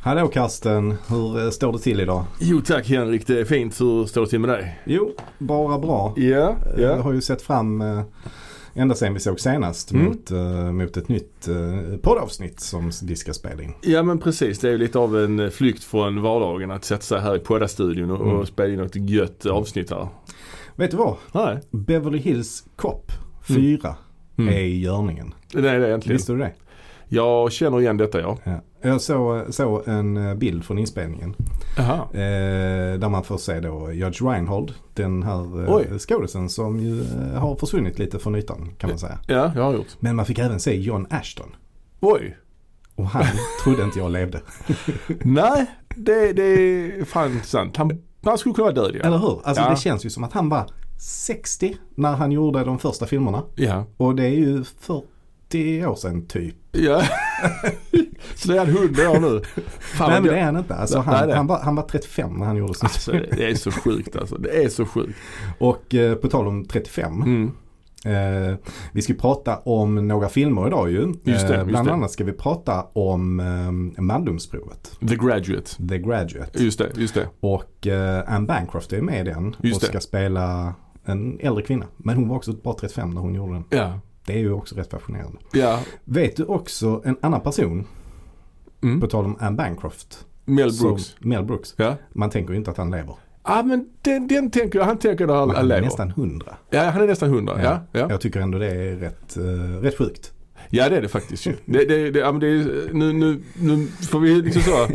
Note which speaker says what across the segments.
Speaker 1: Hallå Karsten, hur eh, står det till idag?
Speaker 2: Jo tack Henrik, det är fint. Hur står det till med dig?
Speaker 1: Jo, bara bra.
Speaker 2: Ja,
Speaker 1: Jag har ju sett fram eh, ända sedan vi såg senast
Speaker 2: Mm.
Speaker 1: mot, eh, mot ett nytt eh, poddavsnitt som vi ska spela in.
Speaker 2: Ja men precis, det är ju lite av en eh, flykt från vardagen att sätta sig här i poddastudion och,
Speaker 1: Mm.
Speaker 2: och spela in något gött avsnitt här.
Speaker 1: Vet du vad?
Speaker 2: Nej,
Speaker 1: Beverly Hills Cop 4
Speaker 2: Mm.
Speaker 1: är i görningen.
Speaker 2: det är det egentligen.
Speaker 1: Visste du det?
Speaker 2: Jag känner igen detta ja.
Speaker 1: Ja. Jag såg så en eh, bild från inspelningen.
Speaker 2: Aha.
Speaker 1: Eh, där man får se då Judge Reinhold, den här eh,
Speaker 2: Oj.
Speaker 1: skådisen som ju eh, har försvunnit lite från ytan kan man säga.
Speaker 2: Ja, jag har gjort.
Speaker 1: Men man fick även se John Ashton.
Speaker 2: Oj!
Speaker 1: Och han trodde inte jag levde.
Speaker 2: Nej, det, det är fan sant. Han, han skulle kunna vara död ja.
Speaker 1: Eller hur? Alltså
Speaker 2: Ja.
Speaker 1: det känns ju som att han var 60 när han gjorde de första filmerna.
Speaker 2: Ja.
Speaker 1: Och det är ju 40 år sedan typ.
Speaker 2: ja. Så det är han hundra år nu.
Speaker 1: nej
Speaker 2: Fan, vad
Speaker 1: men det
Speaker 2: gött.
Speaker 1: är han inte. Alltså,
Speaker 2: Nej,
Speaker 1: han,
Speaker 2: nej, nej.
Speaker 1: Han, var, han var 35 när han gjorde sin
Speaker 2: Alltså, det är så sjukt alltså. Det är så sjukt.
Speaker 1: Och eh, på tal om 35.
Speaker 2: Mm.
Speaker 1: Eh, vi ska prata om några filmer idag ju.
Speaker 2: Just det,
Speaker 1: eh,
Speaker 2: just
Speaker 1: bland
Speaker 2: det.
Speaker 1: annat ska vi prata om eh, Mandomsprovet,
Speaker 2: The Graduate.
Speaker 1: The Graduate.
Speaker 2: Just det, just det.
Speaker 1: Och eh, Anne Bancroft är med i den
Speaker 2: Just
Speaker 1: och
Speaker 2: det.
Speaker 1: ska spela en äldre kvinna. Men hon var också bara 35 när hon gjorde den.
Speaker 2: Ja.
Speaker 1: Det är ju också rätt fascinerande.
Speaker 2: Ja.
Speaker 1: Vet du också en annan person,
Speaker 2: Mm.
Speaker 1: på tal om Anne Bancroft,
Speaker 2: Mel Brooks.
Speaker 1: Som Mel Brooks.
Speaker 2: Ja.
Speaker 1: Man tänker ju inte att han lever.
Speaker 2: Ja men den, den tänker jag, han tänker när han,
Speaker 1: Men
Speaker 2: han
Speaker 1: han är
Speaker 2: lever.
Speaker 1: nästan hundra.
Speaker 2: Ja han är nästan hundra. Ja. Ja. ja.
Speaker 1: Jag tycker ändå det är rätt, eh, rätt sjukt.
Speaker 2: det är det faktiskt ju. Det, det, det, ja, men det är, nu, nu, nu får vi liksom så.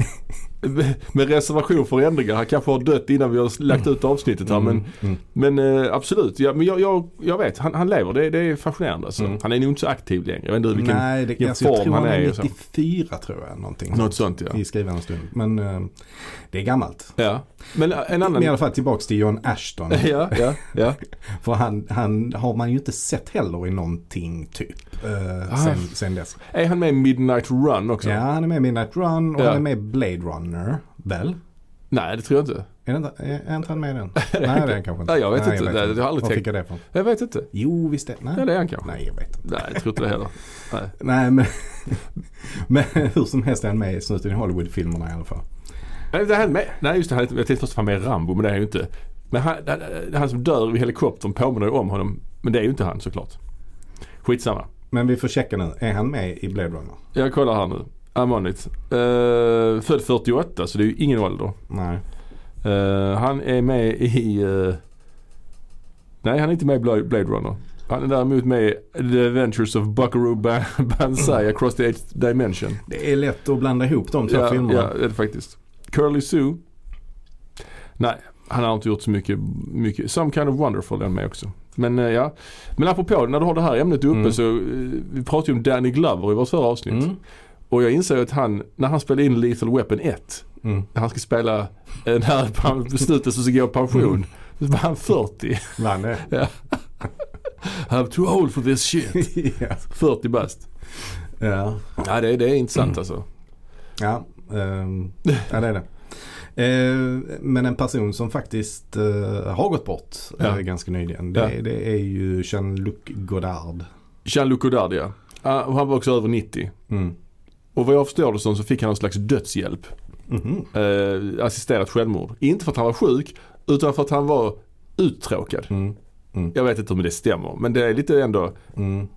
Speaker 2: Med reservation för ändringar. Han kanske har dött innan vi har lagt ut avsnittet här. Men,
Speaker 1: Mm.
Speaker 2: men eh, absolut. Ja, men jag, jag, jag vet, han, han lever. Det, det är fascinerande alltså.
Speaker 1: Mm.
Speaker 2: Han är nog inte så aktiv längre. Jag vet inte vilken,
Speaker 1: Nej, det,
Speaker 2: vilken
Speaker 1: alltså, jag
Speaker 2: form
Speaker 1: tror
Speaker 2: han
Speaker 1: han är
Speaker 2: är och så.
Speaker 1: 94 tror jag någonting.
Speaker 2: något sånt ja.
Speaker 1: I skrivande stund. Men eh, det är gammalt.
Speaker 2: ja. Men eh, en
Speaker 1: Men i
Speaker 2: annan.
Speaker 1: alla fall tillbaks till John Ashton.
Speaker 2: Ja, ja, ja.
Speaker 1: För han, han har man ju inte sett heller i någonting typ. eh,
Speaker 2: Ah.
Speaker 1: sen, sen dess.
Speaker 2: Är han med i Midnight Run också?
Speaker 1: Ja, han är med i Midnight Run och
Speaker 2: Ja.
Speaker 1: han är med i Blade Runner. Väl?
Speaker 2: Nej, det tror jag inte.
Speaker 1: Är, det inte, är, är inte han med i den? Nej, det är han kanske inte.
Speaker 2: Nej, jag vet inte. Nej, det har jag aldrig
Speaker 1: Var
Speaker 2: tänkt.
Speaker 1: fick jag det ifrån?
Speaker 2: Jag vet inte.
Speaker 1: Jo, visst är Nej.
Speaker 2: Ja, det är han kanske.
Speaker 1: Nej, jag vet inte.
Speaker 2: Nej, jag tror inte det heller. Nej.
Speaker 1: Nej, men, men hur som helst är han med i snuten i Hollywood-filmerna i alla fall.
Speaker 2: Nej, det här med, nej just det, här, jag tänkte först att han är med i Rambo, men det är ju inte. Men han, han- han som dör vid helikoptern påminner ju om honom. Men det är ju inte han såklart. Skitsamma.
Speaker 1: Men vi får checka nu. Är han med i Blade Runner?
Speaker 2: Jag kollar här nu. I'm on it. Eh, född 48, så det är ju ingen ålder.
Speaker 1: Nej.
Speaker 2: Eh, han är med i... eh, nej, han är inte med i Bla- Blade Runner. Han är däremot med i The Adventures of Buckaroo Ban- Banzai Across the Eighth Dimension.
Speaker 1: Det är lätt att blanda ihop de två
Speaker 2: ja,
Speaker 1: filmerna.
Speaker 2: Ja, det är det faktiskt. Curly Sue. Nej, han har inte gjort så mycket. mycket. Some kind of wonderful är han med också. Men eh, ja. Men apropå när du har det här ämnet uppe
Speaker 1: Mm.
Speaker 2: så eh, vi pratade ju om Danny Glover i vårt förra avsnitt.
Speaker 1: Mm.
Speaker 2: Och jag inser ju att han, när han spelade in Lethal Weapon 1,
Speaker 1: Mm.
Speaker 2: när han ska spela eh, när han beslutar sig att gå i pension, så var han 40.
Speaker 1: Vann det?
Speaker 2: I'm too old for this shit.
Speaker 1: ja.
Speaker 2: 40 bast.
Speaker 1: Ja.
Speaker 2: Ja, det, det är intressant alltså.
Speaker 1: Ja, ehm, ja, det är det. Eh, men en person som faktiskt eh, har gått bort
Speaker 2: Ja.
Speaker 1: eh, ganska nyligen. Det,
Speaker 2: Ja.
Speaker 1: det är ju Jean-Luc Godard.
Speaker 2: Jean-Luc Godard ja. Ah, och han var också över 90.
Speaker 1: Mm.
Speaker 2: Och vad jag förstår det som så fick han någon slags dödshjälp.
Speaker 1: Mhm.
Speaker 2: Eh, assisterat självmord. Inte för att han var sjuk utan för att han var uttråkad.
Speaker 1: Mm.
Speaker 2: Jag vet inte om det stämmer men det är lite ändå
Speaker 1: Mm.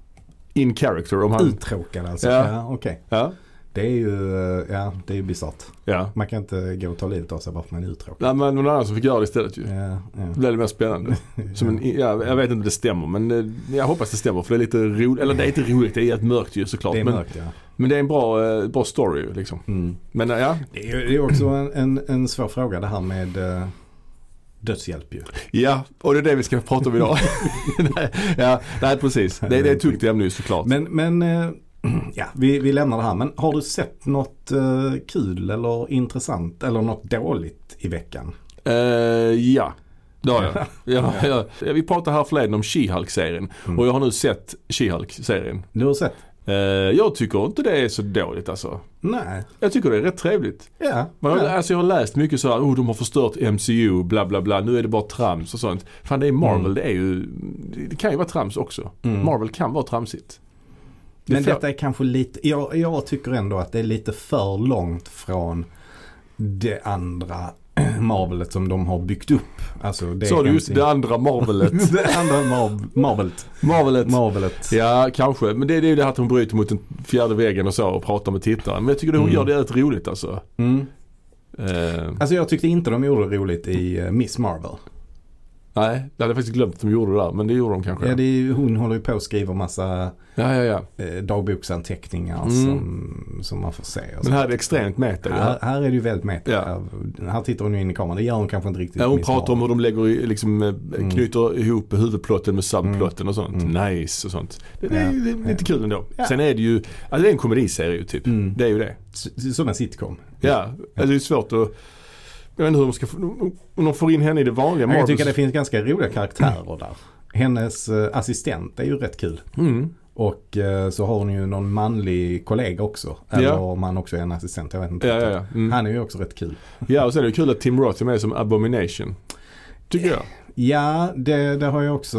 Speaker 2: in character om han...
Speaker 1: Uttråkad alltså. Ja.
Speaker 2: Ja.
Speaker 1: okej.
Speaker 2: Ja,
Speaker 1: Det är ju, eh, ja, det är ju bisarrt.
Speaker 2: ja.
Speaker 1: Man kan inte gå och ta livet av sig bara för man är uttråkad.
Speaker 2: Nej, men någon annan som fick göra det istället ju.
Speaker 1: Ja, ja.
Speaker 2: Det blev det mer spännande. Som en, ja, jag vet inte om det stämmer men eh, jag hoppas det stämmer för det är lite roligt. Eller det är inte roligt, det är helt mörkt ju såklart.
Speaker 1: Det är
Speaker 2: men,
Speaker 1: mörkt ja.
Speaker 2: men det är en bra, eh, bra story ju liksom.
Speaker 1: Mm.
Speaker 2: Men eh, ja,
Speaker 1: Det är ju det är också en, en, en svår fråga det här med eh, dödshjälp ju.
Speaker 2: ja, och det är det vi ska prata om idag. nej, ja, nej precis. Det, det är ett tungt ämne ju såklart.
Speaker 1: Men, men eh, ja, vi, vi lämnar det här. Men har du sett något eh, kul eller intressant eller något dåligt i veckan?
Speaker 2: Eh, ja, det har jag. ja, ja. Vi pratade här förleden om She-Hulk-serien
Speaker 1: Mm.
Speaker 2: och jag har nu sett She-Hulk-serien.
Speaker 1: Du har sett?
Speaker 2: Eh, jag tycker inte det är så dåligt alltså.
Speaker 1: Nej.
Speaker 2: Jag tycker det är rätt trevligt.
Speaker 1: Ja.
Speaker 2: Man har,
Speaker 1: ja.
Speaker 2: alltså jag har läst mycket så här, oh de har förstört MCU, bla bla bla, nu är det bara trams och sånt. Fan det är Marvel,
Speaker 1: Mm.
Speaker 2: det är ju, det kan ju vara trams också.
Speaker 1: Mm.
Speaker 2: Marvel kan vara tramsigt. Det
Speaker 1: Men
Speaker 2: får-
Speaker 1: detta är kanske lite, jag, jag tycker ändå att det är lite för långt från det andra Marvelet som de har byggt upp. Alltså det
Speaker 2: Sa du just
Speaker 1: MC
Speaker 2: det andra Marvelet?
Speaker 1: det andra Mar- Marvelet.
Speaker 2: Marvelet.
Speaker 1: Marvelet.
Speaker 2: Ja, kanske. Men det, det är ju det här att hon bryter mot den fjärde väggen och så och pratar med tittaren. Men jag tycker det hon
Speaker 1: Mm.
Speaker 2: gör det är rätt roligt alltså.
Speaker 1: Mm.
Speaker 2: Eh,
Speaker 1: Alltså jag tyckte inte de gjorde det roligt i eh, Miss Marvel.
Speaker 2: nej, jag hade faktiskt glömt att de gjorde det där. Men det gjorde de kanske.
Speaker 1: Ja, det är, ju- hon håller ju på och skriver massa
Speaker 2: ja, ja, ja.
Speaker 1: eh, dagboksanteckningar
Speaker 2: Mm.
Speaker 1: som, som man får se. och så.
Speaker 2: Men här är det extremt meta. ju.
Speaker 1: här, här är det ju väldigt meta.
Speaker 2: Ja.
Speaker 1: Här- Här tittar hon ju in i kameran. Det gör hon kanske inte riktigt.
Speaker 2: Ja,
Speaker 1: i
Speaker 2: hon
Speaker 1: Miss
Speaker 2: pratar om
Speaker 1: Marvel.
Speaker 2: hur de lägger, i- liksom, eh, knyter ihop huvudplotten med subplotten och sånt.
Speaker 1: Mm.
Speaker 2: Nice och sånt. Det, det,
Speaker 1: Ja.
Speaker 2: är- det är lite kul ändå.
Speaker 1: Ja.
Speaker 2: Sen är det ju, alltså det är en komediserie ju typ.
Speaker 1: Mm.
Speaker 2: Det är ju det.
Speaker 1: S- Som en sitcom.
Speaker 2: Ja, alltså det är svårt att... Jag vet inte hur de ska få, om de får in henne i det vanliga
Speaker 1: Jag kan
Speaker 2: Marvels-
Speaker 1: tycka det finns ganska roliga karaktärer där. Hennes eh, assistent är ju rätt kul.
Speaker 2: mm.
Speaker 1: Och eh, så har hon ju någon manlig kollega också.
Speaker 2: Ja.
Speaker 1: Eller om han också är en assistent, jag vet inte.
Speaker 2: Ja, ja,
Speaker 1: riktigt.
Speaker 2: ja. Mm.
Speaker 1: Han är ju också rätt kul.
Speaker 2: ja, och sen är det kul att Tim Roth är med som Abomination. Tycker jag.
Speaker 1: Ja, det, det har jag också,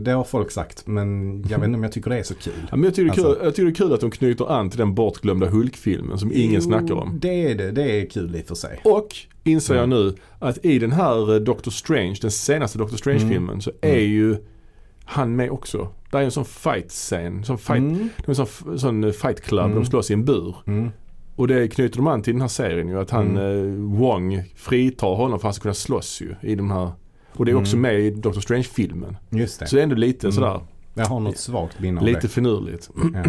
Speaker 1: det har folk sagt. Men jag vet inte om jag tycker det är så kul.
Speaker 2: Ja, men jag, tycker det är kul,
Speaker 1: Alltså-
Speaker 2: jag tycker det är kul att de knyter an till den bortglömda Hulk-filmen som ingen
Speaker 1: Jo,
Speaker 2: snackar om.
Speaker 1: Det är det, det är kul i och för sig.
Speaker 2: Och inser
Speaker 1: Mm.
Speaker 2: jag nu att i den här eh, Doctor Strange, den senaste Doctor Strange-filmen så är
Speaker 1: Mm.
Speaker 2: ju han med också. Det är en sån fight-scen. Sån fight,
Speaker 1: Mm.
Speaker 2: Det är en sån, sån eh, fight club,
Speaker 1: Mm.
Speaker 2: de slåss i en bur.
Speaker 1: Mm.
Speaker 2: Och det knyter de an till den här serien ju. Att han, eh, Wong, fritar honom för att han ska kunna slåss ju i de här. Och det är också
Speaker 1: Mm.
Speaker 2: med i Doctor Strange-filmen.
Speaker 1: Just det.
Speaker 2: Så det är ändå lite
Speaker 1: Mm.
Speaker 2: sådär,
Speaker 1: Jag har något svagt minne av
Speaker 2: lite
Speaker 1: det.
Speaker 2: finurligt.
Speaker 1: Ja.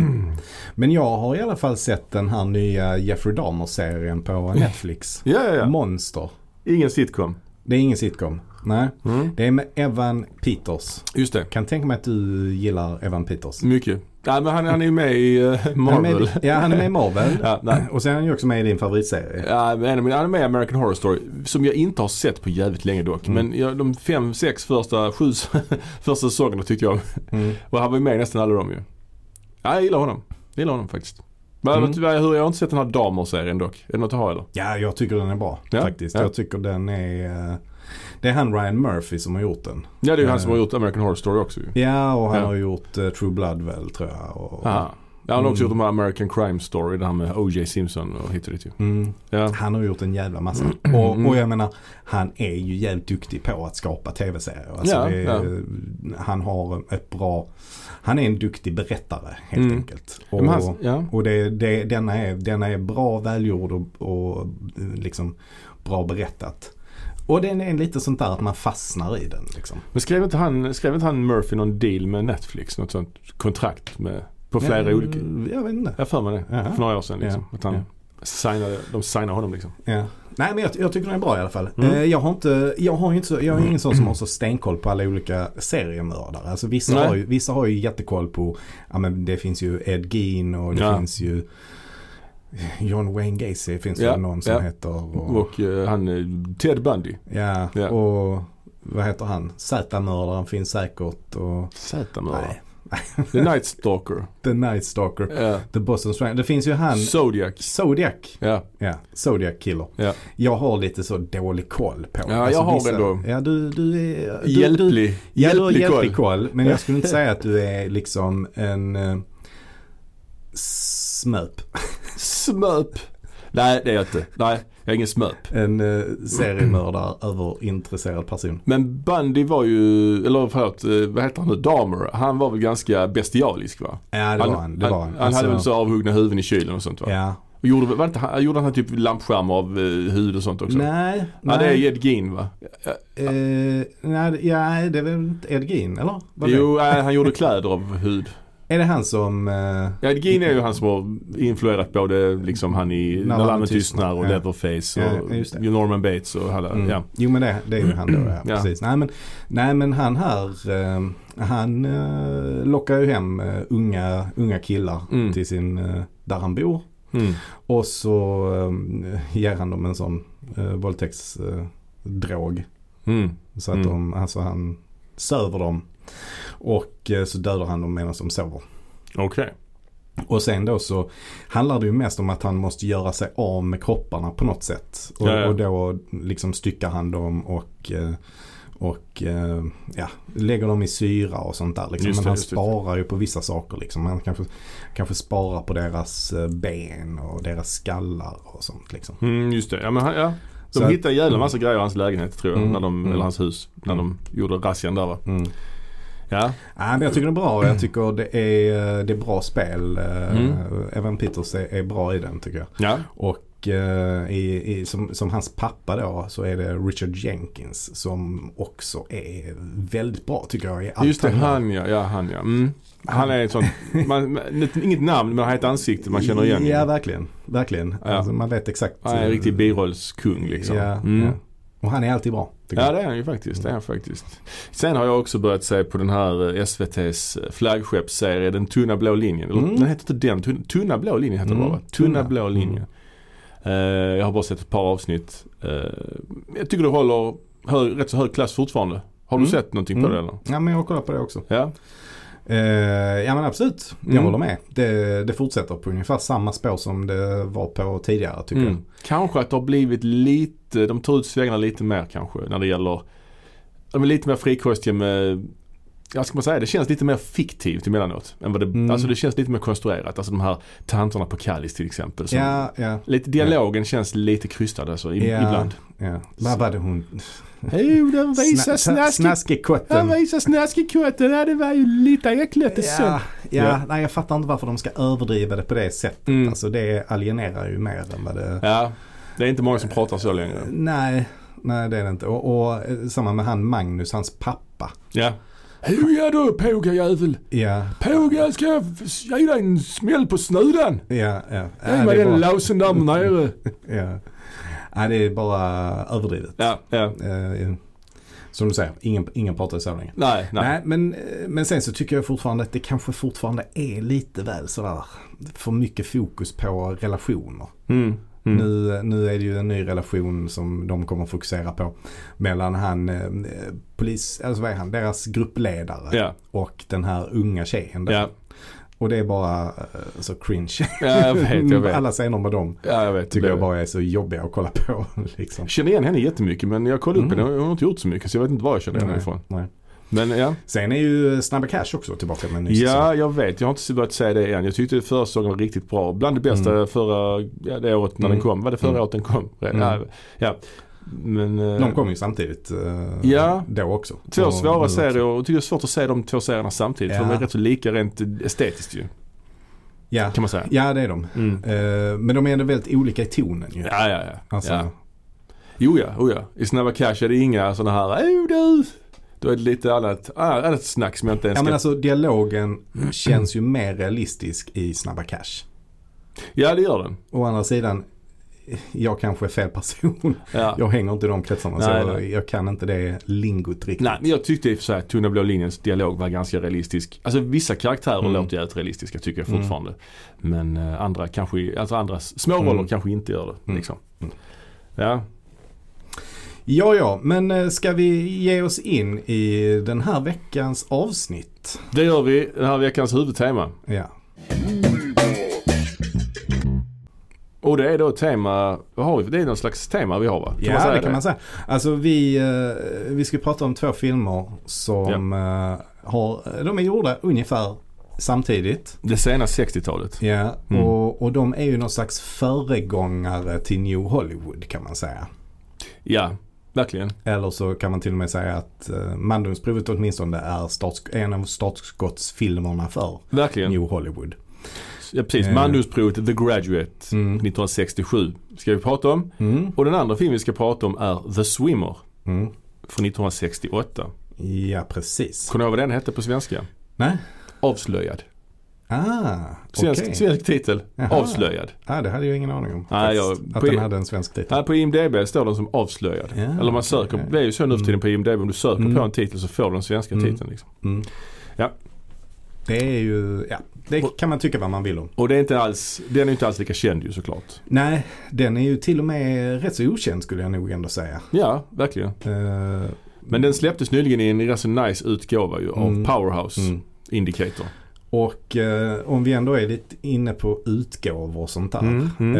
Speaker 1: Men jag har i alla fall sett den här nya Jeffrey Dahmer-serien på Netflix.
Speaker 2: Ja, ja, ja.
Speaker 1: Monster.
Speaker 2: Ingen sitcom.
Speaker 1: Det är ingen sitcom. Nej.
Speaker 2: Mm.
Speaker 1: Det är med Evan Peters.
Speaker 2: Just det.
Speaker 1: Kan tänka mig att du gillar Evan Peters.
Speaker 2: Mycket. Nej men han, han är ju med i eh,
Speaker 1: Han är
Speaker 2: Marvel.
Speaker 1: med, i- ja, han är med i Marvel.
Speaker 2: Ja, nej.
Speaker 1: Och sen är han ju också med i din favoritserie.
Speaker 2: Ja, men en av mina- han är med i American Horror Story. Som jag inte har sett på jävligt länge dock.
Speaker 1: Mm.
Speaker 2: Men jag, de fem, sex första, sju första säsongerna tyckte jag om.
Speaker 1: Mm.
Speaker 2: Och han var ju med i nästan alla dem ju. Ja, jag gillar honom. Jag gillar honom faktiskt. Men
Speaker 1: Mm.
Speaker 2: mm. jag har inte sett den här Damer-serien dock. Är det något att ha eller?
Speaker 1: Ja, jag tycker den är bra
Speaker 2: Ja,
Speaker 1: faktiskt.
Speaker 2: ja.
Speaker 1: Jag tycker den är... eh, Det är han Ryan Murphy som har gjort den.
Speaker 2: Ja, det är ju han
Speaker 1: Eh.
Speaker 2: som har gjort American Horror Story också ju.
Speaker 1: Ja, och han
Speaker 2: Ja.
Speaker 1: har gjort eh, True Blood väl tror jag. Och,
Speaker 2: Aha. Ja, han har också
Speaker 1: Mm.
Speaker 2: gjort de här American Crime Story, det här med O.J. Simpson och hit och dit ju.
Speaker 1: Mm.
Speaker 2: Ja.
Speaker 1: Han har gjort en jävla massa.
Speaker 2: Mm.
Speaker 1: Och, och jag menar, han är ju jävligt duktig på att skapa tv-serier. Alltså
Speaker 2: Ja,
Speaker 1: det,
Speaker 2: ja.
Speaker 1: Han har ett bra... Han är en duktig berättare helt
Speaker 2: Mm.
Speaker 1: enkelt.
Speaker 2: Ja,
Speaker 1: Och,
Speaker 2: Men han, ja.
Speaker 1: och det, det, denna, är, denna är bra välgjord och, och eh, liksom bra berättat. Och den är lite sånt där att man fastnar i den. Liksom.
Speaker 2: Men skrev inte, han, skrev inte han Murphy någon deal med Netflix? Något sånt kontrakt med, på flera
Speaker 1: Ja,
Speaker 2: olika?
Speaker 1: Jag vet inte.
Speaker 2: Jag har för mig det.
Speaker 1: Jaha.
Speaker 2: För några år sedan liksom.
Speaker 1: Ja.
Speaker 2: Att han
Speaker 1: Ja.
Speaker 2: signade, de signade honom liksom.
Speaker 1: Ja. Nej men jag, jag tycker den är bra i alla fall.
Speaker 2: Mm.
Speaker 1: Eh, jag har inte, jag har ju inte så, jag är ingen sån som har så stenkoll på alla olika seriemördare. Alltså vissa,
Speaker 2: Nej.
Speaker 1: har ju, vissa har ju jättekoll på, ja men det finns ju Ed Gein och det
Speaker 2: Ja.
Speaker 1: finns ju eh, John Wayne Gacy finns
Speaker 2: Ja,
Speaker 1: det någon som
Speaker 2: ja.
Speaker 1: heter. Och,
Speaker 2: Och eh, han, eh, Ted Bundy.
Speaker 1: ja,
Speaker 2: Ja.
Speaker 1: och vad heter han? Z-mördaren finns säkert och
Speaker 2: Z-mördare.
Speaker 1: nej,
Speaker 2: The Night Stalker.
Speaker 1: The Night Stalker.
Speaker 2: Ja.
Speaker 1: The Boston Strangler. Det finns ju han
Speaker 2: Zodiac.
Speaker 1: Zodiac.
Speaker 2: Ja.
Speaker 1: Ja, Zodiac Killer.
Speaker 2: Ja.
Speaker 1: Jag har lite så dålig koll på Alltså,
Speaker 2: Ja, jag har ändå.
Speaker 1: Ja, du, du är... Du, Du,
Speaker 2: Hjälplig.
Speaker 1: ja, du har
Speaker 2: Hjälplig
Speaker 1: hjälplig
Speaker 2: koll.
Speaker 1: koll. Men jag skulle inte säga att du är liksom en eh, smöp.
Speaker 2: Smöp. Nej, det är jag inte. Nej, jag är ingen smöp.
Speaker 1: En eh, seriemördare överintresserad person.
Speaker 2: Men Bundy var ju, eller förlåt, eh, vad heter han nu? Dahmer. Han var väl ganska bestialisk va?
Speaker 1: Ja, det var han. Det var han. Alltså,
Speaker 2: han hade väl så avhuggna huvuden i kylen och sånt va?
Speaker 1: Ja.
Speaker 2: Och gjorde, väl- var inte, han, gjorde han typ lampskärmar av eh, hud och sånt också?
Speaker 1: Nej,
Speaker 2: Ja, det är
Speaker 1: nej.
Speaker 2: Ed Gein va?
Speaker 1: Eh, nej, ja, det är väl inte Ed Gein, eller? Var det?
Speaker 2: Jo, nej, han gjorde kläder av hud.
Speaker 1: Är det han som... eh,
Speaker 2: Ed Gein är ju han som har influerat både liksom han i
Speaker 1: När
Speaker 2: När
Speaker 1: lammen
Speaker 2: lammen tystnar och
Speaker 1: tystnar, ja.
Speaker 2: Leatherface
Speaker 1: Ja,
Speaker 2: och
Speaker 1: just det.
Speaker 2: Norman Bates och alla.
Speaker 1: Mm.
Speaker 2: Ja. Mm.
Speaker 1: Jo men det, det är ju han då. Ja,
Speaker 2: Ja.
Speaker 1: Precis. Nej, men, nej men han här, eh, han eh, lockar ju hem eh, unga, unga killar
Speaker 2: Mm.
Speaker 1: till sin, eh, där han bor.
Speaker 2: Mm.
Speaker 1: Och så eh, ger han dem en sån eh, våldtäktsdrog. Eh, drog.
Speaker 2: Mm.
Speaker 1: så att
Speaker 2: Mm.
Speaker 1: de, alltså han söver dem. Och eh, så dödar han dem medan de sover.
Speaker 2: Okej.
Speaker 1: Och sen då så handlar det ju mest om att han måste göra sig av med kropparna på något sätt. Och,
Speaker 2: Ja, ja.
Speaker 1: och då liksom styckar han dem och, eh, Och eh, ja, lägger dem i syra och sånt där. Liksom.
Speaker 2: Just
Speaker 1: Men
Speaker 2: det,
Speaker 1: han
Speaker 2: just det.
Speaker 1: sparar ju på vissa saker. Liksom. Han kanske, kanske sparar på deras eh, ben och deras skallar och sånt. Liksom.
Speaker 2: Mm, just det. Ja, men han, ja. De
Speaker 1: Så att-
Speaker 2: hittade en jävla massa grejer i hans lägenhet tror jag.
Speaker 1: Mm,
Speaker 2: När de,
Speaker 1: mm.
Speaker 2: Eller hans hus. När
Speaker 1: Mm.
Speaker 2: de gjorde razzian där va.
Speaker 1: Mm.
Speaker 2: Ja.
Speaker 1: Ja, men jag tycker det är bra och jag tycker det är, det är bra spel. Eh,
Speaker 2: Mm.
Speaker 1: Evan Peters är, är bra i den tycker jag.
Speaker 2: ja.
Speaker 1: Och eh, i, i, som, som hans pappa då så är det Richard Jenkins som också är väldigt bra tycker jag. I allt
Speaker 2: Just det,
Speaker 1: gör.
Speaker 2: han ja. ja, han, ja. Mm. han är ett sånt, man, man- inget namn men han har ett ansikte man känner igen.
Speaker 1: Ja, verkligen. verkligen.
Speaker 2: Ja.
Speaker 1: Alltså, man vet exakt.
Speaker 2: han är en riktig birollskung liksom.
Speaker 1: Ja,
Speaker 2: mm.
Speaker 1: ja. Och han är alltid bra. tycker
Speaker 2: Ja
Speaker 1: jag.
Speaker 2: det är han ju faktiskt. Det är han faktiskt. Sen har jag också börjat se på den här eh, SVT's flaggskeppsserie Den tunna blå linjen. Eller,
Speaker 1: Mm.
Speaker 2: Den heter inte den. Tunna, tunna blå linjen heter
Speaker 1: Mm,
Speaker 2: den bara va? Tunna
Speaker 1: tunna.
Speaker 2: blå linjen. Eh, jag har bara sett ett par avsnitt. Eh, jag tycker det håller hö- rätt så hög klass fortfarande. Har du
Speaker 1: Mm.
Speaker 2: sett någonting på
Speaker 1: Mm.
Speaker 2: det eller?
Speaker 1: Ja, men jag kollar på det också.
Speaker 2: Ja.
Speaker 1: Eh, ja men absolut, jag
Speaker 2: Mm.
Speaker 1: håller med. Det, det fortsätter på ungefär samma spår som det var på tidigare tycker jag.
Speaker 2: Mm. Kanske att det har blivit lite, de tar ut svängarna lite mer kanske när det gäller, de är lite mer frikostiga med, ja ska man säga, det känns lite mer fiktivt emellanåt. Än vad det,
Speaker 1: Mm.
Speaker 2: Alltså det känns lite mer konstruerat. Alltså de här tanterna på Kallis till exempel. Som,
Speaker 1: Ja, ja,
Speaker 2: Lite dialogen känns lite krystad alltså i,
Speaker 1: Ja.
Speaker 2: ibland.
Speaker 1: ja. Vad var det hon?
Speaker 2: Jo, den
Speaker 1: Sna- sna- Snaskikotten.
Speaker 2: visar snaskikotten. Ja, det var ju lite äckligt
Speaker 1: Ja, ja,
Speaker 2: Ja.
Speaker 1: nej jag fattar inte varför de ska överdriva det på det sättet.
Speaker 2: Mm.
Speaker 1: Alltså det alienerar ju mer än vad det...
Speaker 2: Ja, det är inte många som pratar så längre.
Speaker 1: Nej, nej det är det inte. Och, och eh, samma med han Magnus, hans pappa.
Speaker 2: Ja. Hugga du pågajävel!
Speaker 1: Ja,
Speaker 2: Pågar ska jag ge dig en smäll på snudan.
Speaker 1: ja, ja. Ja,
Speaker 2: Ge mig
Speaker 1: det, är
Speaker 2: den
Speaker 1: bara,
Speaker 2: lausen där nere.
Speaker 1: ja. ja det är bara överdrivet.
Speaker 2: Ja, ja.
Speaker 1: Eh, som du säger, ingen, ingen pratar så länge.
Speaker 2: Nej, nej.
Speaker 1: Nej, men, eh, men sen så tycker jag fortfarande att det kanske fortfarande är lite väl sådär för mycket fokus på relationer.
Speaker 2: Mm. Mm.
Speaker 1: Nu, nu är det ju en ny relation som de kommer fokusera på mellan han, eh, polis, alltså vad är han, deras gruppledare
Speaker 2: Ja,
Speaker 1: och den här unga tjejen där.
Speaker 2: ja.
Speaker 1: Och det är bara eh, så cringe.
Speaker 2: ja, jag vet, jag vet.
Speaker 1: Alla scener med dem
Speaker 2: Ja, jag vet.
Speaker 1: tycker jag
Speaker 2: Jag
Speaker 1: bara är så jobbiga att kolla på liksom.
Speaker 2: känner igen henne jättemycket men jag kollade upp
Speaker 1: Mm.
Speaker 2: henne och hon har inte gjort så mycket så jag vet inte var jag känner henne
Speaker 1: Nej,
Speaker 2: ifrån.
Speaker 1: nej.
Speaker 2: Men ja.
Speaker 1: Sen är ju Snabba Cash också tillbaka med en ny säsong.
Speaker 2: Ja, jag vet. Jag har inte börjat säga det än. Jag tyckte förra säsongen var riktigt bra. Bland det bästa
Speaker 1: Mm.
Speaker 2: förra ja, det året när
Speaker 1: Mm.
Speaker 2: den kom. Var det förra
Speaker 1: Mm.
Speaker 2: året den kom?
Speaker 1: Mm.
Speaker 2: Ja. ja. Men, eh,
Speaker 1: De kom ju samtidigt eh,
Speaker 2: Ja.
Speaker 1: då också.
Speaker 2: Två
Speaker 1: Och nu
Speaker 2: svåra
Speaker 1: också.
Speaker 2: serier och jag tycker det är svårt att se de två serierna samtidigt. För
Speaker 1: Ja.
Speaker 2: de är rätt så lika rent estetiskt ju.
Speaker 1: Ja.
Speaker 2: Kan man säga.
Speaker 1: ja, det är de.
Speaker 2: Mm.
Speaker 1: Eh, men de är ändå väldigt olika i tonen ju.
Speaker 2: Ja, ja, ja.
Speaker 1: Alltså,
Speaker 2: ja. Jo, ja, oh, ja. I Snabba Cash är det inga sådana här "Åh, du. Då är det lite annat, ah, annat snack som jag inte ens
Speaker 1: Ja
Speaker 2: ska...
Speaker 1: men alltså dialogen känns ju mer realistisk i Snabba Cash.
Speaker 2: Ja, det gör den.
Speaker 1: Å andra sidan, jag kanske är fel person.
Speaker 2: Ja.
Speaker 1: Jag hänger inte i de kretsarna så
Speaker 2: Nej,
Speaker 1: jag, jag kan inte det lingot riktigt.
Speaker 2: Nej, men jag tyckte i och för sig att Tunna blå linjens dialog var ganska realistisk. Alltså vissa karaktärer
Speaker 1: Mm.
Speaker 2: låter jävligt realistiska tycker jag
Speaker 1: Mm.
Speaker 2: fortfarande. Men eh, andra kanske, alltså andra s- små roller
Speaker 1: Mm.
Speaker 2: kanske inte gör det.
Speaker 1: Mm.
Speaker 2: Liksom.
Speaker 1: Mm.
Speaker 2: Ja,
Speaker 1: Ja, ja, men eh, ska vi ge oss in i den här veckans avsnitt?
Speaker 2: det gör vi. Den här veckans huvudtema.
Speaker 1: Ja.
Speaker 2: Och det är då ett tema, vad har vi? Det är någon slags tema vi har va? Kan
Speaker 1: ja,
Speaker 2: man säga
Speaker 1: det kan man säga. Alltså vi, eh, vi ska prata om två filmer som eh, har, de är gjorda ungefär samtidigt.
Speaker 2: Det sena 60-talet.
Speaker 1: Ja,
Speaker 2: Mm.
Speaker 1: och, och de är ju någon slags föregångare till New Hollywood kan man säga.
Speaker 2: Ja, verkligen.
Speaker 1: Eller så kan man till och med säga att eh, Mandomsprovet åtminstone är starts, en av startskottsfilmerna för
Speaker 2: Verkligen.
Speaker 1: New Hollywood.
Speaker 2: Ja, precis.
Speaker 1: Eh.
Speaker 2: Manusprovet The Graduate
Speaker 1: Mm.
Speaker 2: 1967 ska vi prata om.
Speaker 1: Mm.
Speaker 2: Och den andra filmen vi ska prata om är The Swimmer
Speaker 1: Mm.
Speaker 2: från 1968.
Speaker 1: Ja, precis.
Speaker 2: Kommer du ihåg vad den hette på svenska?
Speaker 1: Nej?
Speaker 2: Avslöjad.
Speaker 1: Ah, okej.
Speaker 2: Svensk, svensk titel.
Speaker 1: Jaha.
Speaker 2: Avslöjad.
Speaker 1: Ah, det hade jag ingen aning om.
Speaker 2: Nej,
Speaker 1: faktiskt,
Speaker 2: jag-
Speaker 1: att
Speaker 2: på-
Speaker 1: den hade en svensk titel.
Speaker 2: Här på IMDB står den som avslöjad.
Speaker 1: Ja,
Speaker 2: Eller man
Speaker 1: okej,
Speaker 2: söker,
Speaker 1: okej.
Speaker 2: det är ju så nu för tiden på IMDB. Om du söker
Speaker 1: Mm.
Speaker 2: på en titel så får du den svenska
Speaker 1: Mm.
Speaker 2: titeln. Liksom.
Speaker 1: Mm.
Speaker 2: Ja.
Speaker 1: Det är ju, ja, det kan man tycka vad man vill om.
Speaker 2: Och det är inte alls, den är inte alls lika känd ju såklart.
Speaker 1: Nej, den är ju till och med rätt så okänd skulle jag nog ändå säga.
Speaker 2: Ja, verkligen.
Speaker 1: Eh,
Speaker 2: Men den släpptes nyligen i en rätt så nice utgåva ju av
Speaker 1: Mm.
Speaker 2: Powerhouse
Speaker 1: mm.
Speaker 2: Indicator.
Speaker 1: Och eh, om vi ändå är lite inne på utgåvor och sånt där.
Speaker 2: Mm. Mm.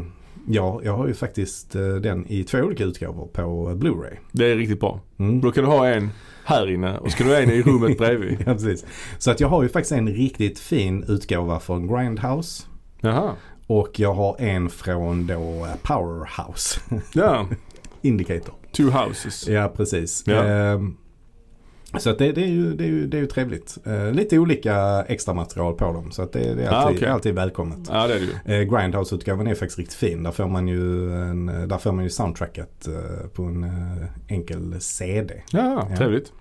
Speaker 1: Eh, Ja, jag har ju faktiskt eh, den i två olika utgåvor på eh, Blu-ray.
Speaker 2: Det är riktigt bra.
Speaker 1: Mm.
Speaker 2: Då kan du ha en här inne och ska du ha en i rummet bredvid.
Speaker 1: Ja, precis. Så att jag har ju faktiskt en riktigt fin utgåva från Grindhouse.
Speaker 2: Jaha.
Speaker 1: Och jag har en från då eh, Powerhouse
Speaker 2: Ja,
Speaker 1: Indicator.
Speaker 2: two houses.
Speaker 1: Ja, precis.
Speaker 2: Ja.
Speaker 1: Ehm, så att det, det, är ju, det, är ju, det är ju trevligt. Eh, lite olika extra material på dem. Så att det, det är
Speaker 2: Ah,
Speaker 1: alltid,
Speaker 2: okej.
Speaker 1: alltid välkommet.
Speaker 2: Ja, det är det ju.
Speaker 1: Eh, Grindhouse-utgåvan är faktiskt riktigt fin. Där får man ju, en, eh, där får man ju soundtracket eh, på en eh, enkel CD.
Speaker 2: Ja,
Speaker 1: Ja.
Speaker 2: trevligt.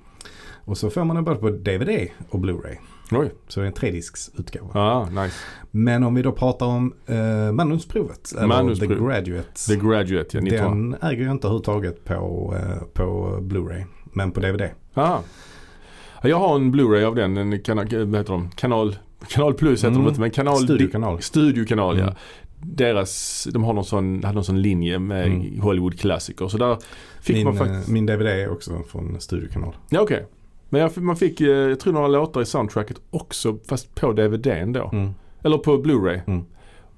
Speaker 1: Och så får man den både på DVD och Blu-ray.
Speaker 2: Oj.
Speaker 1: Så det är en tredisksutgåva.
Speaker 2: Ja, nice.
Speaker 1: Men om vi då pratar om eh, manusprovet, eller
Speaker 2: Manusprovet.
Speaker 1: The Graduate.
Speaker 2: The Graduate, ja. 19.
Speaker 1: den äger jag inte överhuvudtaget på, eh, på Blu-ray. Men på DVD.
Speaker 2: Ja. Ja, Jag har en Blu-ray av den. En kana- vad heter de? Kanal, kanal Plus heter
Speaker 1: Mm.
Speaker 2: de inte, men Kanal...
Speaker 1: Studiokanal.
Speaker 2: Studiokanal,
Speaker 1: Mm.
Speaker 2: ja. Deras, de har någon sån, hade någon sån linje med
Speaker 1: Mm.
Speaker 2: Hollywood-klassiker. Så där fick
Speaker 1: Min,
Speaker 2: man faktiskt...
Speaker 1: eh, min DVD är också från Studiokanal.
Speaker 2: Ja, okej. Men jag, fick- man fick, eh, jag tror några låtar i soundtracket också, fast på DVDn då.
Speaker 1: Mm.
Speaker 2: Eller på Blu-ray.
Speaker 1: Mm.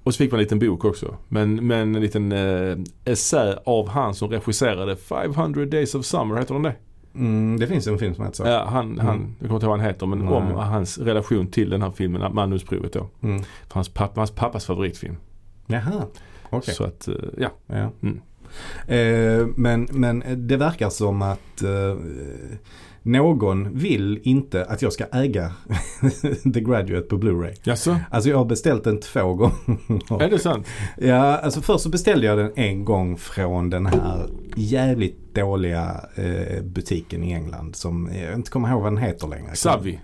Speaker 2: Och så fick man en liten bok också. Men, men en liten eh, essä av han som regisserade 500 Days of Summer, heter den det?
Speaker 1: Mm, det finns en film som heter så.
Speaker 2: Ja, han, han,
Speaker 1: Mm.
Speaker 2: jag kommer inte ihåg vad han heter, men
Speaker 1: Nej.
Speaker 2: om hans relation till den här filmen, manusprovet då.
Speaker 1: Mm.
Speaker 2: För hans, pappa, hans pappas favoritfilm.
Speaker 1: Jaha, okej.
Speaker 2: Så att, eh, ja.
Speaker 1: Ja.
Speaker 2: Mm.
Speaker 1: Eh, men, men det verkar som att eh, någon vill inte att jag ska äga The Graduate på Blu-ray.
Speaker 2: Jaså?
Speaker 1: Alltså jag har beställt den två gånger.
Speaker 2: Är det sant?
Speaker 1: Ja, alltså först så beställde jag den en gång från den här jävligt dåliga eh, butiken i England som eh, jag inte kommer ihåg vad den heter längre.
Speaker 2: Savvy?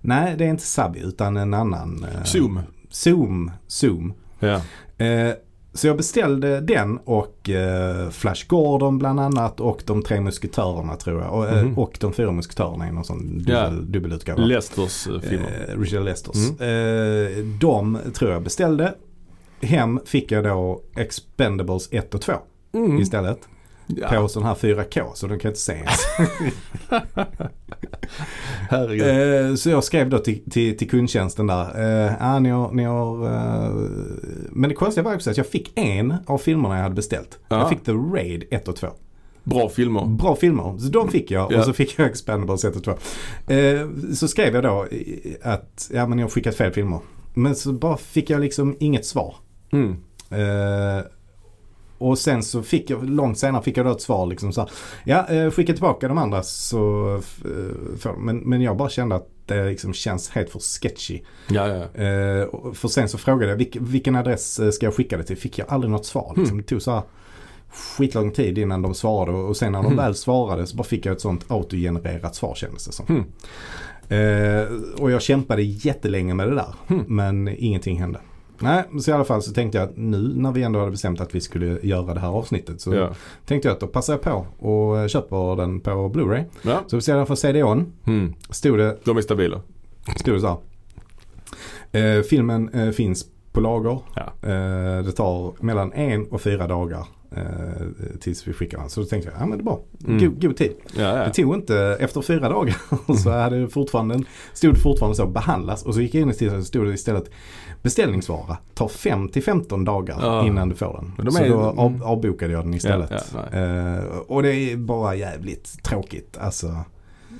Speaker 1: Nej, det är inte Savi utan en annan. Eh,
Speaker 2: Zoom?
Speaker 1: Zoom. Zoom.
Speaker 2: Ja.
Speaker 1: Eh, så jag beställde den och eh, Flash Gordon bland annat och de tre musketörerna tror jag. Och, eh,
Speaker 2: Mhm.
Speaker 1: och de fyra musketörerna i någon sån dubbel,
Speaker 2: Ja.
Speaker 1: dubbelutgåva.
Speaker 2: Lesters eh, filmer. Mm.
Speaker 1: Eh, Richard Lesters. Eh, de tror jag beställde. Hem fick jag då Expendables 1 och 2
Speaker 2: Mm.
Speaker 1: istället.
Speaker 2: Ja.
Speaker 1: På sån här 4K så de kan inte se ens.
Speaker 2: Herregud.
Speaker 1: Eh, så jag skrev då till, till, till kundtjänsten där. Eh, ah, ni har, ni har, eh, men det konstiga var också att jag fick en av filmerna jag hade beställt.
Speaker 2: Ja.
Speaker 1: Jag fick The Raid 1 och 2.
Speaker 2: Bra filmer.
Speaker 1: Bra filmer. Så de fick jag
Speaker 2: Ja.
Speaker 1: och så fick jag Expendables 1 och 2. Eh, så skrev jag då i- att ja, men jag har skickat fel filmer. Men så bara fick jag liksom inget svar.
Speaker 2: Mm.
Speaker 1: Eh, och sen så fick jag, långt senare fick jag då ett svar liksom så här, Ja, eh, skicka tillbaka de andra så eh, får de. Men, men jag bara kände att det liksom känns helt för sketchy.
Speaker 2: Ja, ja.
Speaker 1: Eh, och- för sen så frågade jag vilk, vilken adress eh, ska jag skicka det till? Fick jag aldrig något svar.
Speaker 2: Mm.
Speaker 1: Liksom. Det tog så här skitlång tid innan de svarade och och sen när de
Speaker 2: Mm.
Speaker 1: väl svarade så bara fick jag ett sånt autogenererat svar kändes det som.
Speaker 2: Mm.
Speaker 1: Eh, och jag kämpade jättelänge med det där
Speaker 2: Mm.
Speaker 1: men ingenting hände. Nej, så i alla fall så tänkte jag att nu när vi ändå hade bestämt att vi skulle göra det här avsnittet så
Speaker 2: Ja.
Speaker 1: tänkte jag att då passar jag på och eh, köper den på Blu-ray.
Speaker 2: ja.
Speaker 1: Så beställde jag för CD-ON.
Speaker 2: Mm.
Speaker 1: Stod det
Speaker 2: De är stabila.
Speaker 1: Stod det så här. Eh, filmen eh, finns på lager.
Speaker 2: Ja.
Speaker 1: Eh, det tar mellan en och fyra dagar eh, tills vi skickar den. Så då tänkte jag, ja men det är bra.
Speaker 2: Mm.
Speaker 1: God, god tid.
Speaker 2: Ja, ja.
Speaker 1: Det tog inte, efter fyra dagar så hade det fortfarande, stod det fortfarande så behandlas. Och så gick jag in i titeln och så stod det istället beställningsvara. Tar 5 till 15 dagar
Speaker 2: Ja.
Speaker 1: innan du får den.
Speaker 2: Men de
Speaker 1: så
Speaker 2: är- mm.
Speaker 1: då av, avbokade jag den istället.
Speaker 2: Ja, ja,
Speaker 1: eh, och det är bara jävligt tråkigt. Alltså,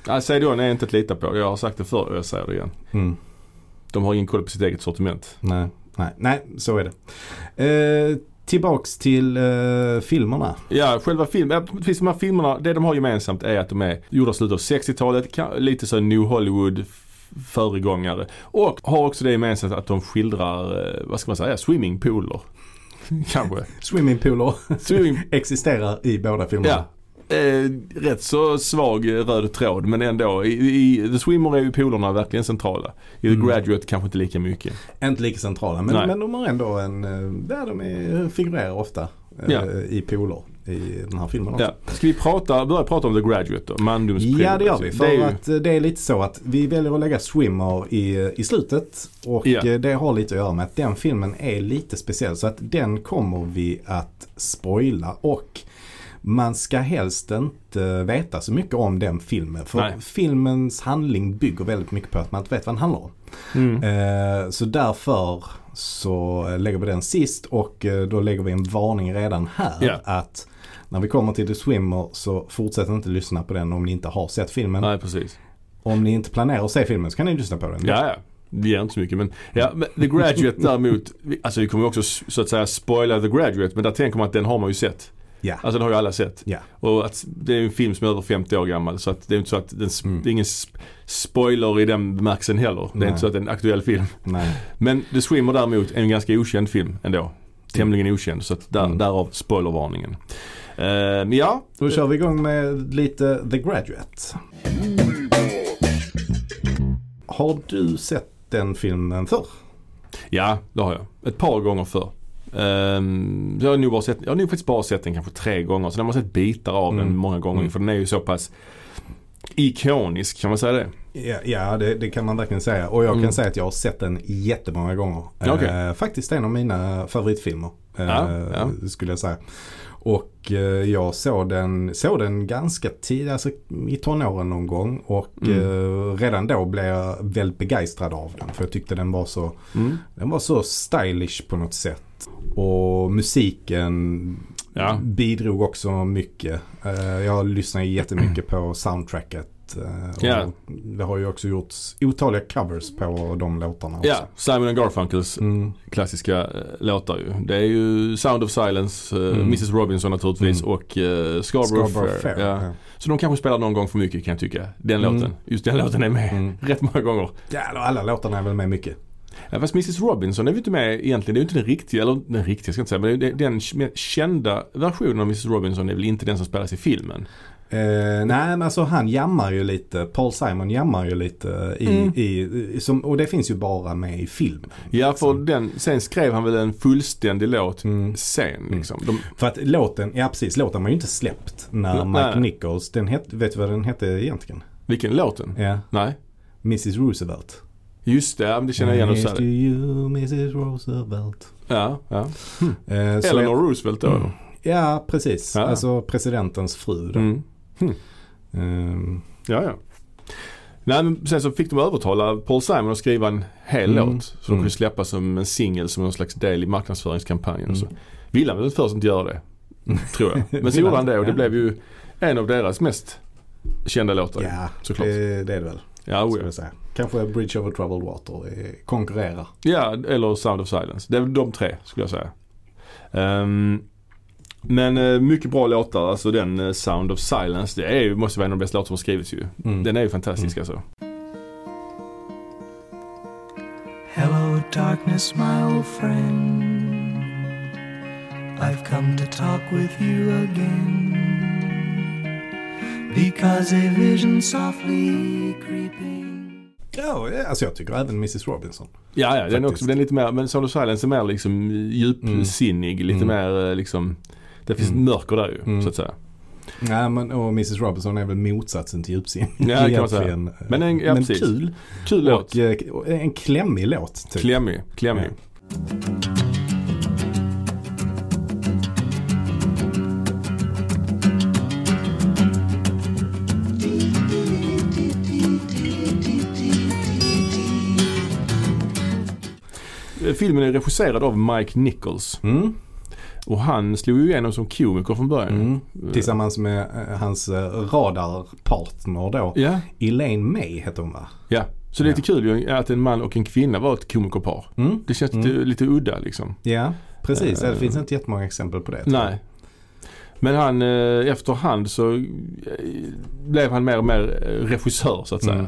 Speaker 2: Ja, CD-ON är inte att lita på. Jag har sagt det förr och jag säger det igen.
Speaker 1: mm.
Speaker 2: De har ingen koll på sitt eget sortiment.
Speaker 1: Nej, nej, nej så är det. Eh, tillbaks till eh, filmerna.
Speaker 2: Ja, själva filmen, ja, precis de här filmerna, det de har gemensamt är att de är gjorda i slutet av 60-talet, ka- lite så New Hollywood f- föregångare. Och har också det gemensamt att de skildrar, eh, vad ska man säga, swimmingpooler. Kanske.
Speaker 1: Swimmingpooler
Speaker 2: Swimming,
Speaker 1: existerar i båda filmerna.
Speaker 2: ja. Eh, rätt så svag eh, röd tråd men ändå. I, i The Swimmer är ju poolerna verkligen centrala. I The
Speaker 1: Mm.
Speaker 2: Graduate kanske inte lika mycket.
Speaker 1: Inte lika centrala men,
Speaker 2: Nej.
Speaker 1: men de har ändå en, eh, där de är, figurerar ofta eh,
Speaker 2: Ja.
Speaker 1: i poler i den här filmen också.
Speaker 2: Ja. Ska vi prata, börja prata om The Graduate då? Mandomsprov.
Speaker 1: Ja det gör vi. För
Speaker 2: är ju-
Speaker 1: att eh, det är lite så att vi väljer att lägga Swimmer i, i slutet. Och
Speaker 2: Ja.
Speaker 1: eh, det har lite att göra med att den filmen är lite speciell. Så att den kommer vi att spoila. Och man ska helst inte veta så mycket om den filmen. För
Speaker 2: Nej.
Speaker 1: filmens handling bygger väldigt mycket på att man inte vet vad den handlar om.
Speaker 2: Mm.
Speaker 1: Eh, så därför så eh, lägger vi den sist och eh, då lägger vi en varning redan här
Speaker 2: Ja.
Speaker 1: att när vi kommer till The Swimmer så fortsätt inte lyssna på den om ni inte har sett filmen.
Speaker 2: Nej, precis.
Speaker 1: Om ni inte planerar att se filmen så kan ni lyssna på den.
Speaker 2: Ja, ja. Det ger inte så mycket men, ja, men The Graduate däremot, vi- alltså vi kommer ju också s- så att säga spoila The Graduate men där tänker man att den har man ju sett.
Speaker 1: Ja.
Speaker 2: Alltså den har ju alla sett.
Speaker 1: Ja.
Speaker 2: Och att, det är ju en film som är över 50 år gammal så att det är inte så att den, sp-
Speaker 1: Mm.
Speaker 2: det är ingen sp- spoiler i den bemärkelsen heller. Det är
Speaker 1: Nej.
Speaker 2: inte så att det är en aktuell film.
Speaker 1: Nej.
Speaker 2: Men The Swimmer däremot är en ganska okänd film ändå. Tämligen okänd så att där,
Speaker 1: Mm.
Speaker 2: därav spoilervarningen. Eh, men ja,
Speaker 1: Då kör vi igång med lite The Graduate. Har du sett den filmen förr?
Speaker 2: Ja, det har jag. Ett par gånger förr. Ehm, jag, har nog bara sett, jag har nog faktiskt bara sett den kanske tre gånger. Så den har man sett bitar av den
Speaker 1: Mm.
Speaker 2: många gånger.
Speaker 1: Mm.
Speaker 2: För den är ju så pass ikonisk, kan man säga det?
Speaker 1: Ja, ja det, det kan man verkligen säga. Och jag
Speaker 2: Mm.
Speaker 1: kan säga att jag har sett den jättemånga gånger.
Speaker 2: Okej.
Speaker 1: Eh, faktiskt en av mina favoritfilmer. eh,
Speaker 2: Ja, ja.
Speaker 1: Skulle jag säga. Och eh, jag såg den, såg den ganska tidigt, alltså i tonåren någon gång. Och
Speaker 2: Mm.
Speaker 1: eh, redan då blev jag väldigt begeistrad av den. För jag tyckte den var så,
Speaker 2: Mm.
Speaker 1: den var så stylish på något sätt. Och musiken
Speaker 2: Ja.
Speaker 1: bidrog också mycket. Eh, Jag lyssnar ju jättemycket på soundtracket. eh, och
Speaker 2: Ja.
Speaker 1: Det har ju också gjorts otaliga covers på de låtarna också.
Speaker 2: Ja, Simon and Garfunkels
Speaker 1: Mm,
Speaker 2: klassiska eh, låtar ju. Det är ju Sound of Silence, eh,
Speaker 1: Mm.
Speaker 2: Mrs Robinson naturligtvis
Speaker 1: Mm.
Speaker 2: och eh, Scarborough,
Speaker 1: Scarborough
Speaker 2: Fair.
Speaker 1: Fair.
Speaker 2: Ja.
Speaker 1: ja.
Speaker 2: Så de kanske spelar någon gång för mycket kan jag tycka. Den
Speaker 1: Mm.
Speaker 2: låten. Just den låten är med
Speaker 1: Mm.
Speaker 2: rätt många gånger.
Speaker 1: Jävlar, alla låtarna är väl med mycket.
Speaker 2: Ja, Eh, fast Mrs Robinson är vi inte med egentligen. Det är ju inte den riktiga, eller den riktiga ska jag inte säga, men det- den k- kända versionen av Mrs Robinson är väl inte den som spelas i filmen?
Speaker 1: Eh, nej men alltså han jammar ju lite, Paul Simon jammar ju lite i,
Speaker 2: Mm.
Speaker 1: i, i som, och det finns ju bara med i film.
Speaker 2: Ja, för
Speaker 1: Liksom.
Speaker 2: den, sen skrev han väl en fullständig låt
Speaker 1: Mm.
Speaker 2: sen liksom. De,
Speaker 1: För att låten, ja precis, låten var ju inte släppt när
Speaker 2: Nej.
Speaker 1: Mike Nichols, den het, vet du vad den hette egentligen?
Speaker 2: vilken låten?
Speaker 1: Ja,
Speaker 2: Nej.
Speaker 1: Mrs Roosevelt.
Speaker 2: Just det, ja, men det känner jag igen och
Speaker 1: Here's
Speaker 2: så
Speaker 1: to
Speaker 2: här.
Speaker 1: you, Mrs. Roosevelt.
Speaker 2: Ja, ja.
Speaker 1: Eh, så
Speaker 2: Eleanor Roosevelt då.
Speaker 1: Mm. Ja, precis.
Speaker 2: Ja.
Speaker 1: Alltså presidentens fru då.
Speaker 2: Mm.
Speaker 1: Ehm,
Speaker 2: Ja, ja. Nej, men sen så fick de övertala Paul Simon att skriva en hel
Speaker 1: Mm.
Speaker 2: låt. Så de kunde
Speaker 1: Mm.
Speaker 2: släppa som en singel som någon slags del i marknadsföringskampanjen. och Så
Speaker 1: Mm.
Speaker 2: ville han väl först inte göra det. Tror jag. Men så
Speaker 1: Ville
Speaker 2: gjorde
Speaker 1: han?
Speaker 2: han det och det
Speaker 1: Ja.
Speaker 2: blev ju en av deras mest kända låtar. Ja,
Speaker 1: ja,
Speaker 2: såklart.
Speaker 1: det, det är det väl.
Speaker 2: ja,
Speaker 1: skulle
Speaker 2: oh, ja.
Speaker 1: jag säga. Kanske Bridge over troubled water eh, konkurrerar.
Speaker 2: ja eller Sound of Silence. Det är väl de tre skulle jag säga. Ehm, men eh, mycket bra låtar. Alltså den eh, Sound of Silence. Det är, ju- måste vara en av de bästa låtar som har skrivits ju.
Speaker 1: Mm.
Speaker 2: Den är ju fantastisk alltså.
Speaker 3: Hello, darkness, my old friend. I've come to talk with you again. Because a vision softly creeping.
Speaker 1: Ja, eh, alltså jag tycker även Mrs. Robinson.
Speaker 2: Ja, ja den, är också,
Speaker 1: Faktiskt.
Speaker 2: den är lite mer, men Sound of Silence är mer liksom djupsinnig. Lite
Speaker 1: Mm.
Speaker 2: mer eh, liksom, det finns
Speaker 1: Mm.
Speaker 2: mörker där ju
Speaker 1: Mm.
Speaker 2: så att säga.
Speaker 1: Nej, men och Mrs. Robinson är väl motsatsen till djupsinn.
Speaker 2: Ja, det kan man säga.
Speaker 1: Egentligen.
Speaker 2: Men en- ja,
Speaker 1: men
Speaker 2: precis.
Speaker 1: kul.
Speaker 2: Kul låt.
Speaker 1: Och eh, och en klämmig låt. Typ.
Speaker 2: Klämmig, klämmig.
Speaker 1: Ja.
Speaker 2: Eh, Filmen är regisserad av Mike Nichols
Speaker 1: Mm.
Speaker 2: och han slog ju igenom som komiker från början.
Speaker 1: Mm. Tillsammans med eh, hans eh, radarpartner då.
Speaker 2: Ja,
Speaker 1: Elaine May heter hon va?
Speaker 2: ja. Så det är lite kul ju att en man och en kvinna var ett komikerpar.
Speaker 1: Mm.
Speaker 2: Det känns lite, lite udda liksom.
Speaker 1: Ja, precis.
Speaker 2: Eh,
Speaker 1: det finns inte jättemånga exempel på det. tror jag.
Speaker 2: Nej. Men han, eh, efterhand så eh, blev han mer och mer eh, regissör så att säga.
Speaker 1: Mm.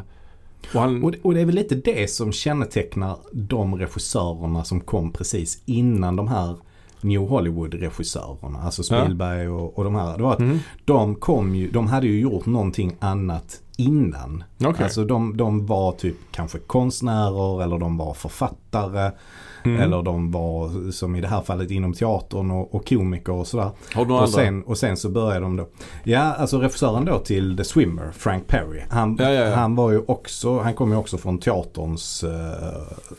Speaker 2: Och han,
Speaker 1: Och, och det är väl lite det som kännetecknar de regissörerna som kom precis innan de här New Hollywood-regissörerna. Alltså Spielberg och, och de här. Det var att
Speaker 2: Mm.
Speaker 1: de, kom ju, de hade ju gjort någonting annat innan.
Speaker 2: Okej.
Speaker 1: Alltså de, de var typ kanske konstnärer eller de var författare.
Speaker 2: Mm.
Speaker 1: Eller de var som i det här fallet inom teatern och, och komiker och sådär.
Speaker 2: Har du några
Speaker 1: Och
Speaker 2: andra?
Speaker 1: sen, och sen så började de då. Ja, alltså regissören då till The Swimmer, Frank Perry. Han,
Speaker 2: Ja, ja, ja.
Speaker 1: han var ju också, han kom ju också från teaterns eh,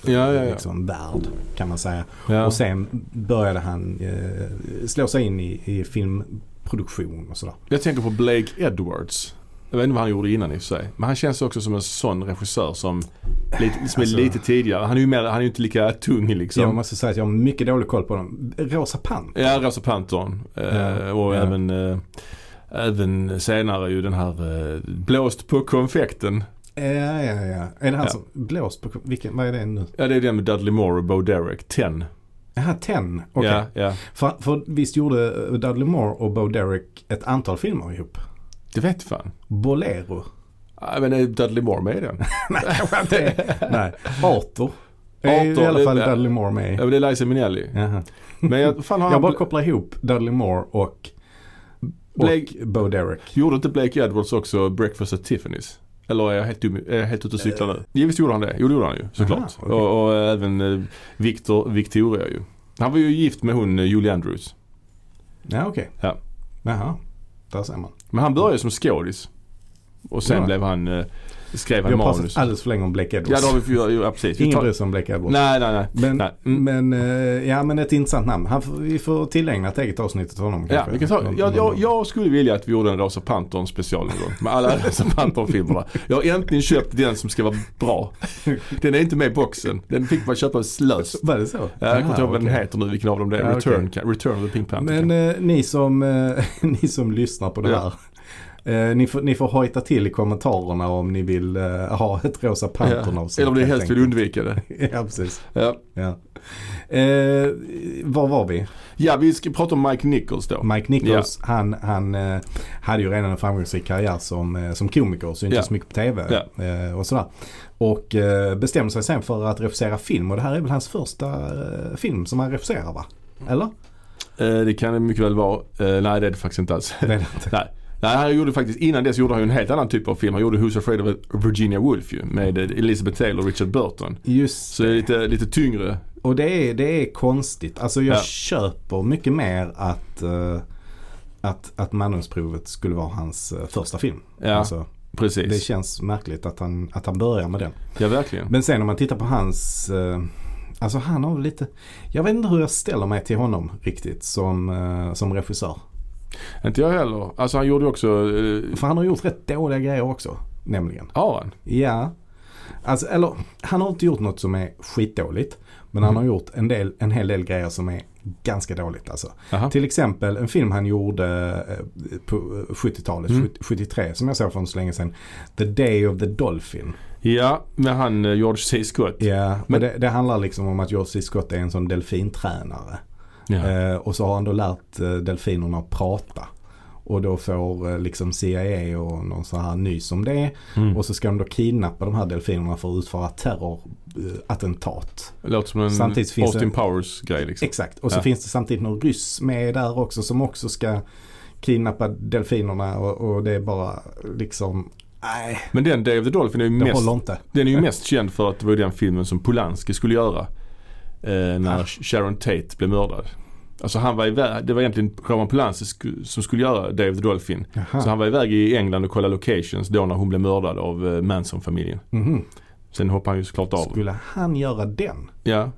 Speaker 2: Ja, ja, ja.
Speaker 1: Liksom, värld kan man säga.
Speaker 2: ja.
Speaker 1: Och sen började han eh, slå sig in i, i filmproduktion och sådär.
Speaker 2: Jag tänker på Blake Edwards. Jag vet inte vad han gjorde innan i och för sig. Men han känns också som en sån regissör som, lite, som är
Speaker 1: Alltså-
Speaker 2: lite tidigare. Han är ju mer, han är ju inte lika tung liksom.
Speaker 1: Jag måste säga att jag har mycket dålig koll på dem. Rosa Panther.
Speaker 2: Ja, Rosa Pantern. Eh,
Speaker 1: Ja,
Speaker 2: och
Speaker 1: ja.
Speaker 2: även, eh, även senare ju den här eh, Blåst på konfekten.
Speaker 1: Ja, ja, ja. Är det han
Speaker 2: Ja.
Speaker 1: som blåst på... Vilken, vad är det nu?
Speaker 2: Ja, det är den med Dudley Moore och Bo Derek. Ten.
Speaker 1: Jaha, Ten. Okej.
Speaker 2: Ja, ja.
Speaker 1: För, för visst gjorde eh, Dudley Moore och Bo Derek ett antal filmer ihop?
Speaker 2: Det vet fan.
Speaker 1: Bolero?
Speaker 2: Ja, men är Dudley Moore med i den?
Speaker 1: Nej, kanske inte är. Nej. Arthur. Är
Speaker 2: Arthur,
Speaker 1: I alla
Speaker 2: det-
Speaker 1: fall Dudley Moore med
Speaker 2: ja,
Speaker 1: i.
Speaker 2: men det är Liza Minnelli.
Speaker 1: Jaha.
Speaker 2: Men jag, fan har
Speaker 1: Jag
Speaker 2: han...
Speaker 1: bara kopplar ihop Dudley Moore och, och
Speaker 2: Blake-
Speaker 1: Bo Derek.
Speaker 2: Gjorde inte Blake Edwards också Breakfast at Tiffany's? Eller är jag helt, dum, är jag helt ute och cyklar nu? Givetvis gjorde han det. Jo, det gjorde han ju såklart.
Speaker 1: okej.
Speaker 2: och, och även eh, Victor, Victoria ju. Han var ju gift med hon eh, Julie Andrews.
Speaker 1: Ja, okej.
Speaker 2: Ja.
Speaker 1: Jaha. Där ser man.
Speaker 2: Men han började som skådis. Och sen
Speaker 1: Ja.
Speaker 2: blev han, eh, skrev
Speaker 1: Vi
Speaker 2: han
Speaker 1: har
Speaker 2: manus.
Speaker 1: pratat alldeles för länge om Blake
Speaker 2: Ja,
Speaker 1: Edwards.
Speaker 2: då har vi, för- ja, ja precis. Vi
Speaker 1: Ingen
Speaker 2: tar-
Speaker 1: bryr sig om Blake Edwards.
Speaker 2: Nej, nej, nej.
Speaker 1: Men,
Speaker 2: nej. Mm.
Speaker 1: men, eh, ja, men ett intressant namn. Han, får- vi får tillägna ett eget avsnitt åt honom
Speaker 2: Ja,
Speaker 1: kanske.
Speaker 2: vi kan ta,
Speaker 1: Någon-
Speaker 2: jag, jag,
Speaker 1: någon-
Speaker 2: jag skulle vilja att vi gjorde en Rosa Pantern special någon gång. Med alla Rosa Pantern-filmerna. Jag har äntligen köpt den som ska vara bra. Den är inte med i boxen. Den fick man köpa löst.
Speaker 1: Var det så?
Speaker 2: Ja, jag kommer
Speaker 1: Aha,
Speaker 2: inte ihåg vad den
Speaker 1: Ah, okej.
Speaker 2: heter nu, vilken av dem det är.
Speaker 1: Ja,
Speaker 2: Return,
Speaker 1: okej.
Speaker 2: kan- Return of the Pink Panther.
Speaker 1: Men
Speaker 2: kan-
Speaker 1: eh, ni, som, eh, ni som lyssnar på det
Speaker 2: Ja.
Speaker 1: här. Eh, ni, får, ni får hojta till i kommentarerna om ni vill eh, ha ett Rosa eh, Pantern
Speaker 2: ja.
Speaker 1: avsnitt.
Speaker 2: Eller om ni
Speaker 1: helt
Speaker 2: helst vill
Speaker 1: enkelt.
Speaker 2: undvika det.
Speaker 1: Ja, precis.
Speaker 2: Ja.
Speaker 1: Ja. Eh, var var vi?
Speaker 2: ja, vi ska prata om Mike Nichols då.
Speaker 1: Mike Nichols, han, han eh, hade ju redan en framgångsrik karriär som, eh, som komiker, så inte
Speaker 2: Ja.
Speaker 1: så mycket på TV eh, och sådär. Och eh, bestämde sig sen för att regissera film och det här är väl hans första eh, film som han regisserar va? Eller?
Speaker 2: Eh, det kan det mycket väl vara. Eh, nej, det är det faktiskt inte alls.
Speaker 1: Det är det inte.
Speaker 2: nej. Nej, han gjorde faktiskt, innan dess gjorde han ju en helt annan typ av film. Han gjorde Who's Afraid of Virginia Woolf ju med eh, Elizabeth Taylor och Richard Burton.
Speaker 1: Just,
Speaker 2: Så det är lite, lite tyngre.
Speaker 1: och det är, det är konstigt. Alltså jag
Speaker 2: Ja.
Speaker 1: köper mycket mer att, eh, att, att Manusprovet skulle vara hans eh, första film.
Speaker 2: Ja,
Speaker 1: Alltså,
Speaker 2: precis.
Speaker 1: det känns märkligt att han, att han börjar med den.
Speaker 2: Ja, verkligen.
Speaker 1: Men sen om man tittar på hans, eh, alltså han har väl lite, jag vet inte hur jag ställer mig till honom riktigt som, eh, som regissör.
Speaker 2: Inte jag heller. Alltså han gjorde ju också, eh,
Speaker 1: För han har gjort rätt dåliga grejer också, nämligen.
Speaker 2: har han?
Speaker 1: Ja, alltså eller han har inte gjort något som är skitdåligt. Men han
Speaker 2: Mm.
Speaker 1: har gjort en, del, en hel del grejer som är ganska dåligt alltså.
Speaker 2: Aha.
Speaker 1: Till exempel en film han gjorde eh, på eh, 70-talet,
Speaker 2: Mm.
Speaker 1: 70- 73 som jag såg för så länge sedan. The Day of the Dolphin.
Speaker 2: Ja, med han eh, George C. Scott.
Speaker 1: Ja,
Speaker 2: Men-
Speaker 1: men det, det handlar liksom om att George C. Scott är en sån delfintränare.
Speaker 2: Ja.
Speaker 1: Eh, och så har han då lärt eh, delfinerna att prata. Och då får eh, liksom CIA och någon sån här nys om det.
Speaker 2: Mm.
Speaker 1: Och så ska de då kidnappa de här delfinerna för att utföra eh, terrorattentat.
Speaker 2: Låter som en
Speaker 1: Samtidigt finns
Speaker 2: Austin
Speaker 1: det- Eh.
Speaker 2: Powers-grej liksom.
Speaker 1: Exakt. Och så
Speaker 2: Ja.
Speaker 1: finns det samtidigt någon ryss med där också som också ska kidnappa delfinerna. Och, och det är bara liksom, nej,
Speaker 2: Men den Day of the Dolphin är ju,
Speaker 1: det
Speaker 2: mest,
Speaker 1: håller inte.
Speaker 2: den är ju mest känd för att det var den filmen som Polanski skulle göra. Eh, när Sharon Tate blev mördad. Alltså han var iväg, det var egentligen Roman Polanski sku, som skulle göra Day of the Dolphin. Så
Speaker 1: Jaha.
Speaker 2: han var iväg i England och kollade locations då när hon blev mördad av eh, Manson-familjen.
Speaker 1: Mhm.
Speaker 2: Sen hoppade han ju såklart av.
Speaker 1: Skulle han göra den?
Speaker 2: Ja,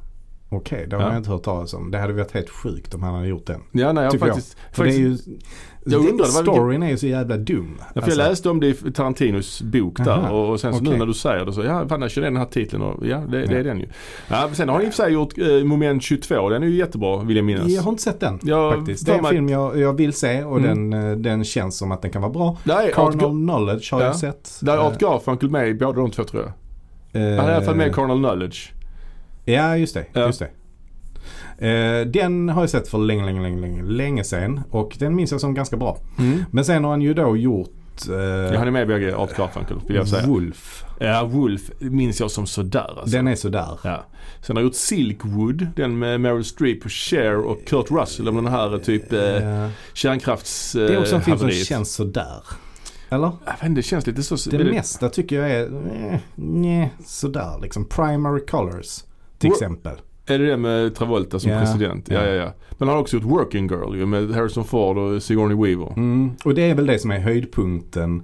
Speaker 1: Okej, det har
Speaker 2: Ja.
Speaker 1: man inte hört talas om. Det hade varit helt sjukt om han hade gjort den.
Speaker 2: ja nej jag
Speaker 1: Tycker jag.
Speaker 2: faktiskt.
Speaker 1: För
Speaker 2: faktiskt
Speaker 1: det är
Speaker 2: Jag
Speaker 1: ju...
Speaker 2: undrar, det var vilket-
Speaker 1: storyn är ju så jävla dum. Alltså,
Speaker 2: Ja, för jag läste om det i Tarantinos bok där
Speaker 1: Aha,
Speaker 2: och, och sen så nu
Speaker 1: okej.
Speaker 2: när du säger det så, ja fan jag känner den här titeln och ja det, det
Speaker 1: Ja.
Speaker 2: är den ju. Ja, men sen har han i och för sig gjort eh, Moment 22, den är ju jättebra vill jag minnas.
Speaker 1: Jag har inte sett den.
Speaker 2: Jag
Speaker 1: Faktiskt.
Speaker 2: för
Speaker 1: Det är en
Speaker 2: mig-
Speaker 1: film jag, jag vill se och
Speaker 2: Mm.
Speaker 1: den, eh, den känns som att den kan vara bra.
Speaker 2: Där är Art,
Speaker 1: Carnal
Speaker 2: Ga-
Speaker 1: Knowledge har
Speaker 2: Ja.
Speaker 1: jag sett.
Speaker 2: där är
Speaker 1: Eh,
Speaker 2: Art Garfunkel med i båda de två tror jag. Han är i alla fall med i Carnal Knowledge.
Speaker 1: Ja, just det.
Speaker 2: Ja.
Speaker 1: Just det. Eh, den har jag sett för länge, länge, länge, länge, länge sen och den minns jag som ganska bra. Men sen har han ju då gjort eh,
Speaker 2: Ja, han är med i bägge Art Garfunkel vill jag säga.
Speaker 1: Wolf.
Speaker 2: Ja, Wolf minns jag som sådär alltså.
Speaker 1: Den är sådär.
Speaker 2: Ja. Sen har han gjort Silkwood, den med Meryl Streep och Cher och Kurt Russell om den här eh, typ eh,
Speaker 1: Eh,
Speaker 2: kärnkrafts... eh,
Speaker 1: det är också en film som
Speaker 2: haveriet.
Speaker 1: känns sådär. Eller?
Speaker 2: Jag vet inte, det känns lite så...
Speaker 1: Det mesta tycker jag är eh, nje, sådär liksom. Primary Colors till
Speaker 2: Wo-
Speaker 1: exempel.
Speaker 2: Är det det med Travolta som
Speaker 1: Ja.
Speaker 2: president? Ja,
Speaker 1: Ja.
Speaker 2: ja, ja. Men han har också gjort Working Girl ju med Harrison Ford och Sigourney Weaver.
Speaker 1: Mm. Och det är väl det som är höjdpunkten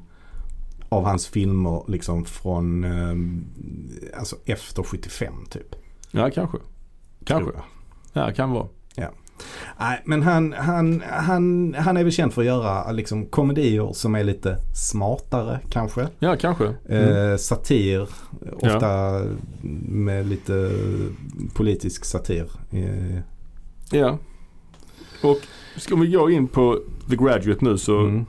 Speaker 1: av hans filmer liksom från eh, alltså efter 75 typ.
Speaker 2: Ja, kanske.
Speaker 1: tror
Speaker 2: Kanske.
Speaker 1: jag.
Speaker 2: Ja, kan vara.
Speaker 1: Ja. Nej, men han, han, han, han är väl känd för att göra liksom, komedier som är lite smartare kanske.
Speaker 2: Ja, kanske.
Speaker 1: Eh, satir, ofta med lite politisk satir. Eh,
Speaker 2: Ja. Och ska vi gå in på The Graduate nu så
Speaker 1: mm.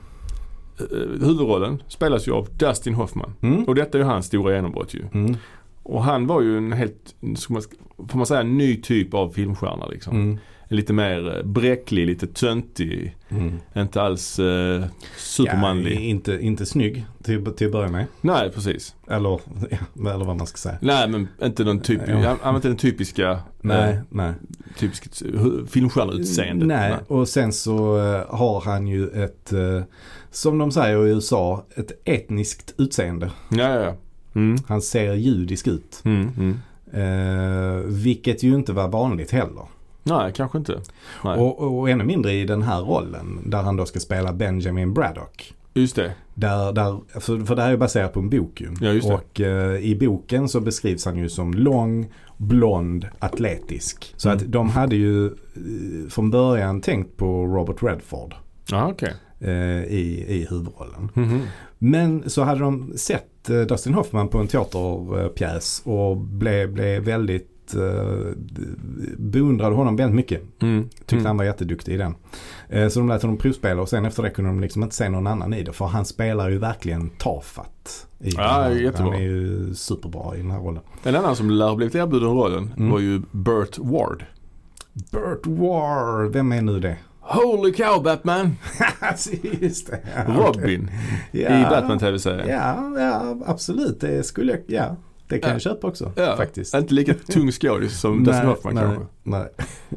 Speaker 2: eh, huvudrollen spelas ju av Dustin Hoffman.
Speaker 1: Mm.
Speaker 2: Och detta är ju hans stora genombrott ju.
Speaker 1: Mm.
Speaker 2: Och han var ju en helt, ska man, får man säga, en ny typ av filmstjärna liksom.
Speaker 1: Mm.
Speaker 2: Lite mer eh, bräcklig, lite töntig.
Speaker 1: Mm.
Speaker 2: Inte alls eh, supermanlig.
Speaker 1: Ja, inte, inte snygg till, till att börja med.
Speaker 2: Nej, precis.
Speaker 1: Eller, eller vad man ska säga.
Speaker 2: Nej, men inte den, typ,
Speaker 1: Ja.
Speaker 2: han, han var inte den typiska,
Speaker 1: Nej,
Speaker 2: eh,
Speaker 1: nej.
Speaker 2: typiska hu- filmstjärneutseendet.
Speaker 1: Nej. och sen så eh, har han ju ett, eh, som de säger i USA, ett etniskt utseende.
Speaker 2: Ja, ja, ja. Mm.
Speaker 1: Han ser judisk ut.
Speaker 2: Mm, mm.
Speaker 1: Eh, vilket ju inte var vanligt heller.
Speaker 2: Nej, kanske inte. Nej.
Speaker 1: Och, och ännu mindre i den här rollen där han då ska spela Benjamin Braddock.
Speaker 2: Just det.
Speaker 1: Där, där, för, för det här är baserat på en bok ju.
Speaker 2: Ja, just det.
Speaker 1: och eh, i boken så beskrivs han ju som lång, blond, atletisk. Så
Speaker 2: Mm.
Speaker 1: att de hade ju eh, från början tänkt på Robert Redford
Speaker 2: Ja, okej.
Speaker 1: eh, i, i huvudrollen.
Speaker 2: Mhm.
Speaker 1: Men så hade de sett eh, Dustin Hoffman på en teaterpjäs och blev, blev väldigt eh, beundrade honom väldigt mycket.
Speaker 2: Mm.
Speaker 1: Tyckte
Speaker 2: Mm.
Speaker 1: han var jätteduktig i den. Eh, Så de lät honom provspela och sen efter det kunde de liksom inte se någon annan i det. För han spelar ju verkligen tafatt. I den här.
Speaker 2: jättebra.
Speaker 1: Han är ju superbra i den här rollen.
Speaker 2: En annan som lär ha blivit erbjuden rollen
Speaker 1: Mm.
Speaker 2: var ju Burt Ward.
Speaker 1: Burt War, vem är nu det?
Speaker 2: Holy cow Batman!
Speaker 1: Alltså, Just det. Ja, okej.
Speaker 2: Robin
Speaker 1: Ja.
Speaker 2: i Batman-tv-serien.
Speaker 1: Ja, ja, absolut. Det skulle jag, ja. Det kan
Speaker 2: Ja.
Speaker 1: jag köpa också
Speaker 2: Ja,
Speaker 1: faktiskt.
Speaker 2: Inte lika tung skådis som Dustin Hoffman
Speaker 1: nej,
Speaker 2: kanske.
Speaker 1: nej.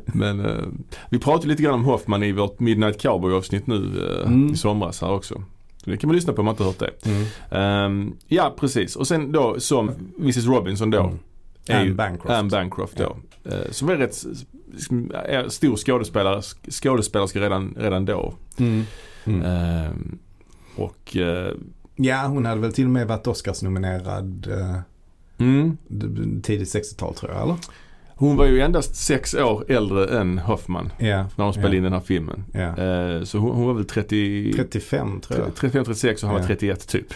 Speaker 2: Men eh, vi pratade lite grann om Hoffman i vårt Midnight Cowboy avsnitt nu eh,
Speaker 1: Mm.
Speaker 2: i somras här också. Så det kan man lyssna på om man inte hört det.
Speaker 1: Mm.
Speaker 2: Ehm, ja precis och sen då som Mrs Robinson då.
Speaker 1: Mm.
Speaker 2: är ju
Speaker 1: Anne Bancroft.
Speaker 2: Anne Bancroft då. eh, Som är rätt s- s- är stor skådespelare, sk- skådespelerska redan, redan då.
Speaker 1: Mm. Mm.
Speaker 2: Ehm, och eh,
Speaker 1: Ja, hon hade väl till och med varit Oscarsnominerad eh,
Speaker 2: mm,
Speaker 1: d- d- tidigt 60-tal tror jag, eller?
Speaker 2: hon var ju endast sex år äldre än Hoffman
Speaker 1: Ja.
Speaker 2: när de spelade
Speaker 1: ja.
Speaker 2: in den här filmen.
Speaker 1: Ja.
Speaker 2: Eh, så hon, hon var väl 30,
Speaker 1: 35 tror jag.
Speaker 2: 35-36 och han
Speaker 1: Ja.
Speaker 2: var 31 typ.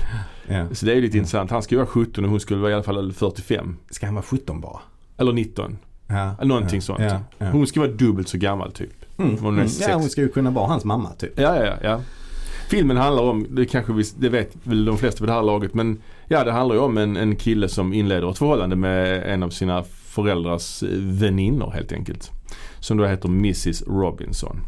Speaker 1: Ja.
Speaker 2: Så det är ju lite
Speaker 1: Mm.
Speaker 2: intressant. Han skulle vara 17 och hon skulle vara i alla fall 45.
Speaker 1: Ska han vara 17 bara?
Speaker 2: Eller 19.
Speaker 1: Ja.
Speaker 2: Någonting
Speaker 1: ja.
Speaker 2: sånt.
Speaker 1: Ja. Ja.
Speaker 2: Hon ska vara dubbelt så gammal typ.
Speaker 1: Mm.
Speaker 2: hon är
Speaker 1: Mm.
Speaker 2: sex. Eh.
Speaker 1: ja, hon ska ju kunna vara hans mamma typ.
Speaker 2: Ja, ja, ja, ja. Filmen handlar om, det kanske vi, det vet väl de flesta vid det här laget, men ja det handlar ju om en, en kille som inleder ett förhållande med en av sina föräldrars eh, väninnor helt enkelt. Som då heter Mrs Robinson.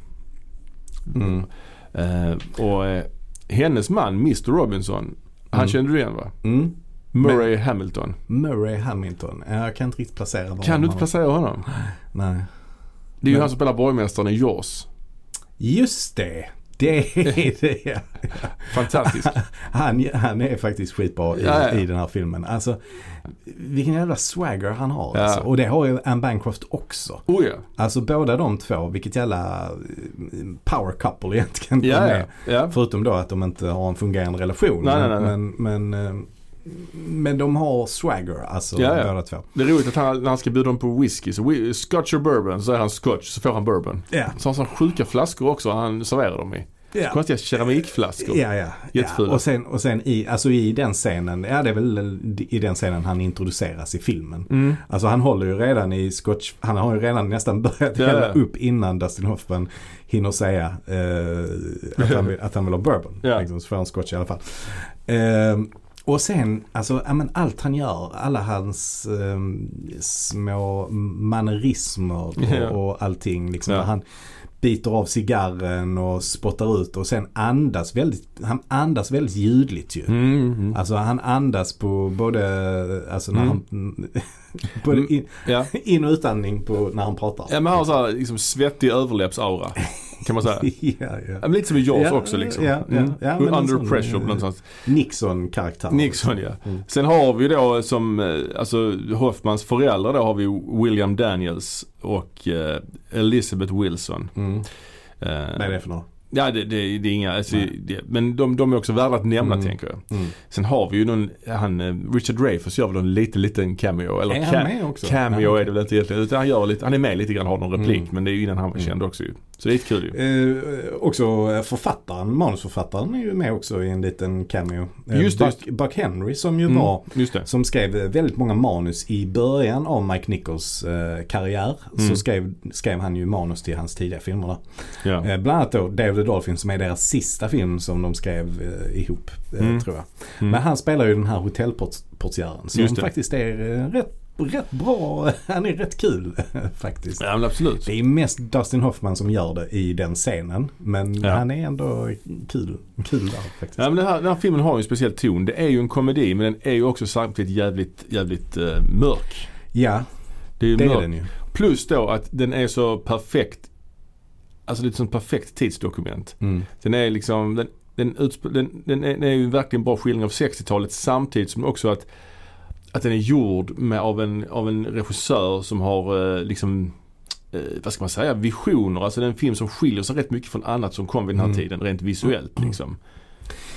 Speaker 1: Mm.
Speaker 2: Eh, och eh, hennes man, Mr Robinson, han
Speaker 1: Mm.
Speaker 2: kände du igen va?
Speaker 1: Mm.
Speaker 2: Murray Hamilton.
Speaker 1: Murray Hamilton. Ja, Jag kan inte riktigt placera var
Speaker 2: Kan du inte
Speaker 1: han-
Speaker 2: placera honom?
Speaker 1: Nej.
Speaker 2: Det är ju
Speaker 1: Men-
Speaker 2: han som spelar borgmästaren i Jaws.
Speaker 1: Just det. Det är det. ja.
Speaker 2: Fantastisk.
Speaker 1: Han, han är faktiskt skitbra i,
Speaker 2: Ja, ja.
Speaker 1: i den här filmen. Alltså, vilken jävla swagger han har.
Speaker 2: Ja.
Speaker 1: Alltså. Och det har ju Anne Bancroft också.
Speaker 2: oh ja.
Speaker 1: Alltså båda de två, vilket jävla eh, power couple egentligen. de
Speaker 2: Ja,
Speaker 1: är.
Speaker 2: ja. ja.
Speaker 1: Förutom då att de inte har en fungerande relation.
Speaker 2: Nej, nej, nej, nej.
Speaker 1: men, men, eh, men de har swagger, alltså
Speaker 2: Ja, ja.
Speaker 1: båda två.
Speaker 2: Det är roligt att han, när han ska bjuda dem på whisky, så whi- scotch och bourbon, så är han scotch, så får han bourbon.
Speaker 1: Ja,
Speaker 2: Så har han såna sjuka flaskor också han serverar dem i.
Speaker 1: ja.
Speaker 2: Konstiga keramikflaskor.
Speaker 1: Ja, ja. ja.
Speaker 2: Jättefula.
Speaker 1: Och sen, och sen i, alltså i den scenen, ja det är väl i den scenen han introduceras i filmen.
Speaker 2: Mm.
Speaker 1: Alltså han håller ju redan i scotch, han har ju redan nästan börjat
Speaker 2: Ja,
Speaker 1: hälla
Speaker 2: ja.
Speaker 1: upp innan Dustin Hoffman hinner säga eh, att, han vill, att han vill ha bourbon.
Speaker 2: Ja.
Speaker 1: Liksom, så får han scotch i alla fall. Ehm, och sen, alltså ja, men allt han gör, alla hans ehm, små manerismer och,
Speaker 2: Ja.
Speaker 1: och allting. Liksom,
Speaker 2: Ja.
Speaker 1: när Han biter av cigarren och spottar ut och sen andas väldigt, han andas väldigt ljudligt ju.
Speaker 2: Mm, mm.
Speaker 1: Alltså han andas på både, alltså när
Speaker 2: Mm.
Speaker 1: han, både in,
Speaker 2: Ja.
Speaker 1: in och utandning på när han pratar.
Speaker 2: ja, men han har så här, liksom svettig överläppsaura. Kan man säga. Ja,
Speaker 1: ja, ja.
Speaker 2: men lite som i Jaws
Speaker 1: Ja,
Speaker 2: också liksom.
Speaker 1: ja, ja.
Speaker 2: Mm.
Speaker 1: Ja, men en
Speaker 2: Under
Speaker 1: sån,
Speaker 2: pressure
Speaker 1: eh,
Speaker 2: någonstans.
Speaker 1: Nixon-karaktär.
Speaker 2: Nixon ja.
Speaker 1: Mm.
Speaker 2: Sen har vi då som, eh, alltså Hoffmans föräldrar då har vi William Daniels och eh, Elizabeth Wilson.
Speaker 1: Mm.
Speaker 2: Eh,
Speaker 1: Vad är det för något?
Speaker 2: Ja, det, det, det är inga, alltså, det, men de, de är också värda att nämna
Speaker 1: Mm.
Speaker 2: tänker jag.
Speaker 1: Mm.
Speaker 2: Sen har vi ju någon, han, eh, Richard Dreyfuss gör väl en liten, liten cameo. Eller
Speaker 1: Är
Speaker 2: ca-
Speaker 1: han med också?
Speaker 2: cameo
Speaker 1: Ja.
Speaker 2: är det väl inte egentligen. Utan han, gör lite, han är med lite grann, har någon replik.
Speaker 1: Mm.
Speaker 2: Men det är ju innan han var
Speaker 1: Mm.
Speaker 2: känd också ju. Så det är kul ju.
Speaker 1: Eh, också eh, författaren, manusförfattaren är ju med också i en liten cameo. Eh,
Speaker 2: Just det,
Speaker 1: Buck, Buck Henry som ju
Speaker 2: Mm,
Speaker 1: var
Speaker 2: Just det.
Speaker 1: som skrev eh, väldigt många manus i början av Mike Nichols eh, karriär.
Speaker 2: Mm.
Speaker 1: Så skrev, skrev han ju manus till hans tidiga filmer där.
Speaker 2: Ja.
Speaker 1: Eh, bland annat då Dave the Dolphin som är deras sista film som de skrev eh, ihop eh,
Speaker 2: Mm.
Speaker 1: tror jag.
Speaker 2: Mm.
Speaker 1: Men han spelar ju den här hotellportiären som
Speaker 2: Just det.
Speaker 1: faktiskt är eh, rätt, rätt bra. Han är rätt kul faktiskt.
Speaker 2: Ja men absolut.
Speaker 1: Det är mest Dustin Hoffman som gör det i den scenen. Men
Speaker 2: Ja.
Speaker 1: han är ändå kul, kul där faktiskt.
Speaker 2: Ja, men den, här, den här filmen har ju en speciell ton. Det är ju en komedi men den är ju också samtidigt jävligt, jävligt eh, mörk.
Speaker 1: Ja,
Speaker 2: Det är ju
Speaker 1: det är
Speaker 2: mörk.
Speaker 1: den ju.
Speaker 2: Plus då att den är så perfekt, alltså lite som ett perfekt tidsdokument.
Speaker 1: Mm.
Speaker 2: Den är liksom, den, den, utsp- den, den, är, den är ju verkligen en bra skildring av 60-talet samtidigt som också att, att den är gjord med, av, en, av en regissör som har eh, liksom eh, vad ska man säga, visioner. Alltså det är en film som skiljer sig rätt mycket från annat som kom vid den här
Speaker 1: Mm.
Speaker 2: tiden rent visuellt liksom.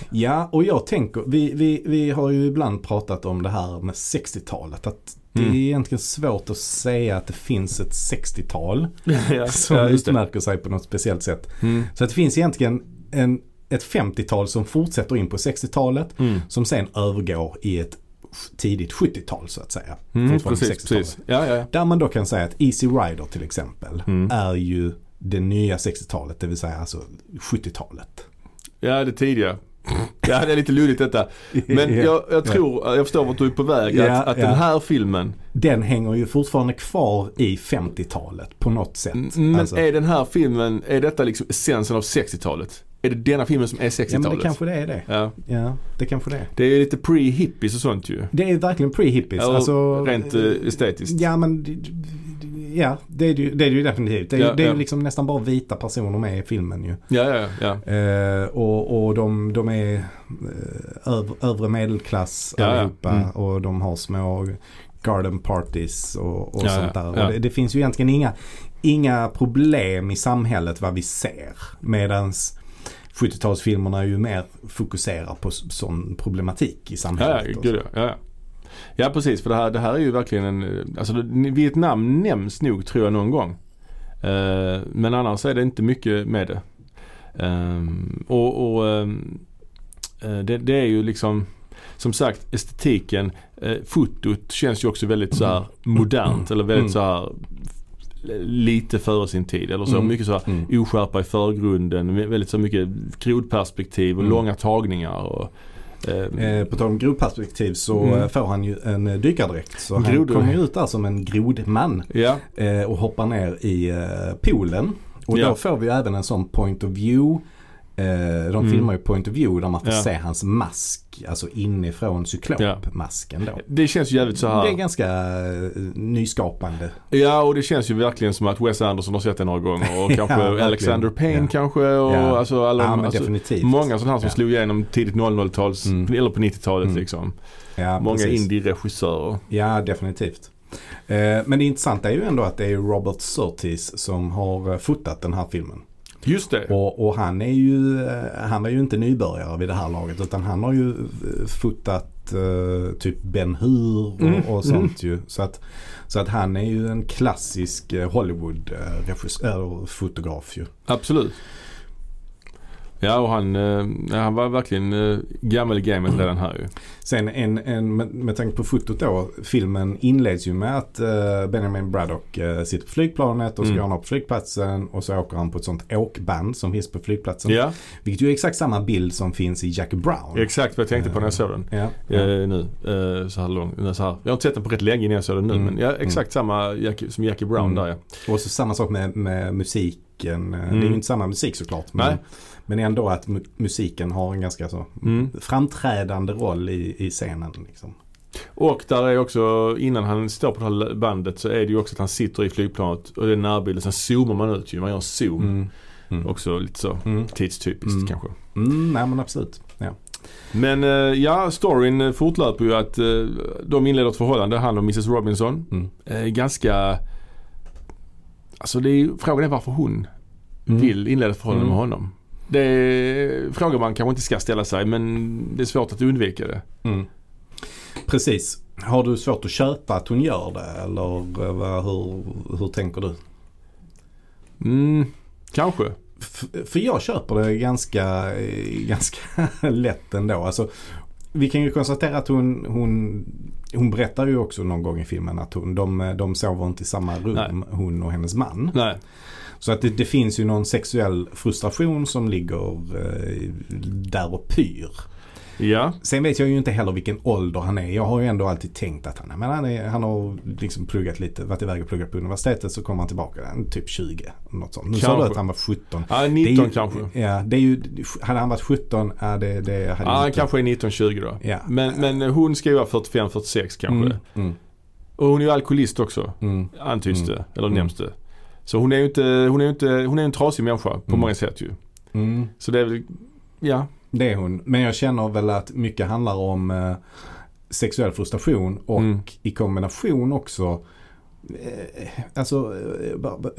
Speaker 1: Ja, och jag tänker, vi, vi, vi har ju ibland pratat om det här med 60-talet. Att det
Speaker 2: Mm.
Speaker 1: är egentligen svårt att säga att det finns ett 60-tal
Speaker 2: ja,
Speaker 1: som
Speaker 2: ja, just det.
Speaker 1: utmärker sig på något speciellt sätt.
Speaker 2: Mm.
Speaker 1: Så att det finns egentligen en, ett 50-tal som fortsätter in på 60-talet.
Speaker 2: Mm.
Speaker 1: Som sen övergår i ett tidigt 70-tal så att säga.
Speaker 2: Mm,
Speaker 1: Fortfarande
Speaker 2: precis,
Speaker 1: 60-talet.
Speaker 2: precis. Ja, ja, ja.
Speaker 1: Där man då kan säga att Easy Rider till exempel
Speaker 2: Mm.
Speaker 1: är ju det nya 60-talet, det vill säga alltså 70-talet.
Speaker 2: ja, det tidiga. Ja, det är lite luddigt detta. Men jag, jag tror, jag förstår vart du är på väg.
Speaker 1: Ja,
Speaker 2: att att
Speaker 1: ja.
Speaker 2: den här filmen
Speaker 1: Den hänger ju fortfarande kvar i 50-talet på något sätt.
Speaker 2: Mm, Men
Speaker 1: Alltså-
Speaker 2: är den här filmen, är detta liksom essensen av 60-talet? Är det denna filmen som är
Speaker 1: ja,
Speaker 2: 60-talet?
Speaker 1: men det kanske det är det.
Speaker 2: Ja.
Speaker 1: Ja, det kanske det är.
Speaker 2: Det är lite pre-hippies och sånt ju.
Speaker 1: Det är verkligen pre-hippies.
Speaker 2: Ja, och
Speaker 1: alltså,
Speaker 2: Rent eh, estetiskt.
Speaker 1: Ja, men d- d- d- ja, det är det ju, det är det ju definitivt. Det är, ju-
Speaker 2: Ja,
Speaker 1: det är ju
Speaker 2: ja.
Speaker 1: liksom nästan bara vita personer med i filmen ju.
Speaker 2: Ja, ja, ja.
Speaker 1: Eh, och, och de, de är eh, öv, övre medelklass
Speaker 2: Ja, ja.
Speaker 1: allihopa
Speaker 2: Mm.
Speaker 1: och de har små garden parties och, och
Speaker 2: Ja,
Speaker 1: sånt
Speaker 2: ja.
Speaker 1: där.
Speaker 2: Ja.
Speaker 1: Och det, det finns ju egentligen inga, inga problem i samhället vad vi ser. Medans 70-talsfilmerna ju mer fokuserar på s- sån problematik i
Speaker 2: Ja,
Speaker 1: samhället.
Speaker 2: ja,
Speaker 1: och så.
Speaker 2: gud, ja, ja. ja precis. För det här, det här är ju verkligen en... eh, Alltså det- Vietnam nämns nog tror jag någon gång. Eh, men annars är det inte mycket med det. Ehm, och och ehm, eh, det, det är ju liksom som sagt estetiken, eh, fotot känns ju också väldigt så här modernt eller väldigt
Speaker 1: Mm.
Speaker 2: så här lite före sin tid eller så.
Speaker 1: Mm.
Speaker 2: Mycket så här
Speaker 1: Mm.
Speaker 2: oskärpa i förgrunden, väldigt så mycket krodperspektiv och
Speaker 1: Mm.
Speaker 2: långa tagningar. Och, ehm,
Speaker 1: Eh, på tal om grodperspektiv så
Speaker 2: Mm.
Speaker 1: eh, får han ju en eh, dykardräkt. Så han
Speaker 2: Grod-
Speaker 1: kommer ju ut där som en grodman.
Speaker 2: Ja,
Speaker 1: eh, och hoppar ner i eh, poolen. Och
Speaker 2: Ja.
Speaker 1: då får vi även en sån point of view. Eh, de
Speaker 2: Mm.
Speaker 1: filmar ju point of view där man får
Speaker 2: Ja.
Speaker 1: se hans mask, alltså inifrån cyklopmasken då.
Speaker 2: det känns ju jävligt så
Speaker 1: Det är
Speaker 2: här.
Speaker 1: ganska eh, nyskapande.
Speaker 2: Ja, och det känns ju verkligen som att Wes Anderson har sett det några gånger. Och
Speaker 1: Ja,
Speaker 2: kanske
Speaker 1: verkligen.
Speaker 2: Alexander Payne
Speaker 1: Ja.
Speaker 2: kanske. Och
Speaker 1: Ja.
Speaker 2: alltså alla
Speaker 1: ja,
Speaker 2: de,
Speaker 1: men
Speaker 2: alltså,
Speaker 1: definitivt.
Speaker 2: Många sådana här som
Speaker 1: Ja.
Speaker 2: slog igenom tidigt 00-tals,
Speaker 1: Mm.
Speaker 2: eller på 90-talet
Speaker 1: Mm.
Speaker 2: liksom.
Speaker 1: ja,
Speaker 2: Många
Speaker 1: precis.
Speaker 2: indie-regissörer.
Speaker 1: Ja, definitivt. Eh, men det intressanta är ju ändå att det är Robert Surtees som har eh, fotat den här filmen.
Speaker 2: Just det.
Speaker 1: Och, och han är ju, eh, han var ju inte nybörjare vid det här laget utan han har ju eh, fotat eh, typ Ben Hur och,
Speaker 2: Mm,
Speaker 1: och sånt ju. Så att, så att han är ju en klassisk eh, Hollywood-fotograf ju.
Speaker 2: Absolut. Ja, och han, eh, ja, han var verkligen eh, gammal i gamet redan här
Speaker 1: Mm.
Speaker 2: ju.
Speaker 1: Sen en, en, med, med tanke på fotot då, filmen inleds ju med att eh, Benjamin Braddock eh, sitter på flygplanet och så
Speaker 2: Mm.
Speaker 1: går han upp på flygplatsen och så åker han på ett sånt åkband som finns på flygplatsen.
Speaker 2: Ja,
Speaker 1: Vilket ju är exakt samma bild som finns i Jack Brown.
Speaker 2: exakt vad jag tänkte på när jag såg den.
Speaker 1: ja.
Speaker 2: Eh, nu, eh, så här lång, så här. Jag har inte sett den på rätt länge innan jag såg den nu.
Speaker 1: Mm.
Speaker 2: Men ja, exakt samma Jackie, som Jackie Brown
Speaker 1: Mm.
Speaker 2: där ja.
Speaker 1: Och så samma sak med, med musiken. Det är ju inte samma musik såklart. Men,
Speaker 2: Nej.
Speaker 1: men ändå att mu- musiken har en ganska så
Speaker 2: Mm.
Speaker 1: framträdande roll i, i scenen. Liksom.
Speaker 2: Och där är också, innan han står på det här bandet så är det ju också att han sitter i flygplanet och det är närbilden. Sen zoomar man ut ju. Man gör en zoom.
Speaker 1: Mm. Mm.
Speaker 2: Också lite så
Speaker 1: Mm.
Speaker 2: tidstypiskt
Speaker 1: Mm.
Speaker 2: kanske.
Speaker 1: Mm, nej men absolut. Ja.
Speaker 2: Men eh, ja, storyn eh, fortlöper ju att eh, de inleder ett förhållande, han och Mrs Robinson.
Speaker 1: Mm.
Speaker 2: Eh, ganska... Alltså det är, ju- frågan är varför hon
Speaker 1: Mm.
Speaker 2: vill inleda ett förhållande
Speaker 1: Mm.
Speaker 2: med honom. Det är frågor man kanske inte ska ställa sig men det är svårt att undvika det.
Speaker 1: Mm. Precis. Har du svårt att köpa att hon gör det eller eh, vad, hur, hur tänker du?
Speaker 2: Mm, kanske.
Speaker 1: F- för jag köper det ganska, eh, ganska lätt ändå. Alltså, vi kan ju konstatera att hon, hon, hon berättar ju också någon gång i filmen att hon, de, de sover inte i samma rum, hon och hennes man.
Speaker 2: Nej.
Speaker 1: Så att det, det finns ju någon sexuell frustration som ligger eh, där och pyr.
Speaker 2: Ja.
Speaker 1: Sen vet jag ju inte heller vilken ålder han är. Jag har ju ändå alltid tänkt att han, nej, men han, är, han har liksom pluggat lite, varit iväg och pluggat på universitetet så kommer han tillbaka, han är typ 20. Något sånt. Nu sa du
Speaker 2: Kanske.
Speaker 1: att han var 17.
Speaker 2: Ja,
Speaker 1: Det är
Speaker 2: 19
Speaker 1: ju,
Speaker 2: kanske.
Speaker 1: Ja, det är ju, hade han varit 17, ja det, det hade
Speaker 2: Ja, han
Speaker 1: inte-
Speaker 2: kanske är 19-20 då.
Speaker 1: Ja.
Speaker 2: Men, men hon ska ju vara 45-46 kanske.
Speaker 1: Mm, mm,
Speaker 2: Och hon är ju alkoholist också.
Speaker 1: mm.
Speaker 2: Antyds
Speaker 1: Mm.
Speaker 2: det, eller
Speaker 1: Mm.
Speaker 2: nämns det. Så hon är ju inte, hon är ju inte, hon är ju en trasig människa på
Speaker 1: Mm.
Speaker 2: många sätt ju.
Speaker 1: Mm.
Speaker 2: Så det är väl, ja.
Speaker 1: Det är hon. Men jag känner väl att mycket handlar om eh, sexuell frustration och
Speaker 2: Mm.
Speaker 1: i kombination också eh, Alltså eh, ba- ba-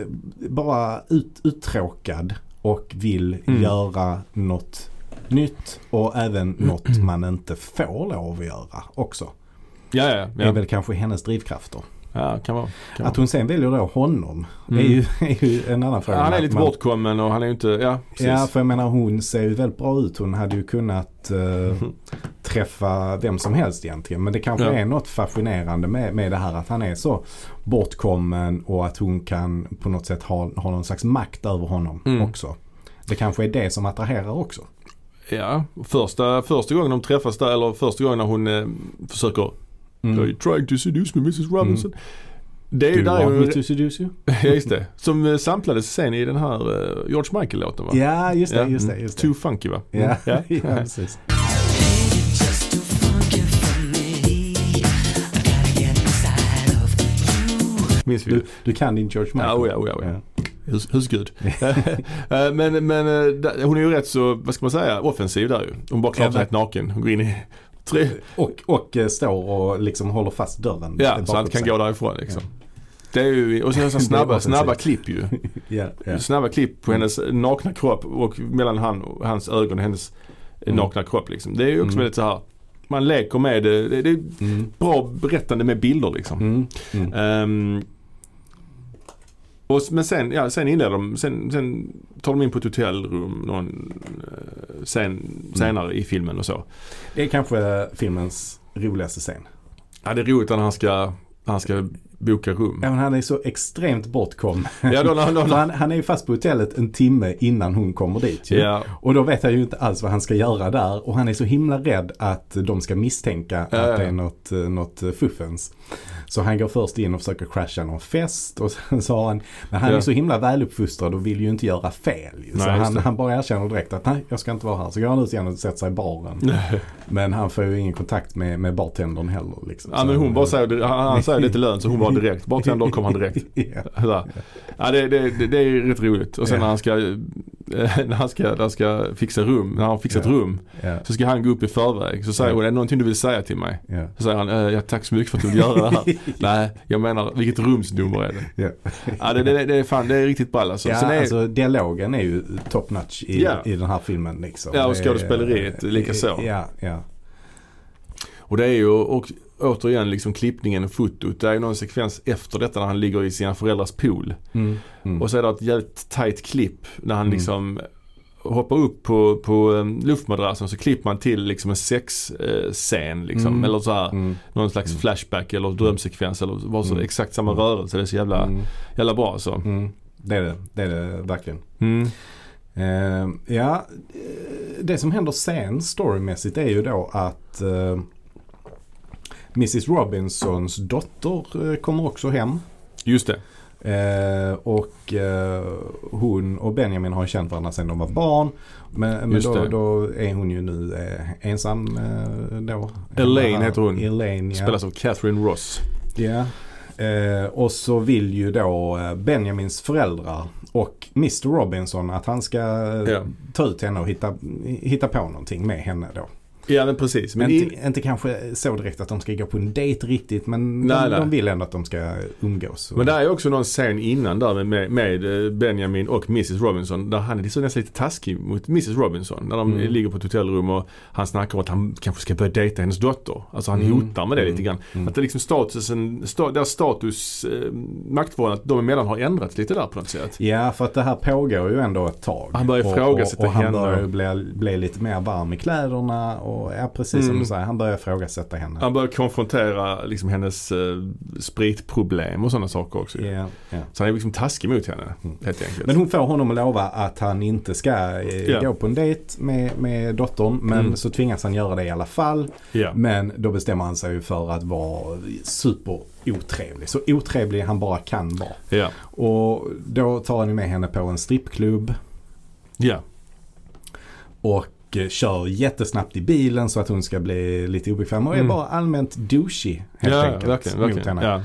Speaker 1: bara ut, uttråkad och vill
Speaker 2: Mm.
Speaker 1: göra något nytt och även något man inte får lov att göra också.
Speaker 2: Ja, ja,
Speaker 1: Det är
Speaker 2: ja.
Speaker 1: väl kanske hennes drivkrafter.
Speaker 2: ja kan vara. Kan
Speaker 1: Att
Speaker 2: vara.
Speaker 1: hon sen väljer då honom
Speaker 2: Mm.
Speaker 1: är, ju, är ju en annan fråga.
Speaker 2: Han är
Speaker 1: Att
Speaker 2: lite
Speaker 1: man-
Speaker 2: bortkommen och han är ju inte, ja precis.
Speaker 1: Ja, för jag menar hon ser ju väldigt bra ut. Hon hade ju kunnat eh, träffa vem som helst egentligen. Men det kanske
Speaker 2: Ja.
Speaker 1: är något fascinerande med, med det här att han är så bortkommen och att hon kan på något sätt ha, ha någon slags makt över honom
Speaker 2: Mm.
Speaker 1: också. Det kanske är det som attraherar också.
Speaker 2: Ja, första, första gången de träffas där, eller första gången när hon eh, försöker
Speaker 1: Mm.
Speaker 2: Are you trying to seduce me Mrs Robinson? Det är ju
Speaker 1: Do
Speaker 2: där
Speaker 1: you want
Speaker 2: hon,
Speaker 1: me to seduce you?
Speaker 2: ja, just det. Som eh, samplades sen i den här eh, George Michael-låten va?
Speaker 1: Ja, just det.
Speaker 2: Ja. Mm.
Speaker 1: Just det, just det.
Speaker 2: Too funky va? Mm.
Speaker 1: Ja.
Speaker 2: Ja.
Speaker 1: ja, precis.
Speaker 2: Minns vi ju.
Speaker 1: Du, du kan din George Michael.
Speaker 2: Ja, oh ja, oh ja, oh ja. Hus, husgud. Eh, men men eh, där- hon är ju rätt så, vad ska man säga, offensiv där ju. Hon bara klart
Speaker 1: Ja,
Speaker 2: rätt naken. Hon går in i tre,
Speaker 1: Och, och eh, står och liksom håller fast dörren.
Speaker 2: ja,
Speaker 1: bakom
Speaker 2: så han kan
Speaker 1: sig.
Speaker 2: gå därifrån liksom. Det är ju, och sen så snabba,
Speaker 1: offensivt.
Speaker 2: snabba klipp ju.
Speaker 1: Ja, ja. Mm.
Speaker 2: Snabba klipp på hennes nakna kropp och mellan han, och hans ögon och hennes
Speaker 1: Mm.
Speaker 2: nakna kropp liksom. Det är ju också
Speaker 1: Mm.
Speaker 2: väldigt så här. man leker med det. Det det är
Speaker 1: Mm.
Speaker 2: bra berättande med bilder liksom.
Speaker 1: Mm. Mm.
Speaker 2: Ehm, och, s- men sen, ja, sen inleder de, sen, sen tar de in på ett hotellrum någon, eh, sen,
Speaker 1: Mm.
Speaker 2: senare i filmen och så.
Speaker 1: Det är kanske filmens roligaste scen.
Speaker 2: Ja det är roligt när han ska, han ska boka rum.
Speaker 1: Även han är så extremt bortkommen.
Speaker 2: Ja, då, då, då,
Speaker 1: För han, han är ju fast på hotellet en timme innan hon kommer dit ju.
Speaker 2: ja.
Speaker 1: Och då vet han ju inte alls vad han ska göra där. Och han är så himla rädd att de ska misstänka
Speaker 2: Ja, ja,
Speaker 1: att det
Speaker 2: ja.
Speaker 1: är något, eh, något eh, fuffens. Så han går först in och försöker crasha någon fest. Och sen så har han, men han
Speaker 2: Ja.
Speaker 1: är så himla väluppfostrad och vill ju inte göra fel. Ju.
Speaker 2: Nej,
Speaker 1: Så
Speaker 2: just
Speaker 1: han,
Speaker 2: det.
Speaker 1: han bara erkänner direkt att nej, jag ska inte vara här. Så går han ut igen och sätter sig i baren. Men han får ju ingen kontakt med, med bartendern heller. Liksom.
Speaker 2: ja
Speaker 1: Så
Speaker 2: men hon
Speaker 1: han-
Speaker 2: bara säger, han, han säger lite lön så hon var direkt. Bara till en dag kom han direkt.
Speaker 1: Ja.
Speaker 2: Sådär. Ja det, det, det, det är ju rätt roligt. Och sen
Speaker 1: Ja.
Speaker 2: när han ska, eh, när han ska, när han ska fixa rum, när han har fixat
Speaker 1: Ja.
Speaker 2: rum.
Speaker 1: Ja,
Speaker 2: Så ska han gå upp i förväg. Så säger
Speaker 1: Ja.
Speaker 2: hon, är det någonting du vill säga till mig?
Speaker 1: ja,
Speaker 2: Så säger han, "Eh, ja, tack så mycket för att du vill göra det här. Nej, jag menar, vilket rumsnummer är det?
Speaker 1: ja.
Speaker 2: Ja, det, det, det är fan, det är riktigt ball alltså.
Speaker 1: ja
Speaker 2: Sen är,
Speaker 1: alltså dialogen är ju top notch i,
Speaker 2: Ja.
Speaker 1: i den här filmen liksom.
Speaker 2: Ja, och
Speaker 1: Det är-
Speaker 2: skådespeleriet likaså.
Speaker 1: Ja, ja.
Speaker 2: och det är ju och, återigen liksom klippningen och fotot. Det är ju någon sekvens efter detta när han ligger i sina föräldrars pool.
Speaker 1: Mm. Mm.
Speaker 2: Och så är det ett jävligt tajt klipp när han
Speaker 1: Mm.
Speaker 2: liksom hoppar upp på, på um, luftmadrassen så klipper man till liksom en sexscen liksom.
Speaker 1: Mm.
Speaker 2: Eller så här,
Speaker 1: Mm.
Speaker 2: någon slags flashback eller drömsekvens eller vad så,
Speaker 1: Mm.
Speaker 2: exakt samma
Speaker 1: Mm.
Speaker 2: rörelse. Det är så jävla,
Speaker 1: Mm.
Speaker 2: jävla bra alltså.
Speaker 1: Mm. Det är det, det är det verkligen.
Speaker 2: Mm.
Speaker 1: Ehm, ja, eh, det som händer sen storymässigt är ju då att eh, Mrs Robinsons dotter eh, kommer också hem.
Speaker 2: Just det.
Speaker 1: Eh, och eh, hon och Benjamin har ju känt varandra sedan de var barn. Men, men
Speaker 2: Just
Speaker 1: då,
Speaker 2: det.
Speaker 1: då är hon ju nu eh, ensam eh, då.
Speaker 2: Elaine
Speaker 1: Här-
Speaker 2: heter hon.
Speaker 1: Elaine, ja.
Speaker 2: Spelas av Catherine Ross.
Speaker 1: ja. Eh, och så vill ju då eh, Benjamins föräldrar och Mr Robinson att han ska eh,
Speaker 2: Ja.
Speaker 1: ta ut henne och hitta, hitta på någonting med henne då.
Speaker 2: Ja, men precis. Men
Speaker 1: inte,
Speaker 2: in,
Speaker 1: inte kanske så direkt att de ska gå på en dejt riktigt men
Speaker 2: Nej,
Speaker 1: de,
Speaker 2: nej.
Speaker 1: de vill ändå att de ska umgås. Och,
Speaker 2: men där är också någon scen innan där med, med eh, Benjamin och Mrs Robinson. Där han är liksom nästan lite taskig mot Mrs Robinson. När de
Speaker 1: Mm.
Speaker 2: ligger på ett hotellrum och han snackar om att han kanske ska börja dejta hennes dotter. Alltså han
Speaker 1: Mm.
Speaker 2: hotar med det lite
Speaker 1: Mm.
Speaker 2: grann.
Speaker 1: Mm.
Speaker 2: Att det liksom statusen, sta, deras status, eh, maktförhållandet de emellan har ändrats lite där på något sätt.
Speaker 1: Ja, för att det här pågår ju ändå ett tag.
Speaker 2: Han börjar ifrågasätta
Speaker 1: och, och, och han
Speaker 2: henne.
Speaker 1: börjar bli, bli lite mer varm i kläderna och ja, precis som
Speaker 2: Mm.
Speaker 1: du säger, han börjar ifrågasätta henne.
Speaker 2: Han börjar konfrontera liksom hennes eh, spritproblem och sådana saker också.
Speaker 1: Ja, ja.
Speaker 2: Så han är liksom taskig mot henne
Speaker 1: Mm.
Speaker 2: helt enkelt.
Speaker 1: Men hon får honom att lova att han inte ska eh,
Speaker 2: Ja.
Speaker 1: gå på en dejt med, med dottern. Men
Speaker 2: Mm.
Speaker 1: så tvingas han göra det i alla fall.
Speaker 2: ja.
Speaker 1: Men då bestämmer han sig ju för att vara superotrevlig. Så otrevlig han bara kan vara.
Speaker 2: Ja.
Speaker 1: Och då tar han ju med henne på en strippklubb.
Speaker 2: ja.
Speaker 1: Och eh, kör jättesnabbt i bilen så att hon ska bli lite obekväm. Och är
Speaker 2: Mm.
Speaker 1: bara allmänt douchey helt
Speaker 2: ja,
Speaker 1: enkelt.
Speaker 2: verkligen.
Speaker 1: mot
Speaker 2: verkligen.
Speaker 1: henne.
Speaker 2: Ja.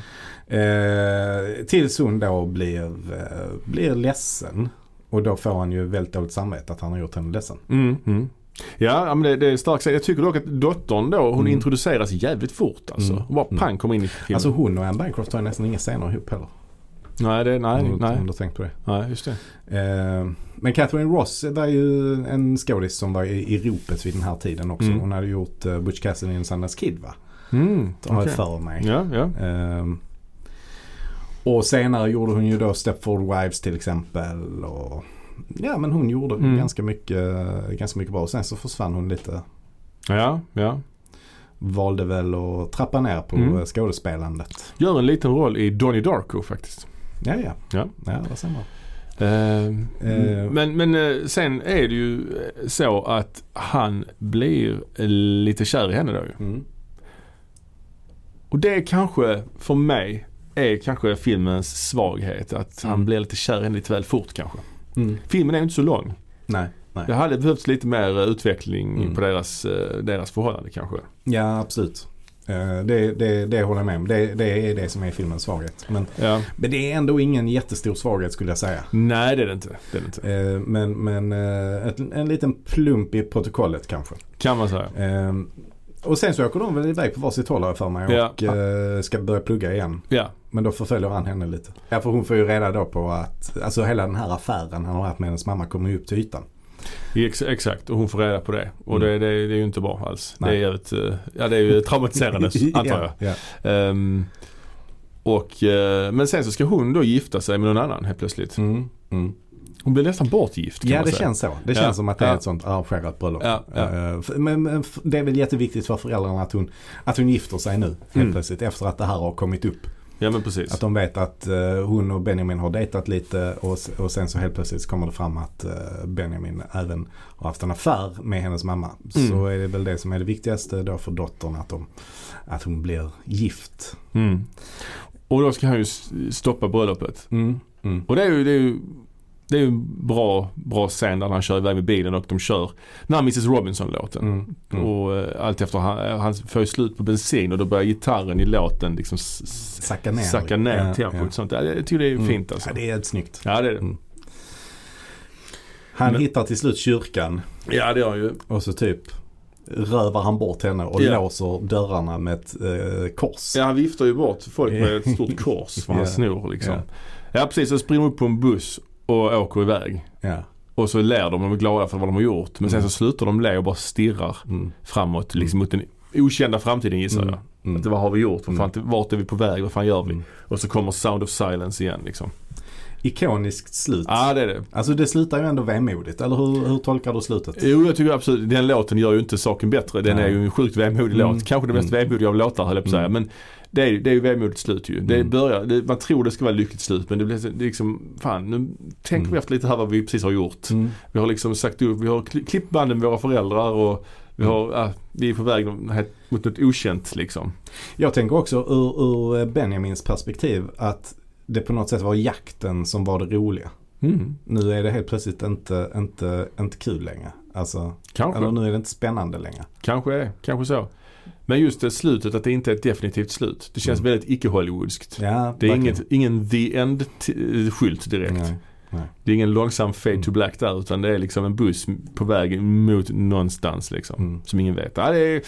Speaker 1: Eh, tills hon då blir, eh, blir ledsen. Och då får han ju väldigt dåligt samvete att han har gjort henne ledsen.
Speaker 2: Mm, mm. Ja, ja, men det, det är en stark scen. Jag tycker dock att dottern då, hon
Speaker 1: Mm.
Speaker 2: introduceras jävligt fort alltså.
Speaker 1: Mm.
Speaker 2: Hon bara
Speaker 1: Mm.
Speaker 2: pang kommer in i filmen.
Speaker 1: Alltså hon och Anne Bancroft har ju nästan inga scener ihop heller.
Speaker 2: nej, det, nej,
Speaker 1: om, du-
Speaker 2: nej,
Speaker 1: om du har tänkt på det.
Speaker 2: nej, just det.
Speaker 1: Eh, men Catherine Ross det är ju en skådis som var i, i ropet vid den här tiden också.
Speaker 2: Mm.
Speaker 1: Hon hade gjort eh, Butch Cassidy and Sundance Kid va?
Speaker 2: Mm,
Speaker 1: Har jag
Speaker 2: okej.
Speaker 1: för mig.
Speaker 2: Ja, ja.
Speaker 1: Ehm, och senare gjorde hon ju då Stepford Wives till exempel. Och, ja men hon gjorde
Speaker 2: Mm.
Speaker 1: ganska, mycket, ganska mycket bra. Och sen så försvann hon lite.
Speaker 2: ja, ja.
Speaker 1: Valde väl att trappa ner på
Speaker 2: Mm.
Speaker 1: eh, skådespelandet.
Speaker 2: Gör en liten roll i Donnie Darko faktiskt.
Speaker 1: Ja ja.
Speaker 2: Ja.
Speaker 1: ja vad sen var.
Speaker 2: Eh,
Speaker 1: Eh.
Speaker 2: Men, men eh, sen är det ju eh, så att han blir eh, lite kär i henne då ju.
Speaker 1: Mm.
Speaker 2: Och det kanske för mig är kanske filmens svaghet. Att han
Speaker 1: Mm.
Speaker 2: blir lite kär i henne lite väl fort kanske.
Speaker 1: Mm.
Speaker 2: Filmen är ju inte så lång.
Speaker 1: Nej. nej.
Speaker 2: Det hade behövts lite mer eh, utveckling
Speaker 1: Mm.
Speaker 2: på deras, eh, deras förhållande kanske.
Speaker 1: Ja, absolut. Eh, Det, det, det håller jag med om. Det, det är det som är filmens svaghet. Men,
Speaker 2: Ja.
Speaker 1: men det är ändå ingen jättestor svaghet skulle jag säga.
Speaker 2: Nej det är det inte. Det är det inte.
Speaker 1: Eh, Men, men eh, ett, en liten plump i protokollet kanske.
Speaker 2: Kan man säga.
Speaker 1: Eh, Och sen så åker de väl iväg på varsitt håll har jag för mig och
Speaker 2: Ja.
Speaker 1: eh, ska börja plugga igen.
Speaker 2: Ja.
Speaker 1: Men då förföljer han henne lite. Ja, för hon får ju reda då på att alltså hela den här affären han har haft med hennes mamma kommer ju upp till ytan.
Speaker 2: Ex- Exakt och hon får reda på det. Och
Speaker 1: Mm.
Speaker 2: det, det, det är ju inte bra alls.
Speaker 1: Nej.
Speaker 2: Det är ju ett, eh, ja, det är ju traumatiserande antar jag.
Speaker 1: ja, ja.
Speaker 2: Ehm, och, eh, men sen så ska hon då gifta sig med någon annan helt plötsligt.
Speaker 1: Mm, mm.
Speaker 2: Hon blir nästan bortgift kan
Speaker 1: Ja
Speaker 2: man
Speaker 1: det
Speaker 2: säga.
Speaker 1: känns så. Det
Speaker 2: Ja,
Speaker 1: känns som att det är
Speaker 2: ja.
Speaker 1: ett sånt arrangerat bröllop.
Speaker 2: Ja, ja.
Speaker 1: Eh, f- Men, men f- det är väl jätteviktigt för föräldrarna att hon, att hon gifter sig nu helt
Speaker 2: Mm.
Speaker 1: plötsligt efter att det här har kommit upp.
Speaker 2: Ja men precis.
Speaker 1: Att de vet att eh, hon och Benjamin har dejtat lite och, s- och sen så helt plötsligt så kommer det fram att eh, Benjamin även har haft en affär med hennes mamma. Så
Speaker 2: Mm.
Speaker 1: är det väl det som är det viktigaste då för dottern att, de, att hon blir gift.
Speaker 2: Mm. Och då ska han ju s- stoppa bröllopet.
Speaker 1: Mm. Mm.
Speaker 2: Och det är ju, det är ju, det är ju en bra, bra scen där han kör iväg med bilen och de kör den här Mrs Robinson-låten.
Speaker 1: Mm. Mm.
Speaker 2: Och eh, allt efter han, han får ju slut på bensin och då börjar gitarren i låten liksom s- s-
Speaker 1: Sacka ner.
Speaker 2: sacka ner
Speaker 1: Ja,
Speaker 2: tempot.
Speaker 1: ja.
Speaker 2: och Sånt. Ja, det- Jag tycker det är
Speaker 1: Mm.
Speaker 2: fint alltså.
Speaker 1: Ja, det är Mm. ett snyggt.
Speaker 2: Ja det är det.
Speaker 1: Han
Speaker 2: Men-
Speaker 1: hittar till slut kyrkan.
Speaker 2: Ja det gör han ju.
Speaker 1: Och så typ rövar han bort henne och
Speaker 2: Ja.
Speaker 1: låser dörrarna med ett eh, kors.
Speaker 2: Ja han viftar ju bort folk med ett stort kors för han
Speaker 1: Ja.
Speaker 2: snor liksom.
Speaker 1: Ja.
Speaker 2: Ja precis, så springer de upp på en buss och åker iväg.
Speaker 1: Ja.
Speaker 2: Och så ler de och de är glada för vad de har gjort. Men sen
Speaker 1: Mm.
Speaker 2: så slutar de le och bara stirrar
Speaker 1: Mm.
Speaker 2: framåt. Liksom mot den okända framtiden gissar jag.
Speaker 1: Mm.
Speaker 2: Att, vad har vi gjort? Vad fan, Vart är vi på väg? Vad fan gör vi?
Speaker 1: Mm.
Speaker 2: Och så kommer Sound of Silence igen liksom.
Speaker 1: Ikoniskt slut.
Speaker 2: Ja ah, det är det.
Speaker 1: Alltså det slutar ju ändå vemodigt. Eller hur, hur tolkar du slutet?
Speaker 2: Jo jag tycker absolut, den låten gör ju inte saken bättre. Den
Speaker 1: Nej.
Speaker 2: är ju en sjukt vemodig
Speaker 1: Mm.
Speaker 2: låt. Kanske den mest vemodiga av låtar höll jag på att säga. Men det är, det är ju vemodigt slut ju. Det
Speaker 1: Mm.
Speaker 2: börjar, det, man tror det ska vara lyckligt slut men det blir så- det är liksom, fan nu tänker
Speaker 1: Mm.
Speaker 2: vi efter lite här vad vi precis har gjort.
Speaker 1: Mm.
Speaker 2: Vi har liksom sagt upp, vi har kli- klippt banden med våra föräldrar och vi,
Speaker 1: Mm.
Speaker 2: har, ah, vi är på väg mot något okänt liksom.
Speaker 1: Jag tänker också ur, ur Benjamins perspektiv att det på något sätt var jakten som var det roliga. Nu är det helt plötsligt inte, inte, inte kul längre. Alltså,
Speaker 2: Kanske.
Speaker 1: eller nu är det inte spännande längre.
Speaker 2: Kanske är, kanske så. Men just det slutet, att det inte är ett definitivt slut. Det känns
Speaker 1: Mm.
Speaker 2: väldigt icke-hollywoodskt.
Speaker 1: Ja,
Speaker 2: Det är
Speaker 1: verkligen.
Speaker 2: inget, ingen the end-skylt direkt.
Speaker 1: Nej. Mm. Nej.
Speaker 2: Det är ingen långsam fade to black där utan det är liksom en buss på väg mot någonstans liksom.
Speaker 1: Mm.
Speaker 2: Som ingen vet. Ja, det är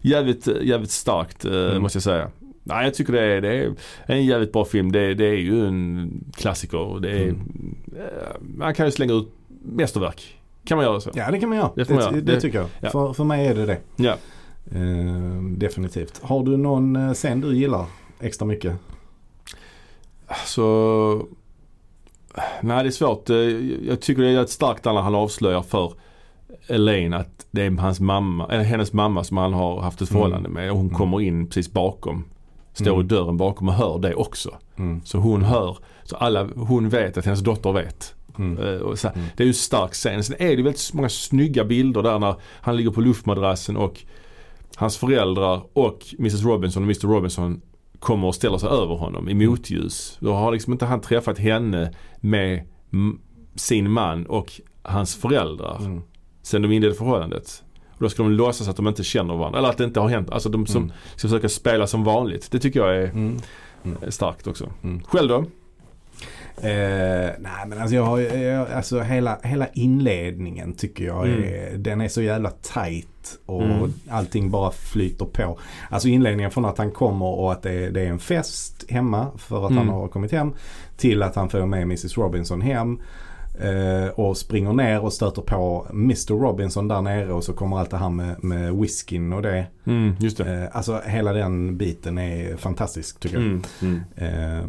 Speaker 2: jävligt, jävligt starkt eh,
Speaker 1: Mm.
Speaker 2: måste jag säga. Nej jag tycker det är, det är en jävligt bra film. Det, det är ju en klassiker. och Det är,
Speaker 1: Mm.
Speaker 2: eh, man kan ju slänga ut mästerverk. Kan man göra så?
Speaker 1: Ja, det kan man göra.
Speaker 2: Det får man
Speaker 1: det,
Speaker 2: göra.
Speaker 1: det
Speaker 2: Det-
Speaker 1: tycker jag.
Speaker 2: ja.
Speaker 1: För, för mig är det det.
Speaker 2: Ja.
Speaker 1: Eh, definitivt. Har du någon eh, scen du gillar extra mycket?
Speaker 2: Så... Nej det är svårt. Eh, Jag tycker det är ett starkt när han avslöjar för Elaine att det är hans mamma, eller hennes mamma som han har haft ett
Speaker 1: Mm.
Speaker 2: förhållande med. Och hon
Speaker 1: Mm.
Speaker 2: kommer in precis bakom. Står i
Speaker 1: Mm.
Speaker 2: dörren bakom och hör det också. Så hon hör, så alla, hon vet att hennes dotter vet.
Speaker 1: Mm.
Speaker 2: Eh, Och så, här,
Speaker 1: Mm.
Speaker 2: Det är ju en stark scen. Sen är det ju väldigt många snygga bilder där när han ligger på luftmadrassen och hans föräldrar och Mrs Robinson och Mr Robinson kommer och ställer sig över honom i motljus. Då har liksom inte han träffat henne med m- sin man och hans föräldrar
Speaker 1: Mm.
Speaker 2: sen de inledde förhållandet. Och då ska de låtsas att de inte känner varandra eller att det inte har hänt. Alltså de som
Speaker 1: Mm.
Speaker 2: ska försöka spela som vanligt. Det tycker jag är
Speaker 1: Mm.
Speaker 2: starkt också.
Speaker 1: Mm.
Speaker 2: Själv då?
Speaker 1: Eh, nej men alltså jag har ju- jag, alltså hela, hela inledningen tycker jag är, den är så jävla tight och
Speaker 2: Mm.
Speaker 1: allting bara flyter på. Alltså inledningen från att han kommer och att det, det är en fest hemma för att
Speaker 2: Mm.
Speaker 1: han har kommit hem till att han får med Mrs Robinson hem. eh, och springer ner och stöter på Mr Robinson där nere och så kommer allt det här med, med whiskyn och det.
Speaker 2: Mm, just det.
Speaker 1: Eh, alltså hela den biten är fantastisk tycker jag.
Speaker 2: Mm. Mm.
Speaker 1: Eh,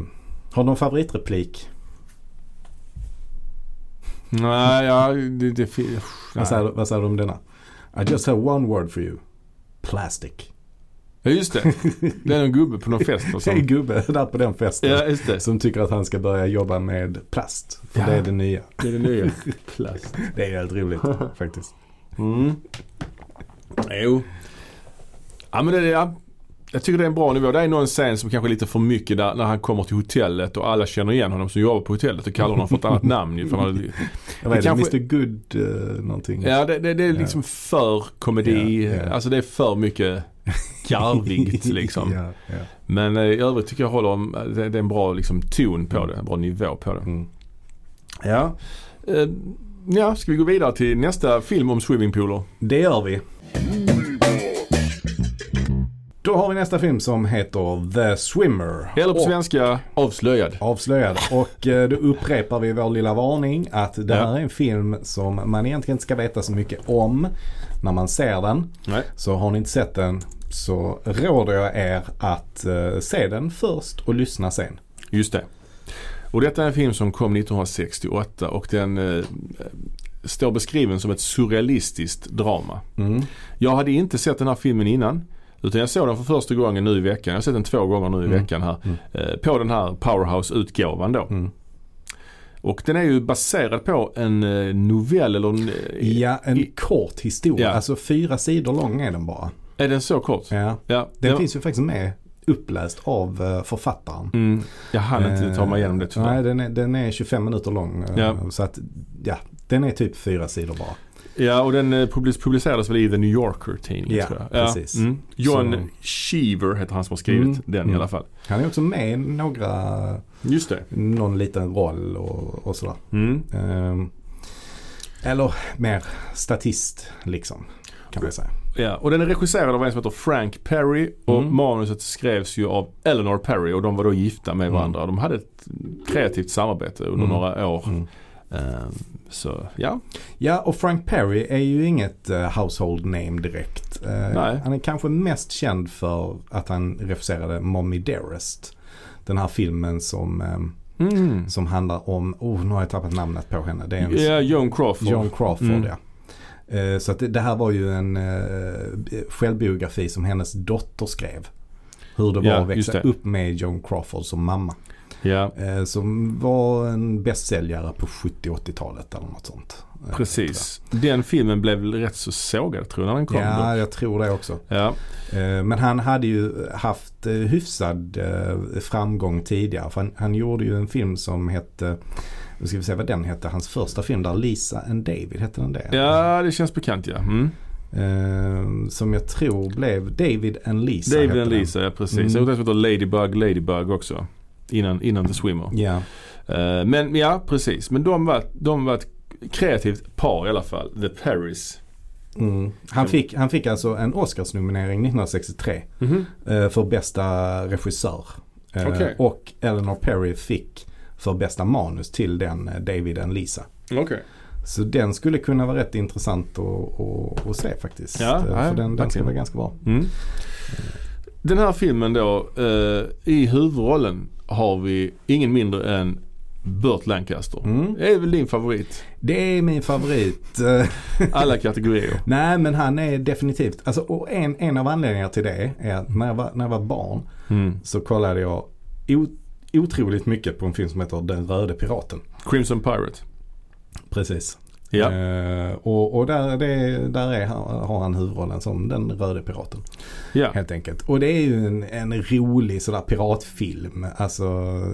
Speaker 1: har du någon favoritreplik?
Speaker 2: Nej, ja, det, det fin-
Speaker 1: Vad
Speaker 2: nej.
Speaker 1: säger, vad säger du om denna? I just have one word for you. Plastic.
Speaker 2: Ja, just det. Det är någon gubbe på någon fest och
Speaker 1: Det är en
Speaker 2: sånt.
Speaker 1: gubbe där på den festen.
Speaker 2: Ja, just det.
Speaker 1: Som tycker att han ska börja jobba med plast. För
Speaker 2: Ja.
Speaker 1: det är det nya.
Speaker 2: Det är det nya. Plast.
Speaker 1: Det är helt roligt faktiskt.
Speaker 2: Mm. Jo. Ja, men det är ja. Jag tycker det är en bra nivå. Det är någon scen som kanske är lite för mycket där, när han kommer till hotellet och alla känner igen honom som jobbar på hotellet och kallar honom för ett annat namn. ju, För han hade-
Speaker 1: Vad är det?
Speaker 2: kanske-
Speaker 1: Mr Good uh, någonting?
Speaker 2: ja, det, det, det är liksom för komedi.
Speaker 1: Ja, ja.
Speaker 2: Alltså det är för mycket garvigt liksom.
Speaker 1: ja, ja.
Speaker 2: Men eh, i övrigt tycker jag håller om, det, det är en bra liksom, ton på det. En bra nivå på det.
Speaker 1: Mm.
Speaker 2: Ja. Eh, ja, ska vi gå vidare till nästa film om swimmingpooler?
Speaker 1: Det gör vi. Då har vi nästa film som heter The Swimmer.
Speaker 2: Eller på
Speaker 1: Och-
Speaker 2: svenska, avslöjad.
Speaker 1: avslöjad. Och eh, då upprepar vi vår lilla varning att det här
Speaker 2: Ja.
Speaker 1: är en film som man egentligen inte ska veta så mycket om när man ser den.
Speaker 2: Nej.
Speaker 1: Så har ni inte sett den så råder jag er att eh, se den först och lyssna sen.
Speaker 2: Just det. Och detta är en film som kom 1968 och den eh, står beskriven som ett surrealistiskt drama.
Speaker 1: Mm.
Speaker 2: Jag hade inte sett den här filmen innan. Utan jag såg den för första gången nu i veckan. Jag har sett den två gånger nu i
Speaker 1: Mm.
Speaker 2: veckan här.
Speaker 1: Mm.
Speaker 2: Eh, på den här Powerhouse-utgåvan då.
Speaker 1: Mm.
Speaker 2: Och den är ju baserad på en eh, novell eller en, eh,
Speaker 1: Ja, en
Speaker 2: i-
Speaker 1: kort historia.
Speaker 2: Ja.
Speaker 1: Alltså fyra sidor lång är den bara.
Speaker 2: Är den så kort?
Speaker 1: Ja.
Speaker 2: Ja,
Speaker 1: Den
Speaker 2: det-
Speaker 1: finns ju faktiskt med uppläst av eh, författaren.
Speaker 2: Mm, jag hann inte
Speaker 1: Eh,
Speaker 2: ta mig igenom det tyvärr.
Speaker 1: Nej, den är, den är 25 minuter lång. eh,
Speaker 2: Ja.
Speaker 1: Så att, ja, den är typ fyra sidor bara.
Speaker 2: Ja, och den eh, public- publicerades väl i The New Yorker tidning
Speaker 1: Ja,
Speaker 2: tror jag.
Speaker 1: precis.
Speaker 2: Mm. John
Speaker 1: Så-
Speaker 2: Cheever heter han som har skrivit
Speaker 1: Mm.
Speaker 2: den i
Speaker 1: Mm.
Speaker 2: alla fall.
Speaker 1: Han är också med i några
Speaker 2: Just det.
Speaker 1: någon liten roll och, och sådär.
Speaker 2: Mm.
Speaker 1: Ehm, eller mer statist liksom. Kan man säga.
Speaker 2: Ja, och den är regisserad av en som heter Frank Perry och
Speaker 1: Mm.
Speaker 2: manuset skrevs ju av Eleanor Perry och de var då gifta med
Speaker 1: Mm.
Speaker 2: varandra. De hade ett kreativt samarbete under
Speaker 1: Mm.
Speaker 2: några år.
Speaker 1: Mm.
Speaker 2: Ehm, så ja,
Speaker 1: Ja och Frank Perry är ju inget eh, household name direkt. Eh,
Speaker 2: Nej.
Speaker 1: Han är kanske mest känd för att han regisserade Mommy Dearest. Den här filmen som, ehm,
Speaker 2: mm.
Speaker 1: som handlar om, oh nu har jag tappat namnet på henne. Det är en
Speaker 2: ja Joan Crawford.
Speaker 1: John Crawford
Speaker 2: Mm.
Speaker 1: ja. Eh, Så att det, det här var ju en eh, självbiografi som hennes dotter skrev. Hur det var
Speaker 2: Ja,
Speaker 1: att
Speaker 2: just
Speaker 1: växa
Speaker 2: det.
Speaker 1: upp med Joan Crawford som mamma.
Speaker 2: Ja,
Speaker 1: Eh, Som var en bästsäljare på 70-80-talet eller något sånt. Eh,
Speaker 2: precis. Den filmen blev väl rätt så sågad tror jag när den kom.
Speaker 1: tror jag.
Speaker 2: då.
Speaker 1: Ja, jag tror det också.
Speaker 2: Ja.
Speaker 1: Eh, Men han hade ju haft eh, hyfsad eh, framgång tidigare. För han, han gjorde ju en film som hette, nu ska vi se vad den hette, hans första film där, Lisa and David, hette den det?
Speaker 2: ja, det känns bekant ja. Mm.
Speaker 1: Eh, som jag tror blev David and Lisa.
Speaker 2: David
Speaker 1: hette
Speaker 2: and
Speaker 1: den.
Speaker 2: Lisa, ja precis.
Speaker 1: Mm.
Speaker 2: Jag har heter Ladybug, Ladybug också. Innan, innan The Swimmer.
Speaker 1: Ja.
Speaker 2: Eh, Men ja, precis. Men de var, de var ett kreativt par i alla fall. The Paris.
Speaker 1: Mm. Han, fick, han fick alltså en Oscarsnominering 1963 eh, för bästa regissör. Eh,
Speaker 2: Okej.
Speaker 1: Och Eleanor Perry fick för bästa manus till den eh, David and Lisa.
Speaker 2: Okej.
Speaker 1: Så den skulle kunna vara rätt intressant att, att, att se faktiskt.
Speaker 2: Ja,
Speaker 1: Eh,
Speaker 2: ja,
Speaker 1: för den, den ska
Speaker 2: verkligen.
Speaker 1: vara ganska bra.
Speaker 2: Mm. Den här filmen då, eh, i huvudrollen har vi ingen mindre än Burt Lancaster.
Speaker 1: Mm.
Speaker 2: Det är väl din favorit?
Speaker 1: Det är min favorit. Eh,
Speaker 2: Alla kategorier.
Speaker 1: Nej men han är definitivt, alltså, och en, en av anledningarna till det är att när jag var, när jag var barn
Speaker 2: Mm.
Speaker 1: så kollade jag o- otroligt mycket på en film som heter Den röde piraten.
Speaker 2: Crimson Pirate.
Speaker 1: Precis.
Speaker 2: Ja.
Speaker 1: Eh, och och där, det, där är, han- har han huvudrollen som den röde piraten.
Speaker 2: ja.
Speaker 1: Helt enkelt. Och det är ju en, en rolig sådär piratfilm. Alltså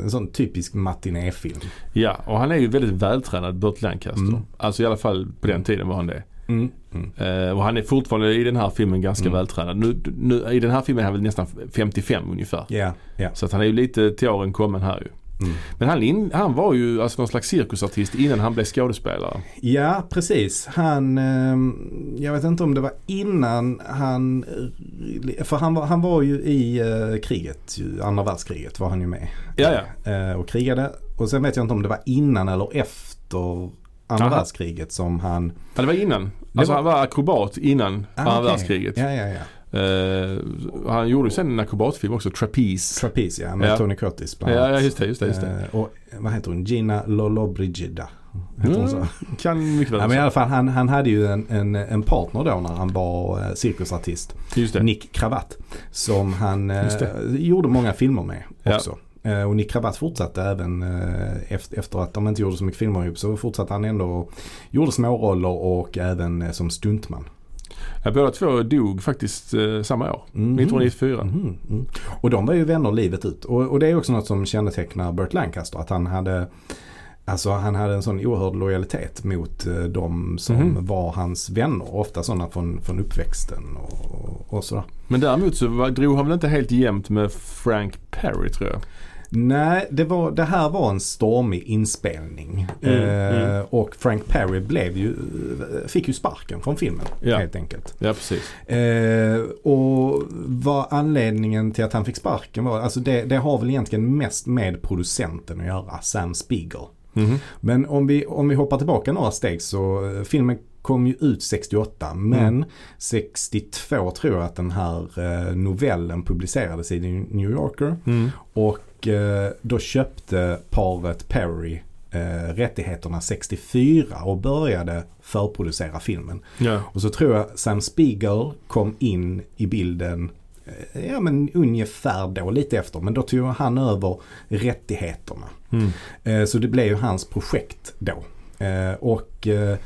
Speaker 1: en sån typisk matinéfilm.
Speaker 2: ja, och han är ju väldigt vältränad Burt Lancaster.
Speaker 1: Mm.
Speaker 2: Alltså i alla fall på den tiden var han det.
Speaker 1: Mm. Mm.
Speaker 2: Eh, och han är fortfarande i den här filmen ganska vältränad. Nu, nu, I den här filmen är han väl nästan 55 ungefär.
Speaker 1: Ja, ja.
Speaker 2: Så att han är ju lite till åren kommen här ju.
Speaker 1: Mm.
Speaker 2: Men han, in, han var ju alltså någon slags cirkusartist innan han blev skådespelare.
Speaker 1: Ja, precis. Han, ehm, jag vet inte om det var innan han, eh, för han var, han var ju i eh, kriget, ju, andra världskriget var han ju med
Speaker 2: Ja, ja.
Speaker 1: eh, och krigade. Och sen vet jag inte om det var innan eller efter andra
Speaker 2: Aha.
Speaker 1: världskriget som han...
Speaker 2: Ja, det var innan. Alltså
Speaker 1: var- Ah,
Speaker 2: han var akrobat innan andra
Speaker 1: okej.
Speaker 2: världskriget.
Speaker 1: Ja, ja, ja.
Speaker 2: Eh, han gjorde ju sen en akrobatfilm också, Trapeze.
Speaker 1: Trapeze, ja. Med
Speaker 2: Ja.
Speaker 1: Tony Curtis bland
Speaker 2: ja,
Speaker 1: annat.
Speaker 2: ja, just det, just det. Just det.
Speaker 1: Eh, och eh, vad heter hon? Gina Lollobrigida. Heter hon så?
Speaker 2: Mm, kan mycket väl
Speaker 1: Ja, men i
Speaker 2: vara
Speaker 1: alla fall han, han hade ju en, en, en partner då när han var eh, cirkusartist.
Speaker 2: så. Just det.
Speaker 1: Nick Kravatt. Som han
Speaker 2: Just
Speaker 1: eh,
Speaker 2: det.
Speaker 1: gjorde många filmer med
Speaker 2: Ja.
Speaker 1: också. Eh, och Nick Kravatt fortsatte även eh, efter, efter att de inte gjorde så mycket filmer ihop så fortsatte han ändå och gjorde småroller och även eh, som stuntman.
Speaker 2: Ja, båda två dog faktiskt eh, samma år.
Speaker 1: Mhm.
Speaker 2: 1994.
Speaker 1: Mhm, mm. Och de var ju vänner livet ut. Och, och det är också något som kännetecknar Burt Lancaster. Att han hade, alltså han hade en sån oerhörd lojalitet mot eh, de som
Speaker 2: Mhm.
Speaker 1: var hans vänner. Ofta sådana från, från uppväxten och, och sådär.
Speaker 2: Men däremot så var, drog han väl inte helt jämnt med Frank Perry tror jag.
Speaker 1: Nej, det, var, det här var en stormig inspelning.
Speaker 2: Mm,
Speaker 1: eh, Och Frank Perry blev ju, eh, fick ju sparken från filmen
Speaker 2: Ja.
Speaker 1: helt enkelt.
Speaker 2: Ja, precis.
Speaker 1: Eh, och vad anledningen till att han fick sparken var, alltså det, det har väl egentligen mest med producenten att göra, Sam Spiegel.
Speaker 2: Mhm.
Speaker 1: Men om vi, om vi hoppar tillbaka några steg så eh, filmen kom ju ut 68 men
Speaker 2: Mm.
Speaker 1: 62 tror jag att den här eh, novellen publicerades i The New Yorker.
Speaker 2: Mm.
Speaker 1: Och eh, då köpte paret Perry eh, rättigheterna 64 och började förproducera filmen.
Speaker 2: Ja.
Speaker 1: Och så tror jag Sam Spiegel kom in i bilden eh, Ja men ungefär då, lite efter. Men då tog han över rättigheterna.
Speaker 2: Mm.
Speaker 1: Eh, Så det blev ju hans projekt då. Eh, Och eh,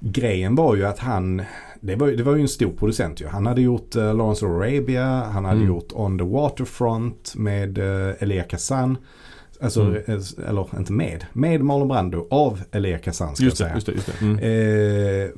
Speaker 1: grejen var ju att han, det var, ju- det var ju en stor producent ju. Han hade gjort eh, Lawrence of Arabia, han hade
Speaker 2: Mm.
Speaker 1: gjort On the Waterfront med eh, Elia Kazan. Alltså,
Speaker 2: Mm.
Speaker 1: eh, eller inte med, med Marlon Brando av Elia Kazan ska
Speaker 2: Just
Speaker 1: jag
Speaker 2: det,
Speaker 1: säga.
Speaker 2: just det, just det. Mm.
Speaker 1: Eh,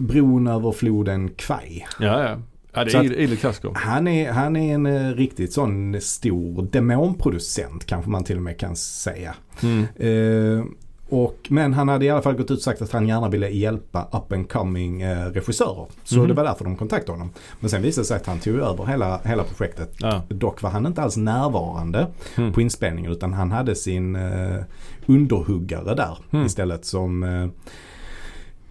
Speaker 1: bron över floden Kwai.
Speaker 2: Ja, ja. Ja, det
Speaker 1: Så
Speaker 2: är
Speaker 1: att-
Speaker 2: idel idel klassiker.
Speaker 1: Han är, han är en eh, riktigt sån stor demonproducent kanske man till och med kan säga.
Speaker 2: Mm.
Speaker 1: Eh, och, men han hade i alla fall gått ut och sagt att han gärna ville hjälpa up and coming eh, regissörer. Så
Speaker 2: Mhm.
Speaker 1: det var därför de kontaktade honom. Men sen visade det sig att han tog över hela, hela projektet.
Speaker 2: Ja.
Speaker 1: Dock var han inte alls närvarande
Speaker 2: Mm.
Speaker 1: på inspelningen utan han hade sin eh, underhuggare där
Speaker 2: Mm.
Speaker 1: istället som eh,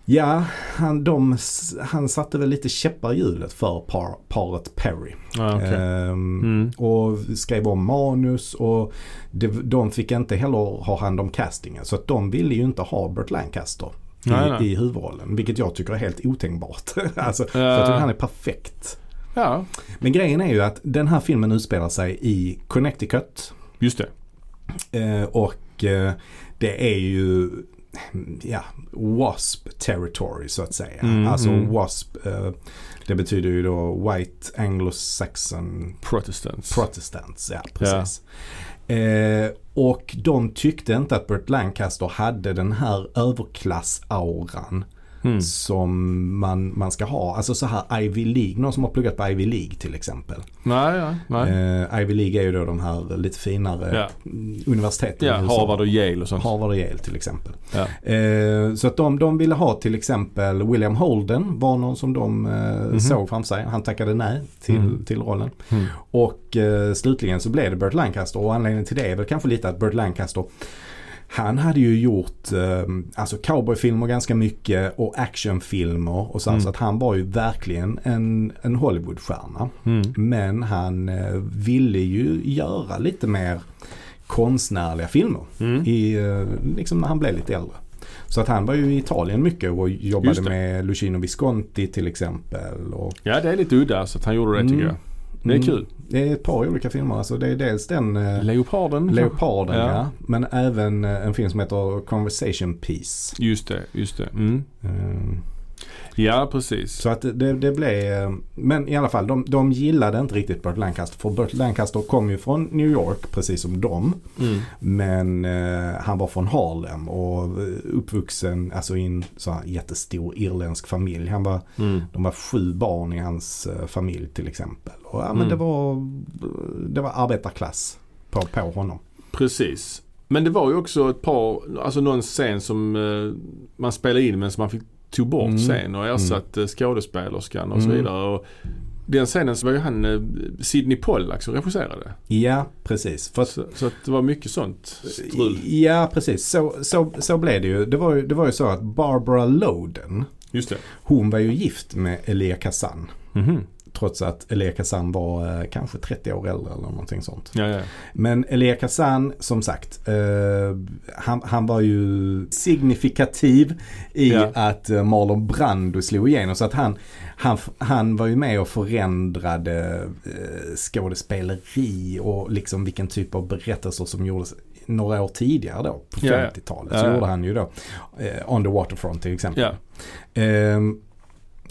Speaker 1: Ja, han, de, s- han satte väl lite käppar i hjulet för par, paret Perry.
Speaker 2: Ja, okej.
Speaker 1: Ehm,
Speaker 2: Mm.
Speaker 1: och skrev om manus och de, de fick inte heller ha hand om castingen. Så att de ville ju inte ha Burt Lancaster i,
Speaker 2: Nej, nej.
Speaker 1: i huvudrollen. Vilket jag tycker är helt otänkbart. alltså, för jag tycker han är perfekt.
Speaker 2: Ja,
Speaker 1: Men grejen är ju att den här filmen utspelar sig i Connecticut.
Speaker 2: just det.
Speaker 1: Eh, och eh, det är ju ja, WASP territory så att säga.
Speaker 2: Mm,
Speaker 1: alltså
Speaker 2: mm.
Speaker 1: WASP, eh, det betyder ju då White Anglo-Saxon
Speaker 2: Protestants.
Speaker 1: Protestants, ja precis. Eh, och de tyckte inte att Burt Lancaster hade den här överklassauran
Speaker 2: Mm.
Speaker 1: som man, man ska ha. Alltså så här Ivy League, någon som har pluggat på Ivy League till exempel.
Speaker 2: Nej, ja, nej.
Speaker 1: Eh, Ivy League är ju då de här lite finare
Speaker 2: Ja.
Speaker 1: universiteten.
Speaker 2: Ja,
Speaker 1: i USA.
Speaker 2: Harvard och Yale och sånt.
Speaker 1: Harvard och Yale till exempel.
Speaker 2: Ja.
Speaker 1: Eh, så att de, de ville ha till exempel William Holden var någon som de eh, såg framför sig. Han tackade nej till,
Speaker 2: Mhm.
Speaker 1: till rollen.
Speaker 2: Mm.
Speaker 1: Och eh, slutligen så blev det Burt Lancaster och anledningen till det är väl kanske lite att Burt Lancaster han hade ju gjort eh, alltså cowboyfilmer ganska mycket och actionfilmer och så,
Speaker 2: Mm.
Speaker 1: så att han var ju verkligen en, en Hollywoodstjärna.
Speaker 2: Mm.
Speaker 1: Men han eh, ville ju göra lite mer konstnärliga filmer
Speaker 2: Mm.
Speaker 1: i, eh, liksom när han blev lite äldre. Så att han var ju i Italien mycket och jobbade
Speaker 2: Just det.
Speaker 1: med Lucino Visconti till exempel. Och,
Speaker 2: Ja, det är lite udda så att han gjorde det tycker
Speaker 1: Mm.
Speaker 2: jag. Det är
Speaker 1: Mm.
Speaker 2: kul.
Speaker 1: Det är ett par olika filmer. Alltså det är dels den eh,
Speaker 2: Leoparden.
Speaker 1: Leoparden ja.
Speaker 2: Ja.
Speaker 1: Men även eh, en film som heter Conversation Piece.
Speaker 2: Just det, just det. Mm.
Speaker 1: Eh,
Speaker 2: Ja, precis.
Speaker 1: Så att det, det blev, eh, men i alla fall de, de gillade inte riktigt Burt Lancaster. För Burt Lancaster kom ju från New York precis som dem.
Speaker 2: Mm.
Speaker 1: Men eh, han var från Harlem och eh, uppvuxen alltså i en så här jättestor irländsk familj. Han var,
Speaker 2: Mm.
Speaker 1: de var sju barn i hans eh, familj till exempel. Och, ja, men
Speaker 2: Mm.
Speaker 1: det, var, eh, det var arbetarklass på, på honom.
Speaker 2: Precis. Men det var ju också ett par, alltså någon scen som eh, man spelade in men som man fick tog bort
Speaker 1: Mm.
Speaker 2: sen och ersatte skådespelerskan och så
Speaker 1: Mm.
Speaker 2: vidare. Och den scenen så var ju han eh, Sidney Pollack som regisserade.
Speaker 1: Ja, precis. För att
Speaker 2: Så, så att det var mycket sånt
Speaker 1: Eh,
Speaker 2: strul.
Speaker 1: Ja, precis. Så, så, så blev det ju. Det, var ju. det var ju så att Barbara Loden,
Speaker 2: Just det.
Speaker 1: hon var ju gift med Elia Kazan.
Speaker 2: Mhm.
Speaker 1: Trots att Elia Kazan var eh, kanske 30 år äldre eller någonting sånt.
Speaker 2: Ja, ja.
Speaker 1: Men Elia Kazan, som sagt, eh, han, han var ju signifikativ i
Speaker 2: Ja.
Speaker 1: att eh, Marlon Brando slog igenom. Så att han, han, han var ju med och förändrade eh, skådespeleri och liksom vilken typ av berättelser som gjordes några år tidigare då, på
Speaker 2: Ja, ja.
Speaker 1: 50-talet. Så
Speaker 2: Ja, ja.
Speaker 1: gjorde han ju då eh, On the Waterfront till exempel.
Speaker 2: ja.
Speaker 1: Ehm,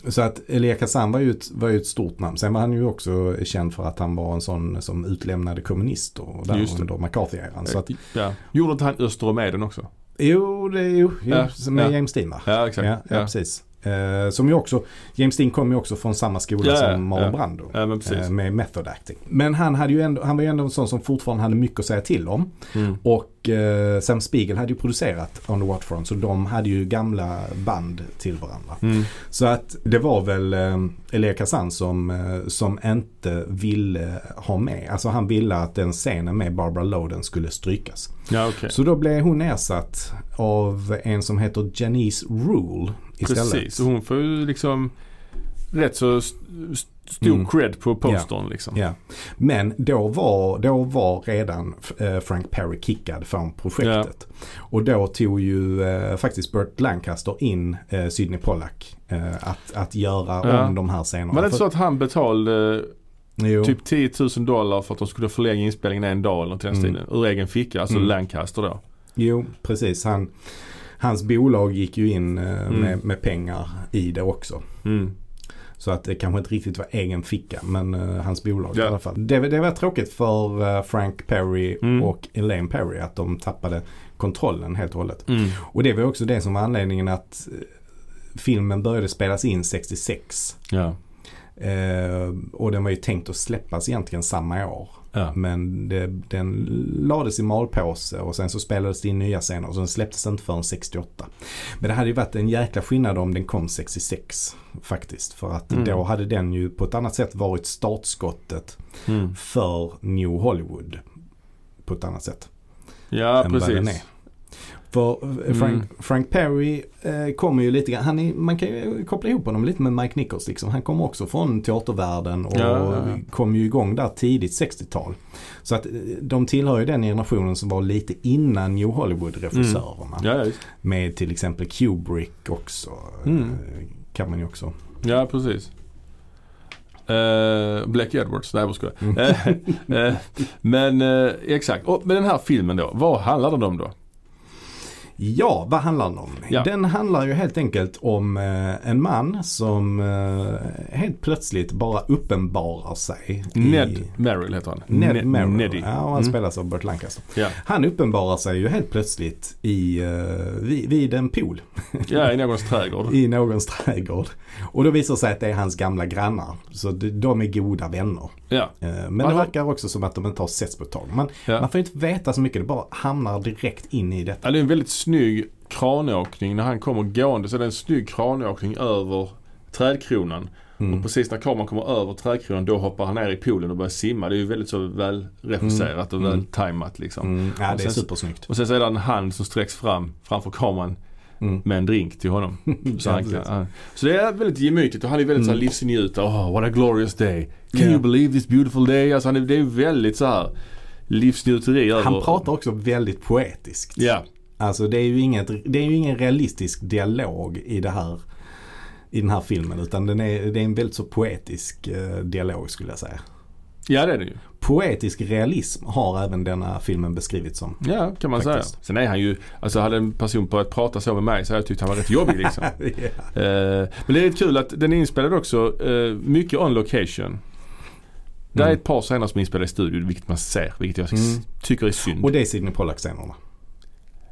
Speaker 1: så att Elia Kazan var ju, ett, var ju ett stort namn. Sen var han ju också känd för att han var en sån som utlämnade kommunister och där
Speaker 2: Just det.
Speaker 1: under McCarthy-eran. Så att,
Speaker 2: ja. Gjorde inte han Öster och Mäden också?
Speaker 1: jo, det är ju
Speaker 2: Ja,
Speaker 1: jo, med
Speaker 2: ja.
Speaker 1: James Dean va?
Speaker 2: Ja,
Speaker 1: Ja,
Speaker 2: exakt.
Speaker 1: ja, precis. Ehm, som ju också, James Dean kom ju också från samma skola
Speaker 2: Ja, ja,
Speaker 1: som Marlon
Speaker 2: ja.
Speaker 1: Brando.
Speaker 2: Ja, men precis.
Speaker 1: eh, Med method acting. Men han, hade ju ändå, han var ju ändå en sån som fortfarande hade mycket att säga till om.
Speaker 2: Mm.
Speaker 1: Och eh, Sam Spiegel hade ju producerat On the Waterfront så de hade ju gamla band till varandra.
Speaker 2: Mm.
Speaker 1: Så att det var väl eh, Elia Kazan som, eh, som inte ville ha med. Alltså han ville att den scenen med Barbara Loden skulle strykas.
Speaker 2: Ja, okej.
Speaker 1: Så då blev hon ersatt av en som heter Janice Rule istället.
Speaker 2: Precis. Och hon får ju liksom rätt så st- st- stor
Speaker 1: Mm.
Speaker 2: cred på postern liksom.
Speaker 1: Ja. Men då var, då var redan eh, Frank Perry kickad från projektet. Och då tog ju eh, faktiskt Burt Lancaster in eh, Sidney Pollack eh, att, att göra
Speaker 2: Ja.
Speaker 1: om de här scenerna.
Speaker 2: Var det inte
Speaker 1: För-
Speaker 2: så att han betalade
Speaker 1: Jo.
Speaker 2: typ 10 000 dollar för att de skulle förlänga inspelningen en dag eller något i den
Speaker 1: Mm.
Speaker 2: stilen? Ur egen ficka, alltså
Speaker 1: Mm.
Speaker 2: Lancaster då.
Speaker 1: Jo, precis. Han, hans bolag gick ju in eh,
Speaker 2: Mm.
Speaker 1: med, med pengar i det också. Mm. Så att det kanske inte riktigt var egen ficka, men eh, hans bolag
Speaker 2: Ja.
Speaker 1: i alla fall. Det, var- det var tråkigt för eh, Frank Perry
Speaker 2: Mm.
Speaker 1: och Elaine Perry att de tappade kontrollen helt och hållet. Och det var också det som var anledningen att eh, filmen började spelas in 66.
Speaker 2: Ja.
Speaker 1: Eh, och den var ju tänkt att släppas egentligen samma år.
Speaker 2: Ja.
Speaker 1: Men det, den lades i malpåse och sen så spelades det in nya scener och sen släpptes den inte förrän 68. Men det hade ju varit en jäkla skillnad om den kom 66 faktiskt. För att
Speaker 2: Mm.
Speaker 1: då hade den ju på ett annat sätt varit startskottet
Speaker 2: Mm.
Speaker 1: för New Hollywood. På ett annat sätt
Speaker 2: Ja,
Speaker 1: än vad den är.
Speaker 2: precis.
Speaker 1: För eh, Frank,
Speaker 2: Mm.
Speaker 1: Frank Perry eh, kommer ju lite grann, han är, man kan ju koppla ihop honom lite med Mike Nichols liksom. Han kommer också från teatervärlden och
Speaker 2: Ja, ja, ja.
Speaker 1: kom ju igång där tidigt 60-tal. Så att eh, de tillhör ju den generationen som var lite innan New Hollywood-regissörerna.
Speaker 2: Mm. Ja, ja, just.
Speaker 1: Med till exempel Kubrick också.
Speaker 2: Mm.
Speaker 1: eh, Kan man ju också.
Speaker 2: ja precis. Eh, Black Edwards, nej jag skojar.
Speaker 1: Mm.
Speaker 2: Eh, eh, men eh, exakt, och, men den här filmen då, vad handlar den om då?
Speaker 1: Ja, vad handlar den om?
Speaker 2: Ja.
Speaker 1: Den handlar ju helt enkelt om eh, en man som eh, helt plötsligt bara uppenbarar sig. i-
Speaker 2: Ned Merrill heter han.
Speaker 1: Ned
Speaker 2: Ne-
Speaker 1: Merrill.
Speaker 2: Neddy.
Speaker 1: Ja, och han
Speaker 2: Mm.
Speaker 1: spelas av Burt Lancaster.
Speaker 2: Ja.
Speaker 1: Han uppenbarar sig ju helt plötsligt i, eh, vid, vid en pool
Speaker 2: ja, i någons trädgård.
Speaker 1: i någons trädgård. Och då visar det sig att det är hans gamla grannar. Så de, de är goda vänner.
Speaker 2: Ja.
Speaker 1: Eh, Men
Speaker 2: Vad-
Speaker 1: det verkar också som att de inte har setts på ett tag. Man,
Speaker 2: Ja.
Speaker 1: man får inte veta så mycket, det bara hamnar direkt in i detta.
Speaker 2: Ja, det är en väldigt snygg kranåkning. När han kommer gående så är det en snygg kranåkning över trädkronan.
Speaker 1: Mm.
Speaker 2: Och precis när kameran kommer över trädkronan då hoppar han ner i poolen och börjar simma. Det är ju väldigt så väl regisserat och väl tajmat liksom.
Speaker 1: Mm, ja,
Speaker 2: Och
Speaker 1: det är
Speaker 2: sen-
Speaker 1: supersnyggt.
Speaker 2: Och sen så är det en hand som sträcks fram framför kameran
Speaker 1: Mm.
Speaker 2: med en drink till honom. Så,
Speaker 1: Ja,
Speaker 2: han kan,
Speaker 1: precis.
Speaker 2: ja. så det är väldigt gemytligt och han är väldigt mm. livsnjutare. Oh, what a glorious day. Can
Speaker 1: Ja.
Speaker 2: you believe this beautiful day? Alltså han är, det är väldigt så här livsnjuteri över.
Speaker 1: Han pratar också väldigt poetiskt.
Speaker 2: Alltså, Ja,
Speaker 1: Alltså det är, ju inget, det är ju ingen realistisk dialog i det här i den här filmen utan den är, det är en väldigt så poetisk eh, dialog skulle jag säga.
Speaker 2: ja det är det ju.
Speaker 1: Poetisk realism har även denna filmen beskrivits som.
Speaker 2: Ja, kan man
Speaker 1: Faktiskt.
Speaker 2: säga. Sen är han ju, alltså hade en person börjat prata så med mig så hade jag tyckt han var rätt jobbig liksom. Eh, men det är rätt kul att den är inspelad också eh, mycket on location. Det är
Speaker 1: Mm.
Speaker 2: ett par scener som är inspelade i studion, vilket man ser, vilket jag s-
Speaker 1: Mm.
Speaker 2: tycker är synd.
Speaker 1: Och det är Sidney Pollack-scenerna.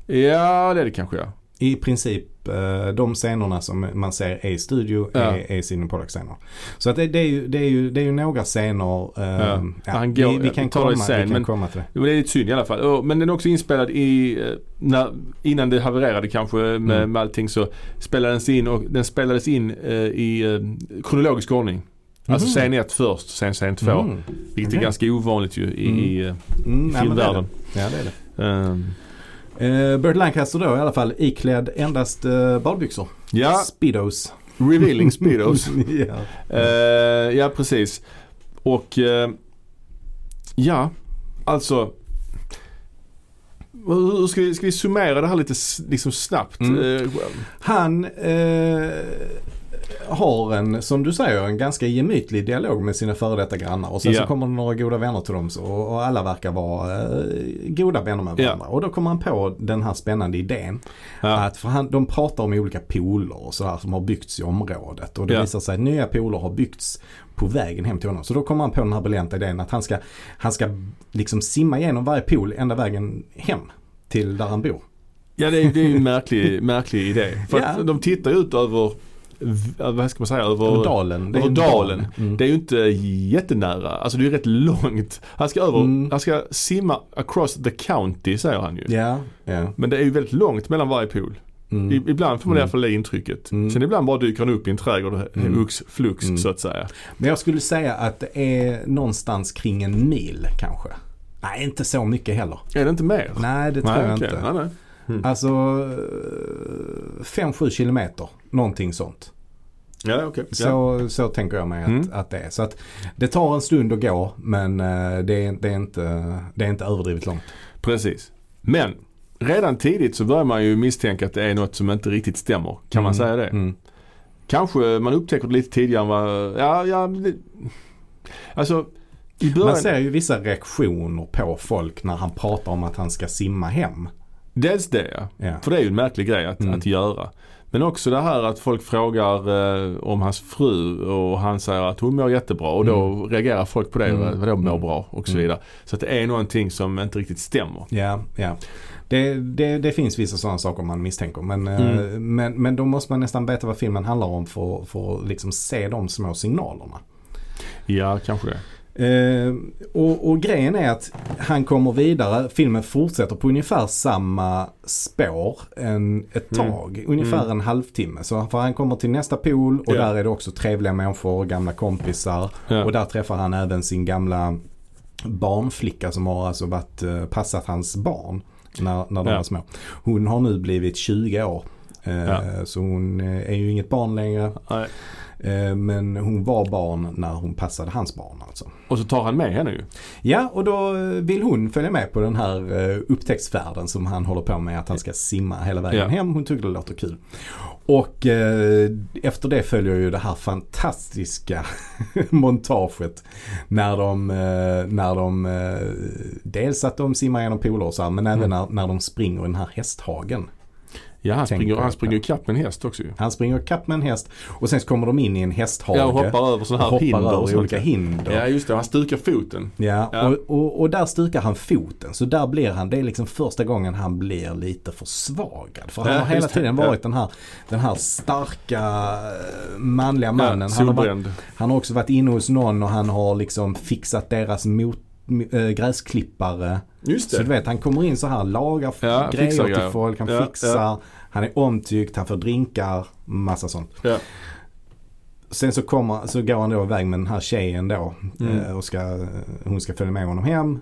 Speaker 2: ja, det är det kanske ja.
Speaker 1: I princip eh, de scenerna som man ser är i studio
Speaker 2: Ja.
Speaker 1: är, är Sidney Pollack-scener. Så att det, det, är ju, det, är ju, det är ju några scener. eh,
Speaker 2: Ja.
Speaker 1: ja,
Speaker 2: Han går-
Speaker 1: vi, vi kan,
Speaker 2: vi tar det
Speaker 1: komma,
Speaker 2: sen,
Speaker 1: vi kan
Speaker 2: men-
Speaker 1: komma till det.
Speaker 2: Jo, men det är lite synd i alla fall. Och- Men den är också inspelad i, eh, när, innan det havererade kanske med,
Speaker 1: Mm.
Speaker 2: med allting så spelades den in och den spelades in eh, i eh, kronologisk ordning. Alltså
Speaker 1: Mhm.
Speaker 2: scen 1 först, sen scen 2.
Speaker 1: Mm.
Speaker 2: Vilket är
Speaker 1: Okej.
Speaker 2: ganska ovanligt ju i,
Speaker 1: Mm.
Speaker 2: i,
Speaker 1: Mm,
Speaker 2: eh, i
Speaker 1: ja, men det är
Speaker 2: filmvärlden.
Speaker 1: det. Ja, det är det.
Speaker 2: Ehm,
Speaker 1: Eh, Burt Lancaster då i alla fall iklädd endast eh, badbyxor.
Speaker 2: ja,
Speaker 1: Speedos.
Speaker 2: revealing speedos.
Speaker 1: ja.
Speaker 2: Eh, ja, precis. Och eh, ja, alltså. Hur hur ska vi, ska vi summera det här lite s- liksom snabbt?
Speaker 1: Mm.
Speaker 2: Eh,
Speaker 1: Han eh, har en, som du säger, en ganska gemytlig dialog med sina före detta grannar. Och sen
Speaker 2: Ja.
Speaker 1: så kommer det några goda vänner till dem så, och alla verkar vara eh, goda vänner med
Speaker 2: Ja.
Speaker 1: varandra. Och då kommer han på den här spännande idén.
Speaker 2: ja.
Speaker 1: Att för han, de pratar om olika pooler och sådär som har byggts i området. Och det
Speaker 2: Ja.
Speaker 1: visar sig att nya pooler har byggts på vägen hem till honom. Så då kommer han på den här briljanta idén att han ska, han ska liksom simma igenom varje pool ända vägen hem till där han bor.
Speaker 2: Ja det är, det är ju en märklig, märklig idé. För
Speaker 1: Ja.
Speaker 2: att de tittar ju ut över, v- eh, vad ska man säga, över,
Speaker 1: Över dalen. Det är
Speaker 2: över
Speaker 1: en
Speaker 2: dalen.
Speaker 1: dal. Mm.
Speaker 2: Det är ju inte jättenära. Alltså det är ju rätt långt. Han ska över,
Speaker 1: Mm.
Speaker 2: han ska simma across the county säger han ju.
Speaker 1: Ja, ja.
Speaker 2: Men det är ju väldigt långt mellan varje pool.
Speaker 1: Mm.
Speaker 2: I, ibland får man i alla fall det intrycket.
Speaker 1: Mm.
Speaker 2: Sen ibland bara dyker han upp i en trädgård mm. hux flux så att säga.
Speaker 1: Men jag skulle säga att det är någonstans kring en mil kanske. Nej, inte så mycket heller.
Speaker 2: Är det inte mer?
Speaker 1: Nej, det tror jag
Speaker 2: okej.
Speaker 1: inte.
Speaker 2: Nej, nej.
Speaker 1: Alltså 5-7 kilometer, någonting sånt.
Speaker 2: Ja, okej. Ja.
Speaker 1: Så, så tänker jag mig att,
Speaker 2: Mm.
Speaker 1: att det är. Så att det tar en stund att gå men eh, det är, det är, inte, det är inte överdrivet långt.
Speaker 2: Precis. Men redan tidigt så börjar man ju misstänka att det är något som inte riktigt stämmer. Kan man säga det?
Speaker 1: Mm.
Speaker 2: Kanske man upptäcker det lite tidigare än vad... Ja, ja. men det- Alltså, i början...
Speaker 1: Man ser ju vissa reaktioner på folk när han pratar om att han ska simma hem.
Speaker 2: Dels det ja.
Speaker 1: Ja.
Speaker 2: För det är ju en märklig grej att,
Speaker 1: Mm.
Speaker 2: att göra. Men också det här att folk frågar eh, om hans fru och han säger att hon mår jättebra och då reagerar folk på det.
Speaker 1: Mm.
Speaker 2: Vadå mår bra? Och så vidare. Så att det är någonting som inte riktigt stämmer.
Speaker 1: Ja, ja. Det, det, det finns vissa sådana saker man misstänker. Men, eh,
Speaker 2: Mm.
Speaker 1: men, men då måste man nästan veta vad filmen handlar om för, för att liksom se de små signalerna.
Speaker 2: Ja, kanske det.
Speaker 1: Eh, och, och grejen är att han kommer vidare, filmen fortsätter på ungefär samma spår en, ett
Speaker 2: Mm.
Speaker 1: tag. Ungefär en halvtimme. Så för han kommer till nästa pool och
Speaker 2: Ja.
Speaker 1: där är det också trevliga människor, gamla kompisar.
Speaker 2: Ja.
Speaker 1: Och där träffar han även sin gamla barnflicka som har alltså varit, eh, passat hans barn när, när de
Speaker 2: Ja.
Speaker 1: var små. Hon har nu blivit 20 år. Eh,
Speaker 2: Ja.
Speaker 1: Så hon eh, är ju inget barn längre.
Speaker 2: Nej.
Speaker 1: Eh, Men hon var barn när hon passade hans barn alltså.
Speaker 2: Och så tar han med henne ju.
Speaker 1: Ja, och då eh, vill hon följa med på den här eh, upptäcktsfärden som han håller på med. Att han ska simma hela vägen
Speaker 2: Ja.
Speaker 1: hem. Hon tyckte det låter kul. Och eh, efter det följer ju det här fantastiska montaget. När de, eh, när de
Speaker 2: Mm.
Speaker 1: eh, dels att de simmar genom pooler och så här, men även när, när de springer i den här hästhagen.
Speaker 2: Ja, han
Speaker 1: Tänker
Speaker 2: springer, han
Speaker 1: att-
Speaker 2: springer ikapp med en häst också ju.
Speaker 1: Han springer kapp med en häst och sen så kommer de in i en hästhage.
Speaker 2: Ja, och hoppar över sådana här
Speaker 1: hoppar
Speaker 2: hinder. och
Speaker 1: över i
Speaker 2: sånt.
Speaker 1: olika hinder.
Speaker 2: Ja, just det. Han stukar foten.
Speaker 1: Ja,
Speaker 2: Ja.
Speaker 1: Och, och, och där stukar han foten. Så där blir han, det är liksom första gången han blir lite försvagad. För han
Speaker 2: Ja,
Speaker 1: har hela
Speaker 2: just det.
Speaker 1: tiden
Speaker 2: Ja.
Speaker 1: varit den, här, den här starka eh, manliga mannen.
Speaker 2: ja,
Speaker 1: han, har varit,
Speaker 2: solbränd.
Speaker 1: han har också varit inne hos någon och han har liksom fixat deras mot, äh, gräsklippare.
Speaker 2: Just
Speaker 1: Så du
Speaker 2: det.
Speaker 1: vet, han kommer in så här, lagar f-
Speaker 2: Ja,
Speaker 1: grejer
Speaker 2: fixar
Speaker 1: till
Speaker 2: grejer.
Speaker 1: folk, han
Speaker 2: Ja,
Speaker 1: fixar, han är omtyckt, han får drinkar, massa sånt.
Speaker 2: Ja.
Speaker 1: Sen så, kommer, så går han då iväg med den här tjejen då
Speaker 2: Mm.
Speaker 1: eh, och ska, hon ska följa med honom hem.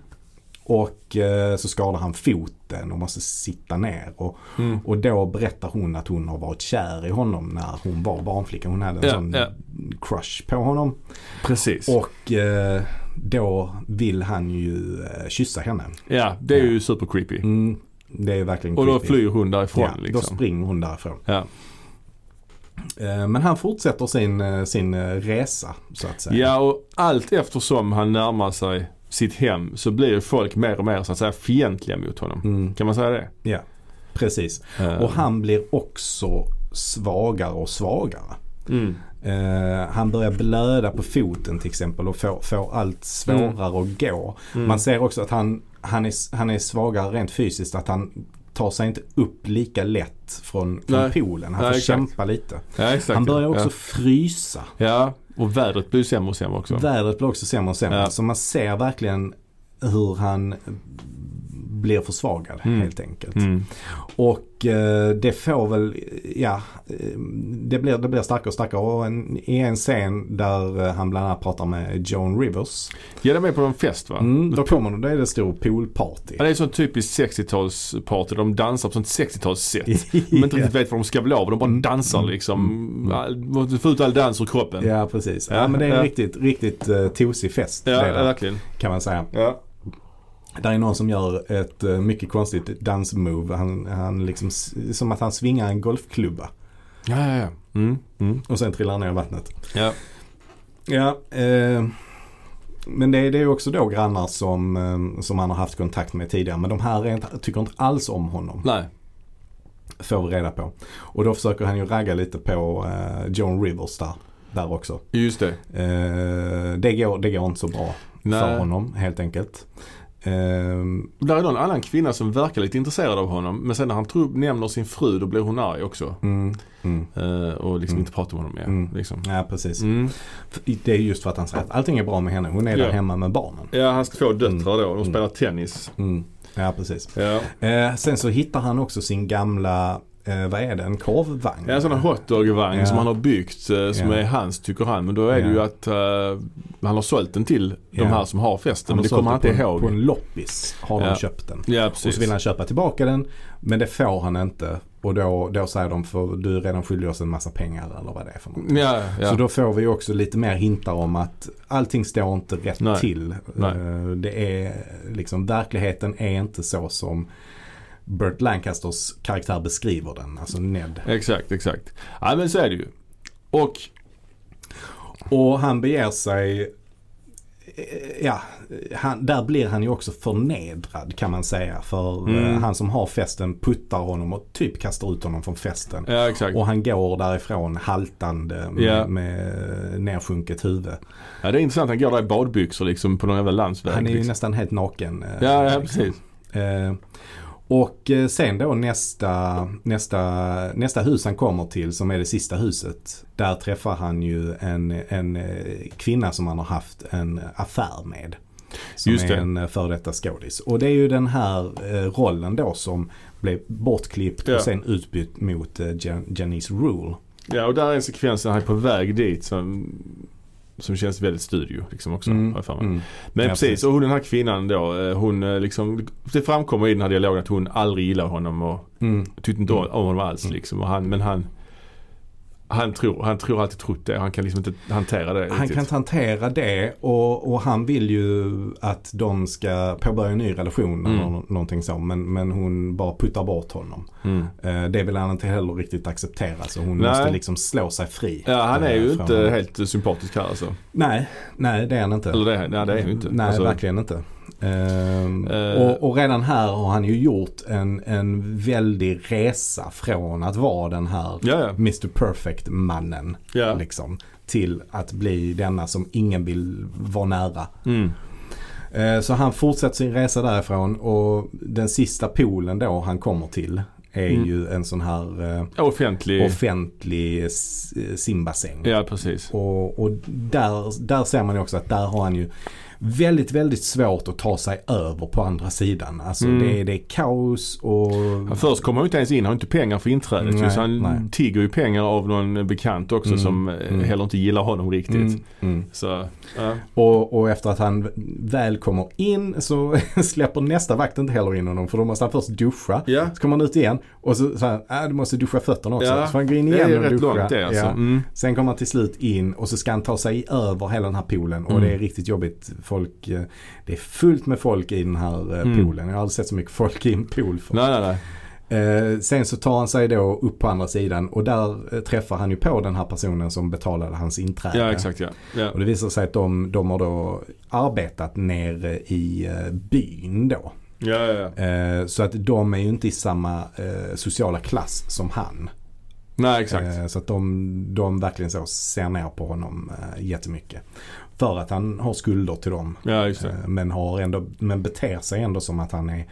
Speaker 1: Och eh, så skadar han foten och måste sitta ner. Och,
Speaker 2: Mm.
Speaker 1: och då berättar hon att hon har varit kär i honom när hon var barnflicka. Hon hade en
Speaker 2: Ja,
Speaker 1: sån
Speaker 2: ja.
Speaker 1: crush på honom.
Speaker 2: Precis.
Speaker 1: Och eh, då vill han ju eh, kyssa henne.
Speaker 2: ja, det är
Speaker 1: Ja.
Speaker 2: ju super creepy.
Speaker 1: Mm, det är verkligen
Speaker 2: Och då
Speaker 1: creepy.
Speaker 2: flyr hon därifrån
Speaker 1: ja, Då
Speaker 2: liksom.
Speaker 1: springer hon därifrån.
Speaker 2: Ja.
Speaker 1: Eh, Men han fortsätter sin, eh, sin eh, resa så att säga.
Speaker 2: ja, och allt eftersom han närmar sig sitt hem så blir ju folk mer och mer så att säga fientliga mot honom.
Speaker 1: Mm,
Speaker 2: Kan man säga det?
Speaker 1: ja, precis.
Speaker 2: Eh,
Speaker 1: Och han blir också svagare och svagare.
Speaker 2: Mm.
Speaker 1: Eh, han börjar blöda på foten till exempel och får, får allt svårare att gå.
Speaker 2: Mm.
Speaker 1: Man ser också att han, han, är, s- han är svagare rent fysiskt. Att han tar sig inte upp lika lätt från, från
Speaker 2: Nej.
Speaker 1: poolen. Han
Speaker 2: Nej,
Speaker 1: får
Speaker 2: exakt.
Speaker 1: kämpa lite.
Speaker 2: ja, exakt.
Speaker 1: Han börjar också
Speaker 2: ja.
Speaker 1: frysa.
Speaker 2: Ja, och vädret blir ju sämre och sämre också.
Speaker 1: Vädret blir också sämre och sämre.
Speaker 2: Ja.
Speaker 1: Så man ser verkligen hur han blir försvagad
Speaker 2: Mm.
Speaker 1: helt enkelt.
Speaker 2: Mm.
Speaker 1: Och eh, det får väl, ja, eh, det blir, det blir starkare och starkare. Och en, I en scen där eh, han bland annat pratar med Joan Rivers.
Speaker 2: Ja, de är på en fest va?
Speaker 1: Mm, då kommer de, då är det stor poolparty.
Speaker 2: Ja, det är sånt typiskt 60-talsparty. De dansar på sånt 60-talssätt. De inte riktigt vet vad de ska bli av. De bara
Speaker 1: Mm.
Speaker 2: dansar liksom. All- Måste få ut all dans ur kroppen.
Speaker 1: Ja precis. Ja,
Speaker 2: Ja,
Speaker 1: men det är en
Speaker 2: ja.
Speaker 1: riktigt, riktigt uh, tosig fest.
Speaker 2: Ja,
Speaker 1: det
Speaker 2: ja,
Speaker 1: där,
Speaker 2: verkligen.
Speaker 1: kan man säga.
Speaker 2: Ja.
Speaker 1: Där är någon som gör ett eh, mycket konstigt dansmove. Han, han liksom, s- som att han svingar en golfklubba.
Speaker 2: Ja, ja, ja. Mm. Mm.
Speaker 1: Och sen trillar han ner i vattnet.
Speaker 2: ja.
Speaker 1: Ja, eh, men det, det är ju också då grannar som, eh, som han har haft kontakt med tidigare. Men de här är inte, tycker inte alls om honom.
Speaker 2: Nej.
Speaker 1: Får vi reda på. Och då försöker han ju ragga lite på eh, Joan Rivers där, där också.
Speaker 2: Just det.
Speaker 1: Eh, det, går, det går inte så bra för
Speaker 2: Nej.
Speaker 1: honom helt enkelt. Eh,
Speaker 2: Där är någon annan kvinna som verkar lite intresserad av honom. Men sen när han tror, nämner sin fru då blir hon arg också.
Speaker 1: mm, mm,
Speaker 2: Eh, och liksom
Speaker 1: Mm.
Speaker 2: inte pratar med honom mer.
Speaker 1: Mm.
Speaker 2: Liksom.
Speaker 1: ja, precis.
Speaker 2: Mm.
Speaker 1: F- Det är just för att han säger att allting är bra med henne. Hon är där
Speaker 2: Ja.
Speaker 1: hemma med barnen.
Speaker 2: Ja, hans två döttrar då. De
Speaker 1: Mm.
Speaker 2: spelar tennis.
Speaker 1: Mm. Ja, precis.
Speaker 2: Ja.
Speaker 1: Eh, sen så hittar han också sin gamla, eh, vad är det, en korvvagn?
Speaker 2: Ja, en sån här hotdog-vagn
Speaker 1: Ja.
Speaker 2: som han har byggt eh, som
Speaker 1: Ja.
Speaker 2: är hans tycker han. Men då är det
Speaker 1: Ja.
Speaker 2: ju att eh, han har sålt den till
Speaker 1: Ja.
Speaker 2: de här som har festen. Men det
Speaker 1: har
Speaker 2: kommer han
Speaker 1: sålt
Speaker 2: inte
Speaker 1: den på en-
Speaker 2: ihåg.
Speaker 1: På en loppis har de
Speaker 2: Ja.
Speaker 1: köpt den.
Speaker 2: Ja,
Speaker 1: Och så vill
Speaker 2: precis.
Speaker 1: han köpa tillbaka den men det får han inte. Och då, då säger de för du är redan skyldig oss en massa pengar eller vad det är för något.
Speaker 2: Ja, ja.
Speaker 1: Så då får vi också lite mer hintar om att allting står inte rätt
Speaker 2: Nej.
Speaker 1: till.
Speaker 2: Nej.
Speaker 1: Eh, Det är liksom verkligheten är inte så som Burt Lancasters karaktär beskriver den. Alltså Ned.
Speaker 2: Exakt, exakt. Ja, men så är det ju. Och
Speaker 1: Och han beger sig, eh, ja, han, där blir han ju också förnedrad kan man säga. För eh,
Speaker 2: Mm.
Speaker 1: han som har festen puttar honom och typ kastar ut honom från festen.
Speaker 2: Ja, exakt.
Speaker 1: Och han går därifrån haltande med,
Speaker 2: Ja.
Speaker 1: med nersjunket huvud.
Speaker 2: Ja, det är intressant. Han går där i badbyxor liksom på någon jävla landsväg.
Speaker 1: Han är ju
Speaker 2: liksom.
Speaker 1: nästan helt naken. eh,
Speaker 2: Ja, ja,
Speaker 1: liksom.
Speaker 2: precis.
Speaker 1: Eh, Och eh, sen då nästa, nästa, nästa hus han kommer till som är det sista huset. Där träffar han ju en, en eh, kvinna som han har haft en affär med. Som
Speaker 2: Just
Speaker 1: är
Speaker 2: det.
Speaker 1: en eh, före detta skådis. Och det är ju den här eh, rollen då som blev bortklippt
Speaker 2: Ja.
Speaker 1: och sen utbytt mot eh, Jan- Janice Rule.
Speaker 2: Ja, och där är en sekvens när han är på väg dit som, som känns väldigt studio liksom också.
Speaker 1: Mm,
Speaker 2: Har jag för mig.
Speaker 1: mm.
Speaker 2: Men
Speaker 1: Ja, precis.
Speaker 2: precis, och hon, den här kvinnan då, eh, hon eh, liksom, det framkommer i den här dialogen att hon aldrig gillar honom och
Speaker 1: Mm.
Speaker 2: tyckte inte om om honom alls liksom. Och han, men han, han tror, han tror alltid trott det. Han kan liksom inte hantera det
Speaker 1: Han
Speaker 2: riktigt.
Speaker 1: kan inte hantera det och, och han vill ju att de ska påbörja en ny relation eller
Speaker 2: Mm.
Speaker 1: nå- någonting så. Men, men hon bara puttar bort honom.
Speaker 2: mm.
Speaker 1: Eh, Det vill han inte heller riktigt acceptera så hon
Speaker 2: Nej.
Speaker 1: måste liksom slå sig fri.
Speaker 2: Ja, han är
Speaker 1: eh,
Speaker 2: ju
Speaker 1: från
Speaker 2: inte
Speaker 1: honom.
Speaker 2: helt sympatisk här alltså.
Speaker 1: Nej, nej det är han inte.
Speaker 2: Eller det, nej, det är han ju inte.
Speaker 1: Nej,
Speaker 2: alltså,
Speaker 1: verkligen inte. Ehm,
Speaker 2: Eh.
Speaker 1: och, och redan här har han ju gjort en, en väldig resa från att vara den här
Speaker 2: Ja, ja.
Speaker 1: Mr Perfect-mannen.
Speaker 2: Ja.
Speaker 1: Liksom, till att bli denna som ingen vill vara nära.
Speaker 2: Mm.
Speaker 1: Eh, Så han fortsätter sin resa därifrån och den sista poolen då han kommer till är
Speaker 2: Mm.
Speaker 1: ju en sån här eh,
Speaker 2: Offentlig.
Speaker 1: offentlig s- eh, simbassäng.
Speaker 2: ja, precis.
Speaker 1: Och, och där, där ser man ju också att där har han ju väldigt, väldigt svårt att ta sig över på andra sidan. Alltså
Speaker 2: Mm.
Speaker 1: det, är- det är kaos och...
Speaker 2: Han Mm. först kommer han ju inte ens in, han har inte pengar för inträdet.
Speaker 1: Nej,
Speaker 2: så han
Speaker 1: nej.
Speaker 2: tigger ju pengar av någon bekant också
Speaker 1: Mm,
Speaker 2: som eh,
Speaker 1: mm.
Speaker 2: heller inte gillar honom riktigt.
Speaker 1: Mm, mm.
Speaker 2: Så, ja.
Speaker 1: Och, och efter att han väl kommer in så släpper nästa vakt inte heller in honom för då måste han först duscha.
Speaker 2: Ja.
Speaker 1: Så kommer han ut igen och så säger han äh, du måste duscha fötterna också.
Speaker 2: Ja,
Speaker 1: Så han går in
Speaker 2: Det
Speaker 1: igen
Speaker 2: är
Speaker 1: och
Speaker 2: rätt
Speaker 1: duschar.
Speaker 2: långt det alltså.
Speaker 1: Ja.
Speaker 2: Mm.
Speaker 1: Sen kommer han till slut in och så ska han ta sig över hela den här poolen och
Speaker 2: Mm.
Speaker 1: det är riktigt jobbigt. Folk, eh, det är fullt med folk i den här eh,
Speaker 2: Mm.
Speaker 1: poolen. Jag har aldrig sett så mycket folk i en pool förut.
Speaker 2: Nej, nej, nej.
Speaker 1: Eh, sen så tar han sig då upp på andra sidan och där eh, träffar han ju på den här personen som betalade hans inträde.
Speaker 2: Ja, exakt ja. ja.
Speaker 1: Och det visar sig att de, de har då arbetat nere i eh, byn då.
Speaker 2: Ja, ja, ja.
Speaker 1: Eh, så att de är ju inte i samma eh, sociala klass som han.
Speaker 2: Nej, exakt.
Speaker 1: Eh, så att de, de verkligen så ser ner på honom eh, jättemycket. För att han har skulder till dem.
Speaker 2: Ja, just det.
Speaker 1: Eh, men, har ändå, men beter sig ändå som att han är,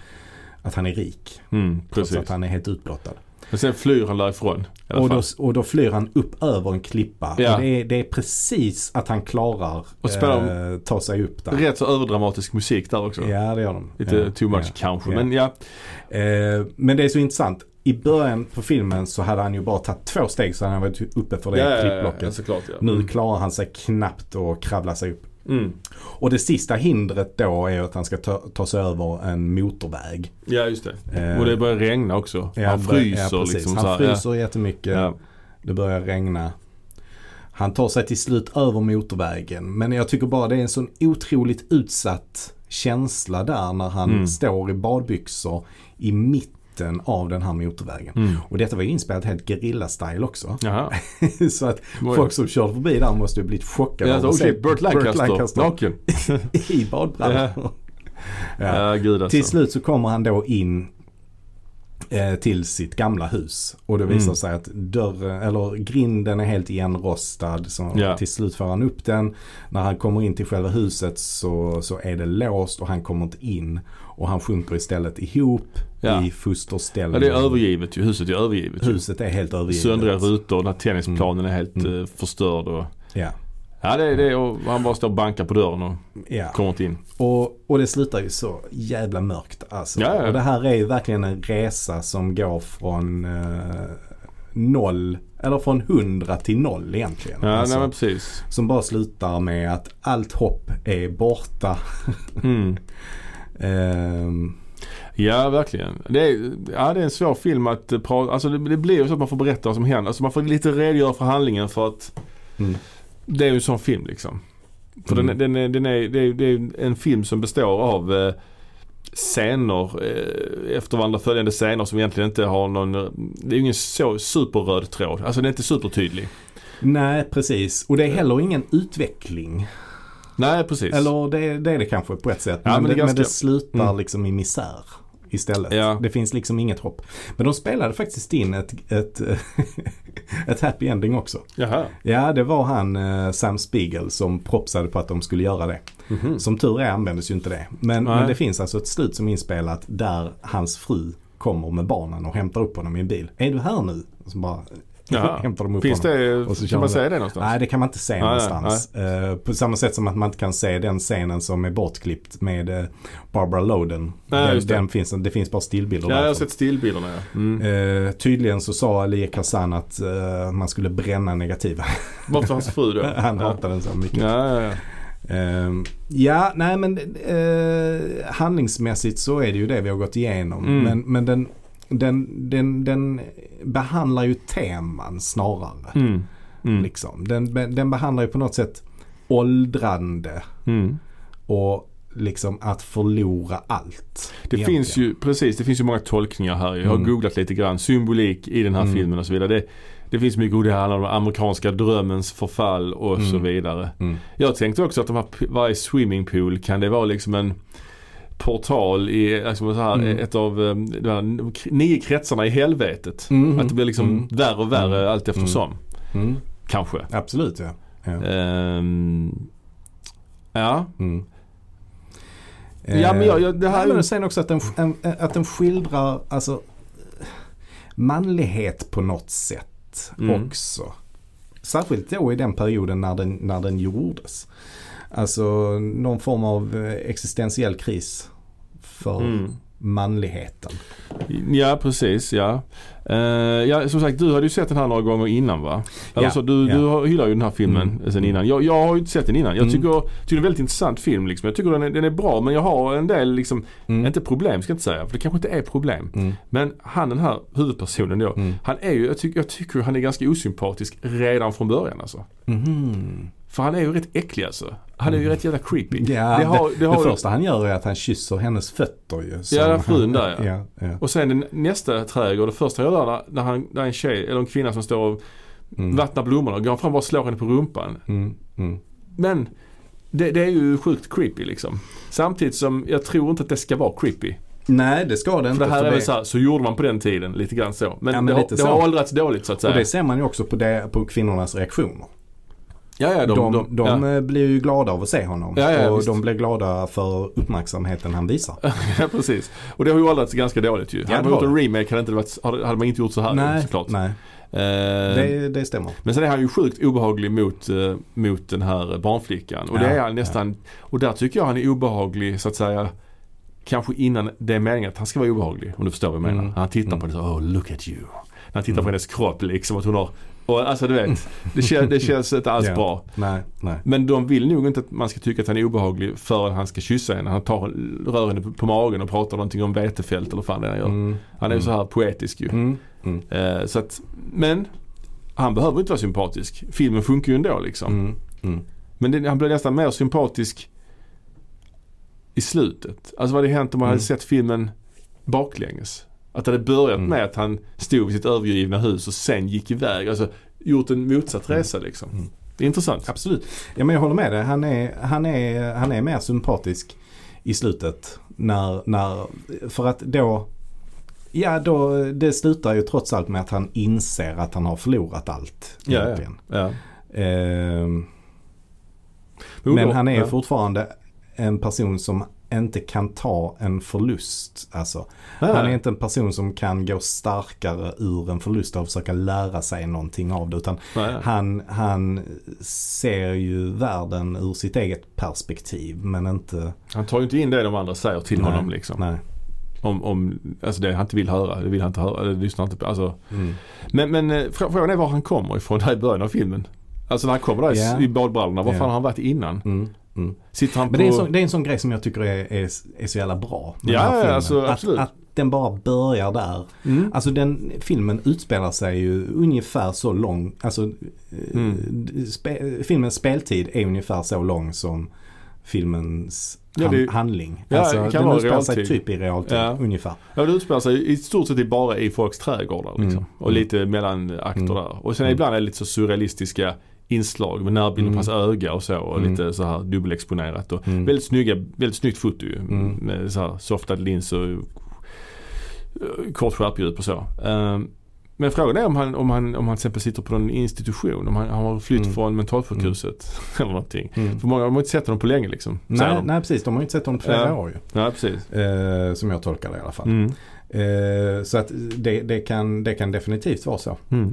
Speaker 1: att han är rik.
Speaker 2: Mm,
Speaker 1: eh, Trots
Speaker 2: precis.
Speaker 1: att han är helt utblottad.
Speaker 2: Men sen flyr han därifrån. i alla
Speaker 1: Och
Speaker 2: fall.
Speaker 1: då, och då flyr han upp över en klippa.
Speaker 2: Ja.
Speaker 1: Och det, är, det är precis att han klarar
Speaker 2: Och spelar
Speaker 1: eh, ta sig upp där.
Speaker 2: Rätt så överdramatisk musik där också.
Speaker 1: Ja det gör de.
Speaker 2: Lite
Speaker 1: ja,
Speaker 2: too much
Speaker 1: ja,
Speaker 2: kanske.
Speaker 1: ja.
Speaker 2: Men ja,
Speaker 1: Eh, men det är så intressant. I början på filmen så hade han ju bara tagit två steg så hade han varit uppe för det
Speaker 2: ja, ja, ja, Mm.
Speaker 1: klippblocket.
Speaker 2: ja såklart ja.
Speaker 1: Nu klarar han sig knappt att kravla sig upp.
Speaker 2: Mm.
Speaker 1: Och det sista hindret då är att han ska ta, ta sig över en motorväg.
Speaker 2: Ja, just det.
Speaker 1: Eh,
Speaker 2: Och det börjar regna också.
Speaker 1: ja,
Speaker 2: han
Speaker 1: bör-
Speaker 2: fryser
Speaker 1: ja, precis.
Speaker 2: liksom
Speaker 1: Han
Speaker 2: så här.
Speaker 1: fryser jättemycket.
Speaker 2: Ja.
Speaker 1: Det börjar regna. Han tar sig till slut över motorvägen. Men jag tycker bara det är en sån otroligt utsatt känsla där när han
Speaker 2: Mm.
Speaker 1: står i badbyxor i mitten av den här motorvägen.
Speaker 2: Ja. Mm.
Speaker 1: Och detta var ju inspelat helt gerilla-style också.
Speaker 2: Jaha.
Speaker 1: så att
Speaker 2: Oj.
Speaker 1: folk som körde förbi där måste ju blivit chockade
Speaker 2: Ja,
Speaker 1: av
Speaker 2: alltså,
Speaker 1: att
Speaker 2: Okej,
Speaker 1: se
Speaker 2: Burt Lancaster. Naken.
Speaker 1: i badbrallor. Ja.
Speaker 2: Ja, gud alltså.
Speaker 1: Till slut så kommer han då in eh, till sitt gamla hus. Och det visar
Speaker 2: Mm.
Speaker 1: sig att dörren, eller grinden är helt igenrostad. Så
Speaker 2: Ja.
Speaker 1: Till slut får han upp den. När han kommer in till själva huset så, så är det låst och han kommer inte in. Och han sjunker istället ihop
Speaker 2: Ja.
Speaker 1: i fosterställning.
Speaker 2: Ja, det är övergivet ju. Huset är övergivet ju.
Speaker 1: Huset är helt övergivet.
Speaker 2: Söndriga rutor, den här tennisplanen är helt eh, förstörd. Och...
Speaker 1: Ja.
Speaker 2: Ja, det är det. Och han bara står och bankar på dörren och
Speaker 1: Ja.
Speaker 2: kommer inte in.
Speaker 1: Och, och det slutar ju så jävla mörkt alltså.
Speaker 2: Ja, ja.
Speaker 1: Och det här är ju verkligen en resa som går från eh, noll, eller från hundra till noll egentligen.
Speaker 2: Ja,
Speaker 1: alltså,
Speaker 2: nej men precis.
Speaker 1: Som bara slutar med att allt hopp är borta.
Speaker 2: Mm.
Speaker 1: Ehm,
Speaker 2: Ja, verkligen. Det är, ja, det är en svår film att eh, prata, alltså det, det blir ju så att man får berätta vad som händer. Alltså man får lite redogöra för handlingen för att
Speaker 1: mm,
Speaker 2: det är ju en sån film liksom. För
Speaker 1: Mm.
Speaker 2: den, den, är- den är, det, är, det är en film som består av eh, scener, eh, efter varandra följande scener som egentligen inte har någon, det är ju ingen så superröd tråd. Alltså den är inte supertydlig.
Speaker 1: Nej, precis. Och det är heller ingen utveckling.
Speaker 2: Nej, precis.
Speaker 1: Eller det, det är det kanske på ett sätt.
Speaker 2: Ja,
Speaker 1: men,
Speaker 2: men det är
Speaker 1: det, men
Speaker 2: ganska-
Speaker 1: det slutar
Speaker 2: Mm.
Speaker 1: liksom i misär istället.
Speaker 2: Ja.
Speaker 1: Det finns liksom inget hopp. Men de spelade faktiskt in ett, ett, ett happy ending också.
Speaker 2: Jaha.
Speaker 1: Ja, det var han eh, Sam Spiegel som propsade på att de skulle göra det.
Speaker 2: Mhm.
Speaker 1: Som tur är användes ju inte det. Men,
Speaker 2: Nej.
Speaker 1: men det finns alltså ett slut som är inspelat där hans fru kommer med barnen och hämtar upp honom i en bil. Är du här nu? Och så bara
Speaker 2: Jaha.
Speaker 1: hämtar de upp
Speaker 2: Finns
Speaker 1: honom.
Speaker 2: det,
Speaker 1: Och så kör
Speaker 2: kan man
Speaker 1: man-
Speaker 2: säga det någonstans?
Speaker 1: Nej, det kan man inte se
Speaker 2: nej,
Speaker 1: någonstans. Eh, på samma sätt som att man inte kan se den scenen som är bortklippt med eh, Barbara Loden.
Speaker 2: Nej,
Speaker 1: den,
Speaker 2: just det.
Speaker 1: den finns, det alltså- finns bara stillbilder
Speaker 2: Ja, jag har
Speaker 1: därifrån.
Speaker 2: sett stillbilderna ja. Mm.
Speaker 1: Eh, tydligen så sa Ali Kazan att eh, man skulle bränna negativa.
Speaker 2: Varför hans fru då?
Speaker 1: Han
Speaker 2: ja.
Speaker 1: hatade den så mycket.
Speaker 2: Ja, ja, ja.
Speaker 1: Ehm, ja, nej men eh, handlingsmässigt så är det ju det vi har gått igenom.
Speaker 2: Mm.
Speaker 1: Men, men den, den, den, den behandlar ju teman snarare.
Speaker 2: Mm. Mm.
Speaker 1: Liksom. Den, den behandlar ju på något sätt åldrande
Speaker 2: Mm.
Speaker 1: och liksom att förlora allt.
Speaker 2: Det
Speaker 1: egentligen.
Speaker 2: finns ju, precis, det finns ju många tolkningar här. Jag har
Speaker 1: Mm.
Speaker 2: googlat lite grann. Symbolik i den här
Speaker 1: Mm.
Speaker 2: filmen och så vidare. Det, det finns mycket, och det handlar om amerikanska drömmens förfall och
Speaker 1: Mm.
Speaker 2: så vidare.
Speaker 1: Mm.
Speaker 2: Jag tänkte också att de här, p- varje swimmingpool kan det vara liksom en portal i liksom så här,
Speaker 1: Mm.
Speaker 2: ett av eh, de här nio kretsarna i helvetet.
Speaker 1: Mhm.
Speaker 2: Att det blir liksom
Speaker 1: Mm.
Speaker 2: värre och värre
Speaker 1: Mm.
Speaker 2: allt eftersom.
Speaker 1: Mm.
Speaker 2: Kanske.
Speaker 1: Absolut ja. ja.
Speaker 2: Ehm, ja.
Speaker 1: Mm.
Speaker 2: Ja, men jag- jag- det här
Speaker 1: Eh,
Speaker 2: är
Speaker 1: Nej,
Speaker 2: ju-
Speaker 1: men och sen också att den, en, att den skildrar alltså, manlighet på något sätt
Speaker 2: Mm.
Speaker 1: också. Särskilt då i den perioden när den, när den gjordes. Alltså någon form av eh, existentiell kris för
Speaker 2: Mm.
Speaker 1: manligheten.
Speaker 2: Ja precis ja. Eh, ja. Som sagt du hade ju sett den här några gånger innan va? Eller
Speaker 1: Ja,
Speaker 2: så, du,
Speaker 1: ja.
Speaker 2: du har- hyllar ju den här filmen
Speaker 1: Mm.
Speaker 2: sen innan. Jag, jag har ju inte sett den innan. Jag
Speaker 1: Mm.
Speaker 2: tycker, tycker det är en väldigt intressant film liksom. Jag tycker den är, den är bra men jag har en del liksom,
Speaker 1: Mm.
Speaker 2: inte problem ska jag inte säga för det kanske inte är problem.
Speaker 1: Mm.
Speaker 2: Men han den här huvudpersonen då.
Speaker 1: Mm.
Speaker 2: Han är ju, jag, tycker jag tycker han är ganska osympatisk redan från början alltså.
Speaker 1: Mhm.
Speaker 2: För han är ju rätt äcklig alltså. Han är ju rätt jävla creepy.
Speaker 1: Mm. Ja,
Speaker 2: det har, det har
Speaker 1: det första han gör är att han kysser hennes fötter ju. som
Speaker 2: Ja, frun där, ja.
Speaker 1: han, ja. ja,
Speaker 2: Och sen den- nästa trädgård, det första jag gör där, när han, där är en tjej eller en kvinna som står och
Speaker 1: Mm.
Speaker 2: vattnar blommorna, går han fram och bara slår henne på rumpan.
Speaker 1: Mm. Mm.
Speaker 2: Men det, det är ju sjukt creepy liksom. Samtidigt som jag tror inte att det ska vara creepy.
Speaker 1: Nej, det ska det
Speaker 2: För
Speaker 1: inte.
Speaker 2: det här
Speaker 1: för
Speaker 2: är väl så här, så gjorde man på den tiden lite grann så. Men,
Speaker 1: Ja, men
Speaker 2: det, har,
Speaker 1: lite
Speaker 2: det
Speaker 1: så.
Speaker 2: har åldrats dåligt så att säga.
Speaker 1: Och det ser man ju också på, det, på kvinnornas reaktioner.
Speaker 2: ja, ja,
Speaker 1: De,
Speaker 2: de,
Speaker 1: de,
Speaker 2: ja.
Speaker 1: eh, blir ju glada av att se honom.
Speaker 2: Ja, ja,
Speaker 1: och
Speaker 2: visst.
Speaker 1: de blir glada för uppmärksamheten han visar.
Speaker 2: ja, precis. Och det har ju åldrats ganska dåligt ju. hade
Speaker 1: det
Speaker 2: man gjort
Speaker 1: har
Speaker 2: en remake hade, inte det varit, hade hade man inte gjort så här ju,
Speaker 1: nej,
Speaker 2: såklart.
Speaker 1: nej
Speaker 2: Eh,
Speaker 1: det, det stämmer.
Speaker 2: Men sen är han ju sjukt obehaglig mot, eh, mot den här barnflickan. Och det
Speaker 1: Ja,
Speaker 2: är han nästan, och där tycker jag han är obehaglig så att säga kanske innan det är meningen att han ska vara obehaglig. Om du förstår vad jag menar.
Speaker 1: Mm.
Speaker 2: Han tittar på det så, oh look at you. När han tittar på hennes kropp liksom att hon har, och, alltså du vet. Det, kän, det känns inte alls
Speaker 1: Ja.
Speaker 2: alltså bra.
Speaker 1: Nej, nej.
Speaker 2: Men de vill nog inte att man ska tycka att han är obehaglig förrän han ska kyssa henne. Han tar, rör henne på, på magen och pratar någonting om vetefält eller vad fan det är han gör.
Speaker 1: Mm,
Speaker 2: Han är ju
Speaker 1: mm.
Speaker 2: så här poetisk ju.
Speaker 1: Mm, mm,
Speaker 2: Eh, så att, men han behöver inte vara sympatisk. Filmen funkar ju ändå liksom.
Speaker 1: mm, mm.
Speaker 2: Men det, han blir nästan mer sympatisk i slutet. Alltså vad hade hänt om man hade
Speaker 1: Mm.
Speaker 2: sett filmen baklänges? Att det hade börjat
Speaker 1: Mm.
Speaker 2: med att han stod vid sitt övergivna hus och sen gick iväg. Alltså gjort en motsatt resa liksom.
Speaker 1: Mm.
Speaker 2: Det är intressant.
Speaker 1: Absolut. Ja, men jag håller med dig. Han är, han är, han är mer sympatisk i slutet. När, när, för att då, ja då, det slutar ju trots allt med att han inser att han har förlorat allt.
Speaker 2: Ja, ja.
Speaker 1: egentligen.
Speaker 2: Ja.
Speaker 1: Ehm,
Speaker 2: Jo,
Speaker 1: Men
Speaker 2: då.
Speaker 1: han är
Speaker 2: ja.
Speaker 1: fortfarande en person som inte kan ta en förlust. Alltså,
Speaker 2: Nej,
Speaker 1: han är
Speaker 2: nej.
Speaker 1: inte en person som kan gå starkare ur en förlust och försöka lära sig någonting av det. Utan
Speaker 2: Nej, nej.
Speaker 1: han, han ser ju världen ur sitt eget perspektiv men inte...
Speaker 2: Han tar ju inte in det de andra säger till
Speaker 1: Nej,
Speaker 2: honom liksom.
Speaker 1: Nej.
Speaker 2: Om, om, alltså det han inte vill höra, det vill han inte höra, eller lyssnar inte på. Alltså,
Speaker 1: Mm.
Speaker 2: Men, men eh, frå- frågan är var han kommer ifrån där i början av filmen. Alltså när han kommer där i s-
Speaker 1: Ja.
Speaker 2: i badbrallorna, var fan
Speaker 1: Ja.
Speaker 2: har han varit innan?
Speaker 1: Mm. Mm.
Speaker 2: Sitter han på...
Speaker 1: Men det är, en sån, det är en sån grej som jag tycker är, är, är så jävla bra. med
Speaker 2: Ja,
Speaker 1: den här
Speaker 2: ja,
Speaker 1: filmen.
Speaker 2: alltså,
Speaker 1: att,
Speaker 2: absolut.
Speaker 1: att den bara börjar där
Speaker 2: Mm.
Speaker 1: Alltså den filmen utspelar sig ju ungefär så lång, alltså eh,
Speaker 2: Mm.
Speaker 1: spe, filmens speltid är ungefär så lång som filmens
Speaker 2: Ja,
Speaker 1: han,
Speaker 2: det-
Speaker 1: handling.
Speaker 2: ja,
Speaker 1: alltså,
Speaker 2: det kan
Speaker 1: den
Speaker 2: vara
Speaker 1: utspelar sig
Speaker 2: realtid.
Speaker 1: typ i realtid
Speaker 2: Ja.
Speaker 1: ungefär.
Speaker 2: Ja, det utspelar sig i stort sett i- bara i folks trädgårdar liksom.
Speaker 1: Mm.
Speaker 2: Och lite mellan akter
Speaker 1: Mm.
Speaker 2: där. Och sen
Speaker 1: Mm.
Speaker 2: ibland är det lite så surrealistiska inslag med närbilder
Speaker 1: Mm.
Speaker 2: på hans öga och så. Och
Speaker 1: Mm.
Speaker 2: lite så här dubbelexponerat. Och
Speaker 1: Mm.
Speaker 2: Väldigt snygga, väldigt snyggt foto ju.
Speaker 1: Mm.
Speaker 2: Med så här softad lins och eh, kort skärpdjup och så. Ehm, Men frågan är om han, om han, om han till exempel sitter på någon institution. Om han, han har flytt
Speaker 1: Mm.
Speaker 2: från mentalsjukhuset eller någonting.
Speaker 1: Mm.
Speaker 2: För många de har inte sett honom på länge liksom. säger
Speaker 1: Nej,
Speaker 2: de.
Speaker 1: nej precis, de har ju inte sett honom på flera
Speaker 2: Ja.
Speaker 1: år ju.
Speaker 2: Ja, precis.
Speaker 1: Eh, som jag tolkar det i alla fall.
Speaker 2: Mm.
Speaker 1: Eh, så att det, det, kan, det kan definitivt vara så.
Speaker 2: Mm.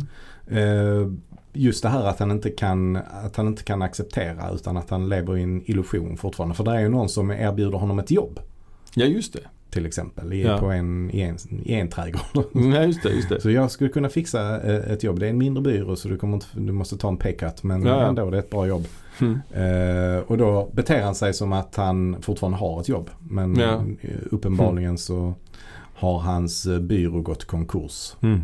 Speaker 1: Eh, Just det här att han, inte kan, att han inte kan acceptera utan att han lever i en illusion fortfarande. För det är ju någon som erbjuder honom ett jobb.
Speaker 2: Ja, just det.
Speaker 1: till exempel i,
Speaker 2: Ja.
Speaker 1: på en, i, en, i en trädgård.
Speaker 2: Ja, just det, just det.
Speaker 1: Så jag skulle kunna fixa eh, ett jobb. Det är en mindre byrå så du, kommer inte, du måste ta en paycut men
Speaker 2: Ja, ja.
Speaker 1: ändå det är ett bra jobb.
Speaker 2: Mm.
Speaker 1: Eh, och då beter han sig som att han fortfarande har ett jobb. Men
Speaker 2: Ja.
Speaker 1: eh, uppenbarligen så har hans eh, byrå gått konkurs.
Speaker 2: Mm.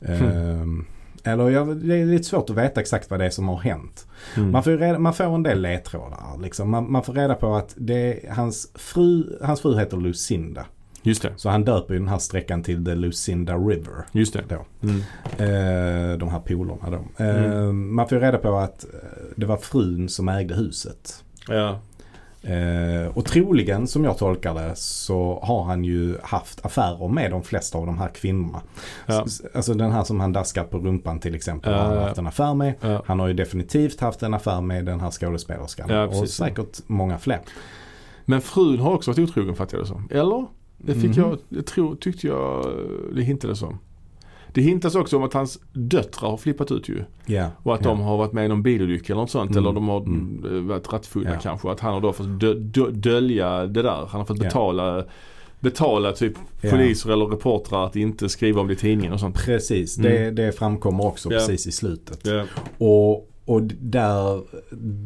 Speaker 1: Eh,
Speaker 2: Hmm.
Speaker 1: Eller jag, det är lite svårt att veta exakt vad det är som har hänt.
Speaker 2: Mm.
Speaker 1: Man får, ju reda, man får en del ledtrådar. Liksom. Man, man får reda på att det, hans, fru, hans fru heter Lucinda.
Speaker 2: Just det.
Speaker 1: Så han döper ju den här sträckan till The Lucinda River.
Speaker 2: Just det.
Speaker 1: Då.
Speaker 2: Mm.
Speaker 1: Eh, de här polerna då. Eh,
Speaker 2: Mm.
Speaker 1: Man får ju reda på att eh, det var frun som ägde huset.
Speaker 2: Ja.
Speaker 1: Eh, och troligen, som jag tolkar det, så har han ju haft affärer med de flesta av de här kvinnorna.
Speaker 2: Ja.
Speaker 1: S- Alltså den här som han daskar på rumpan till exempel
Speaker 2: Ja,
Speaker 1: har han
Speaker 2: ja.
Speaker 1: haft en affär med.
Speaker 2: Ja.
Speaker 1: Han har ju definitivt haft en affär med den här skådespelerskan.
Speaker 2: Ja,
Speaker 1: och
Speaker 2: precis.
Speaker 1: säkert många fler.
Speaker 2: Men frun har också varit otrogen fattar jag det som. Eller? Det fick
Speaker 1: Mhm.
Speaker 2: jag, det tro, tyckte jag, eh, det hintades om. Det hintas också om att hans döttrar har flippat ut ju.
Speaker 1: Ja.
Speaker 2: Och att de har varit med i någon bilolycka eller något sånt.
Speaker 1: Mm.
Speaker 2: Eller de har
Speaker 1: Mm.
Speaker 2: eh, varit rattfulla
Speaker 1: Ja.
Speaker 2: kanske. Att han har då fått dö, dö, dölja det där. Han har fått
Speaker 1: Ja.
Speaker 2: betala, betala typ
Speaker 1: Ja.
Speaker 2: poliser eller reportrar att inte skriva om det i tidningen och sånt.
Speaker 1: Precis,
Speaker 2: Mm.
Speaker 1: det, det framkommer också
Speaker 2: Ja.
Speaker 1: precis i slutet.
Speaker 2: Ja.
Speaker 1: Och, och där,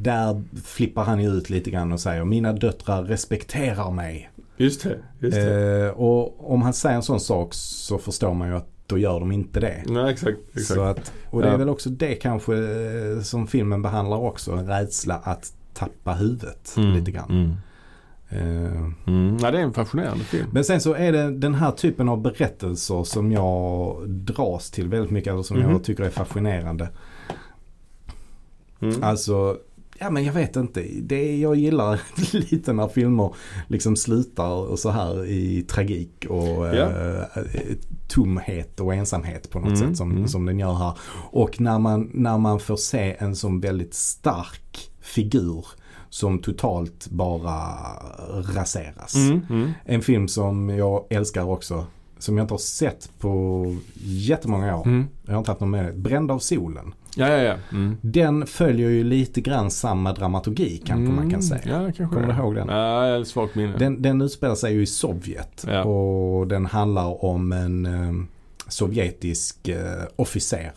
Speaker 1: där flippar han ju ut lite grann och säger mina döttrar respekterar mig.
Speaker 2: Just det. Just det.
Speaker 1: Eh, och om han säger en sån sak så förstår man ju att då gör de inte det.
Speaker 2: Nej, exakt. exakt.
Speaker 1: Så att, och det är
Speaker 2: Ja.
Speaker 1: väl också det kanske eh, som filmen behandlar också. En rädsla att tappa huvudet lite grann.
Speaker 2: Mm.
Speaker 1: Eh,
Speaker 2: Mm. Ja, det är en fascinerande film.
Speaker 1: men sen så är det den här typen av berättelser som jag dras till väldigt mycket. Eller som
Speaker 2: Mhm.
Speaker 1: jag tycker är fascinerande.
Speaker 2: Mm.
Speaker 1: Alltså, ja men jag vet inte. Det är, jag gillar lite när filmer liksom slutar så här i tragik och
Speaker 2: Ja.
Speaker 1: eh, tomhet och ensamhet på något
Speaker 2: Mm,
Speaker 1: sätt som,
Speaker 2: mm.
Speaker 1: som den gör här. Och när man, när man får se en sån väldigt stark figur som totalt bara raseras.
Speaker 2: Mm. Mm.
Speaker 1: En film som jag älskar också. Som jag inte har sett på jättemånga år.
Speaker 2: Mm.
Speaker 1: Jag har inte haft någon med Bränd av solen.
Speaker 2: Ja, ja, ja. Mm.
Speaker 1: Den följer ju lite grann samma dramaturgi kanske man kan säga.
Speaker 2: Mm, Ja, kanske
Speaker 1: Kommer
Speaker 2: det.
Speaker 1: du ihåg den?
Speaker 2: Ja, jag har ett svagt minne.
Speaker 1: Den, den utspelar sig ju i Sovjet
Speaker 2: Ja.
Speaker 1: och den handlar om en eh, sovjetisk eh, officer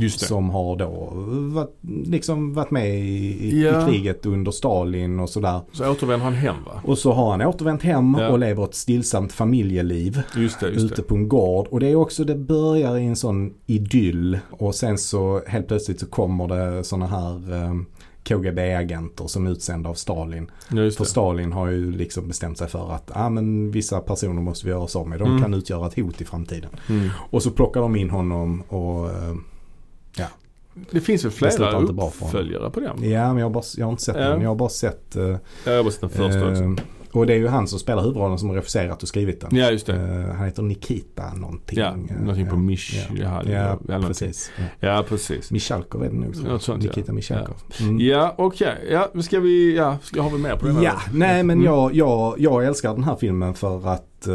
Speaker 2: Just det.
Speaker 1: som har då varit, liksom varit med i, i,
Speaker 2: Ja.
Speaker 1: i kriget under Stalin och sådär.
Speaker 2: Så återvänder han hem va?
Speaker 1: Och så har han återvänt hem
Speaker 2: Ja.
Speaker 1: och lever ett stillsamt familjeliv
Speaker 2: Just det, just
Speaker 1: ute
Speaker 2: det.
Speaker 1: på en gård. Och det är också, det börjar i en sån idyll. Och sen så helt plötsligt så kommer det såna här eh, KGB-agenter som är utsända av Stalin.
Speaker 2: Ja, just
Speaker 1: För
Speaker 2: det.
Speaker 1: Stalin har ju liksom bestämt sig för att ah, men vissa personer måste vi göra oss av med. De
Speaker 2: Mm.
Speaker 1: kan utgöra ett hot i framtiden.
Speaker 2: Mm.
Speaker 1: Och så plockar de in honom och eh,
Speaker 2: Det finns väl
Speaker 1: Det
Speaker 2: flera
Speaker 1: slutar inte bra för honom.
Speaker 2: uppföljare på den?
Speaker 1: ja men jag har, bara, jag har inte sett
Speaker 2: Ja.
Speaker 1: den. Jag har bara sett eh,
Speaker 2: Ja, jag har bara sett den första också.
Speaker 1: eh, Och det är ju han som spelar huvudrollen som har regisserat och skrivit den.
Speaker 2: Ja, just det.
Speaker 1: Eh, han heter Nikita någonting.
Speaker 2: Ja, någonting på
Speaker 1: ja.
Speaker 2: Mish.
Speaker 1: Ja.
Speaker 2: Ja,
Speaker 1: Ja,
Speaker 2: eller någonting.
Speaker 1: precis. Ja.
Speaker 2: Ja, precis.
Speaker 1: Michalkov är det nog. tror jag.
Speaker 2: Något sånt, ja.
Speaker 1: Nikita Michalkov. Mm.
Speaker 2: Ja, okej. Ja, ska vi, ja, ska, har vi mer på den här?
Speaker 1: Ja, nej men
Speaker 2: Mm.
Speaker 1: jag, jag, jag älskar den här filmen för att eh,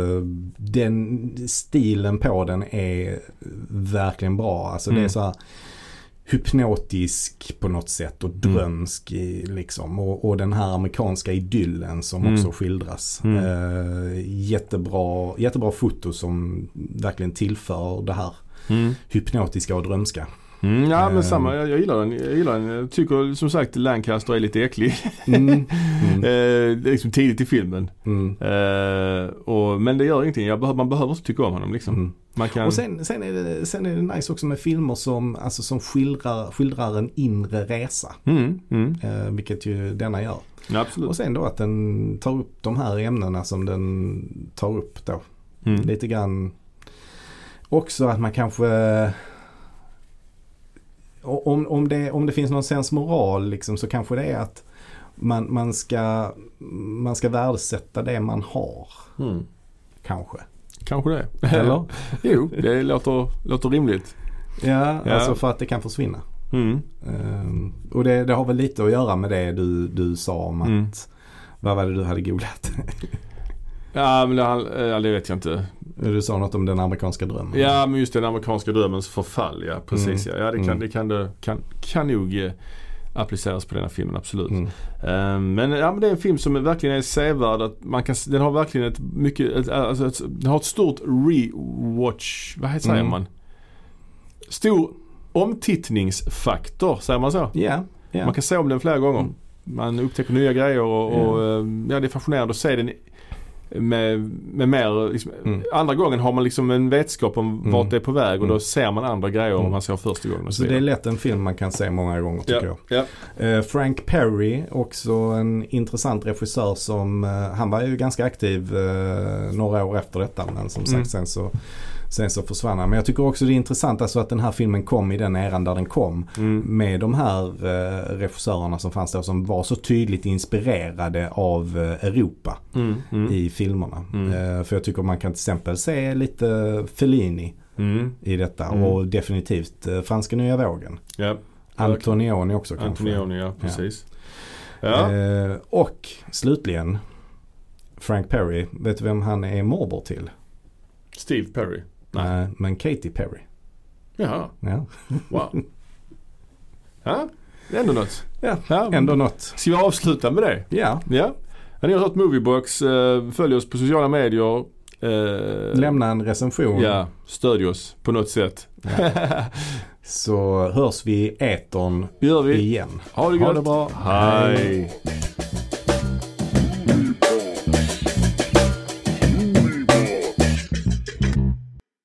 Speaker 1: den stilen på den är verkligen bra. Alltså det är
Speaker 2: Mm.
Speaker 1: så här hypnotisk på något sätt och
Speaker 2: Mm.
Speaker 1: drömsk i, liksom. Och, och den här amerikanska idyllen som
Speaker 2: Mm.
Speaker 1: också skildras.
Speaker 2: Mm.
Speaker 1: Eh, jättebra, jättebra foto som verkligen tillför det här
Speaker 2: Mm.
Speaker 1: hypnotiska och drömska.
Speaker 2: Mm, ja,
Speaker 1: Ehm.
Speaker 2: men samma. Jag, jag gillar den. Jag gillar den. Jag tycker som sagt Lancaster är lite äcklig.
Speaker 1: Mm. Mm.
Speaker 2: Eh, det är liksom tidigt i filmen.
Speaker 1: Mm.
Speaker 2: Eh, och, men det gör ingenting. Jag behöver, man behöver inte tycka om honom liksom.
Speaker 1: Mm.
Speaker 2: Man kan...
Speaker 1: Och sen, sen, är det, sen är det nice också med filmer som, alltså som skildrar, skildrar en inre resa.
Speaker 2: mm, mm.
Speaker 1: Eh, vilket ju denna gör.
Speaker 2: Ja, absolut.
Speaker 1: Och sen då att den tar upp de här ämnena som den tar upp då.
Speaker 2: Mm.
Speaker 1: Lite grann också att man kanske om, om, det, om det finns någon sensmoral liksom, så kanske det är att man, man, ska, man ska värdesätta det man har.
Speaker 2: Mm.
Speaker 1: Kanske.
Speaker 2: Kanske det.
Speaker 1: Eller?
Speaker 2: jo, det låter, låter rimligt.
Speaker 1: Ja,
Speaker 2: Ja.
Speaker 1: alltså för att det kan försvinna.
Speaker 2: Mm.
Speaker 1: Ehm, och det, det har väl lite att göra med det du, du sa om att
Speaker 2: Mm.
Speaker 1: vad var det du hade googlat?
Speaker 2: Ja, men det, ja, det vet jag inte.
Speaker 1: Du sa något om den amerikanska drömmen.
Speaker 2: Ja, men just den amerikanska drömmens förfall. Ja, precis.
Speaker 1: Mm.
Speaker 2: Ja, ja det, kan,
Speaker 1: Mm.
Speaker 2: det kan, det kan, kan nog eh, appliceras på den här filmen, absolut.
Speaker 1: Mm.
Speaker 2: Eh, men, ja, men det är en film som är- verkligen är sevärd. Att man kan, s- den har verkligen ett mycket, ett, alltså ett, den har ett stort rewatch, vad heter, säger
Speaker 1: Mm.
Speaker 2: man? Stor omtittningsfaktor, säger man så?
Speaker 1: Ja, ja.
Speaker 2: Man kan se om den flera gånger.
Speaker 1: Mm.
Speaker 2: Man upptäcker nya grejer och, och eh, ja, det är fascinerande att se den med, med mer, liksom,
Speaker 1: Mm.
Speaker 2: andra gången har man liksom en vetskap om
Speaker 1: Mm.
Speaker 2: vart det är på väg och
Speaker 1: Mm.
Speaker 2: då ser man andra grejer än
Speaker 1: Mm.
Speaker 2: om man såg första gången. Och
Speaker 1: Så
Speaker 2: så
Speaker 1: det är
Speaker 2: vidare.
Speaker 1: lätt en film man kan se många gånger tycker jag.
Speaker 2: ja.
Speaker 1: Eh, Frank Perry, också en intressant regissör som, eh, han var ju ganska aktiv eh, några år efter detta men som sagt
Speaker 2: Mm.
Speaker 1: sen så Sen så försvann han. Men jag tycker också det är intressant alltså att den här filmen kom i den eran där den kom.
Speaker 2: Mm.
Speaker 1: Med de här eh, regissörerna som fanns då som var så tydligt inspirerade av eh, Europa
Speaker 2: Mm. Mm.
Speaker 1: i filmerna.
Speaker 2: Mm.
Speaker 1: Eh, för jag tycker man kan till exempel se lite Fellini
Speaker 2: Mm.
Speaker 1: i detta
Speaker 2: Mm.
Speaker 1: och definitivt eh, Franska nya vågen.
Speaker 2: Ja,
Speaker 1: Antonioni också kanske.
Speaker 2: Antonioni ja, precis. Ja.
Speaker 1: Eh, och slutligen Frank Perry. Vet du vem han är morbror till?
Speaker 2: Steve Perry. Nej.
Speaker 1: Nej. men Katy Perry.
Speaker 2: Jaha,
Speaker 1: Ja.
Speaker 2: wow. ja, det är ändå något.
Speaker 1: Ja,
Speaker 2: Ja.
Speaker 1: Ändå något.
Speaker 2: Ska vi avsluta med det?
Speaker 1: Ja,
Speaker 2: Ja. Ja, Ni har hört Moviebox. eh, Följ oss på sociala medier. eh,
Speaker 1: lämna en recension
Speaker 2: Ja, stödj oss på något sätt.
Speaker 1: så hörs vi i etern
Speaker 2: Det gör vi.
Speaker 1: igen.
Speaker 2: Ha det gott.
Speaker 1: Ha det bra.
Speaker 2: Hej.
Speaker 1: Hej.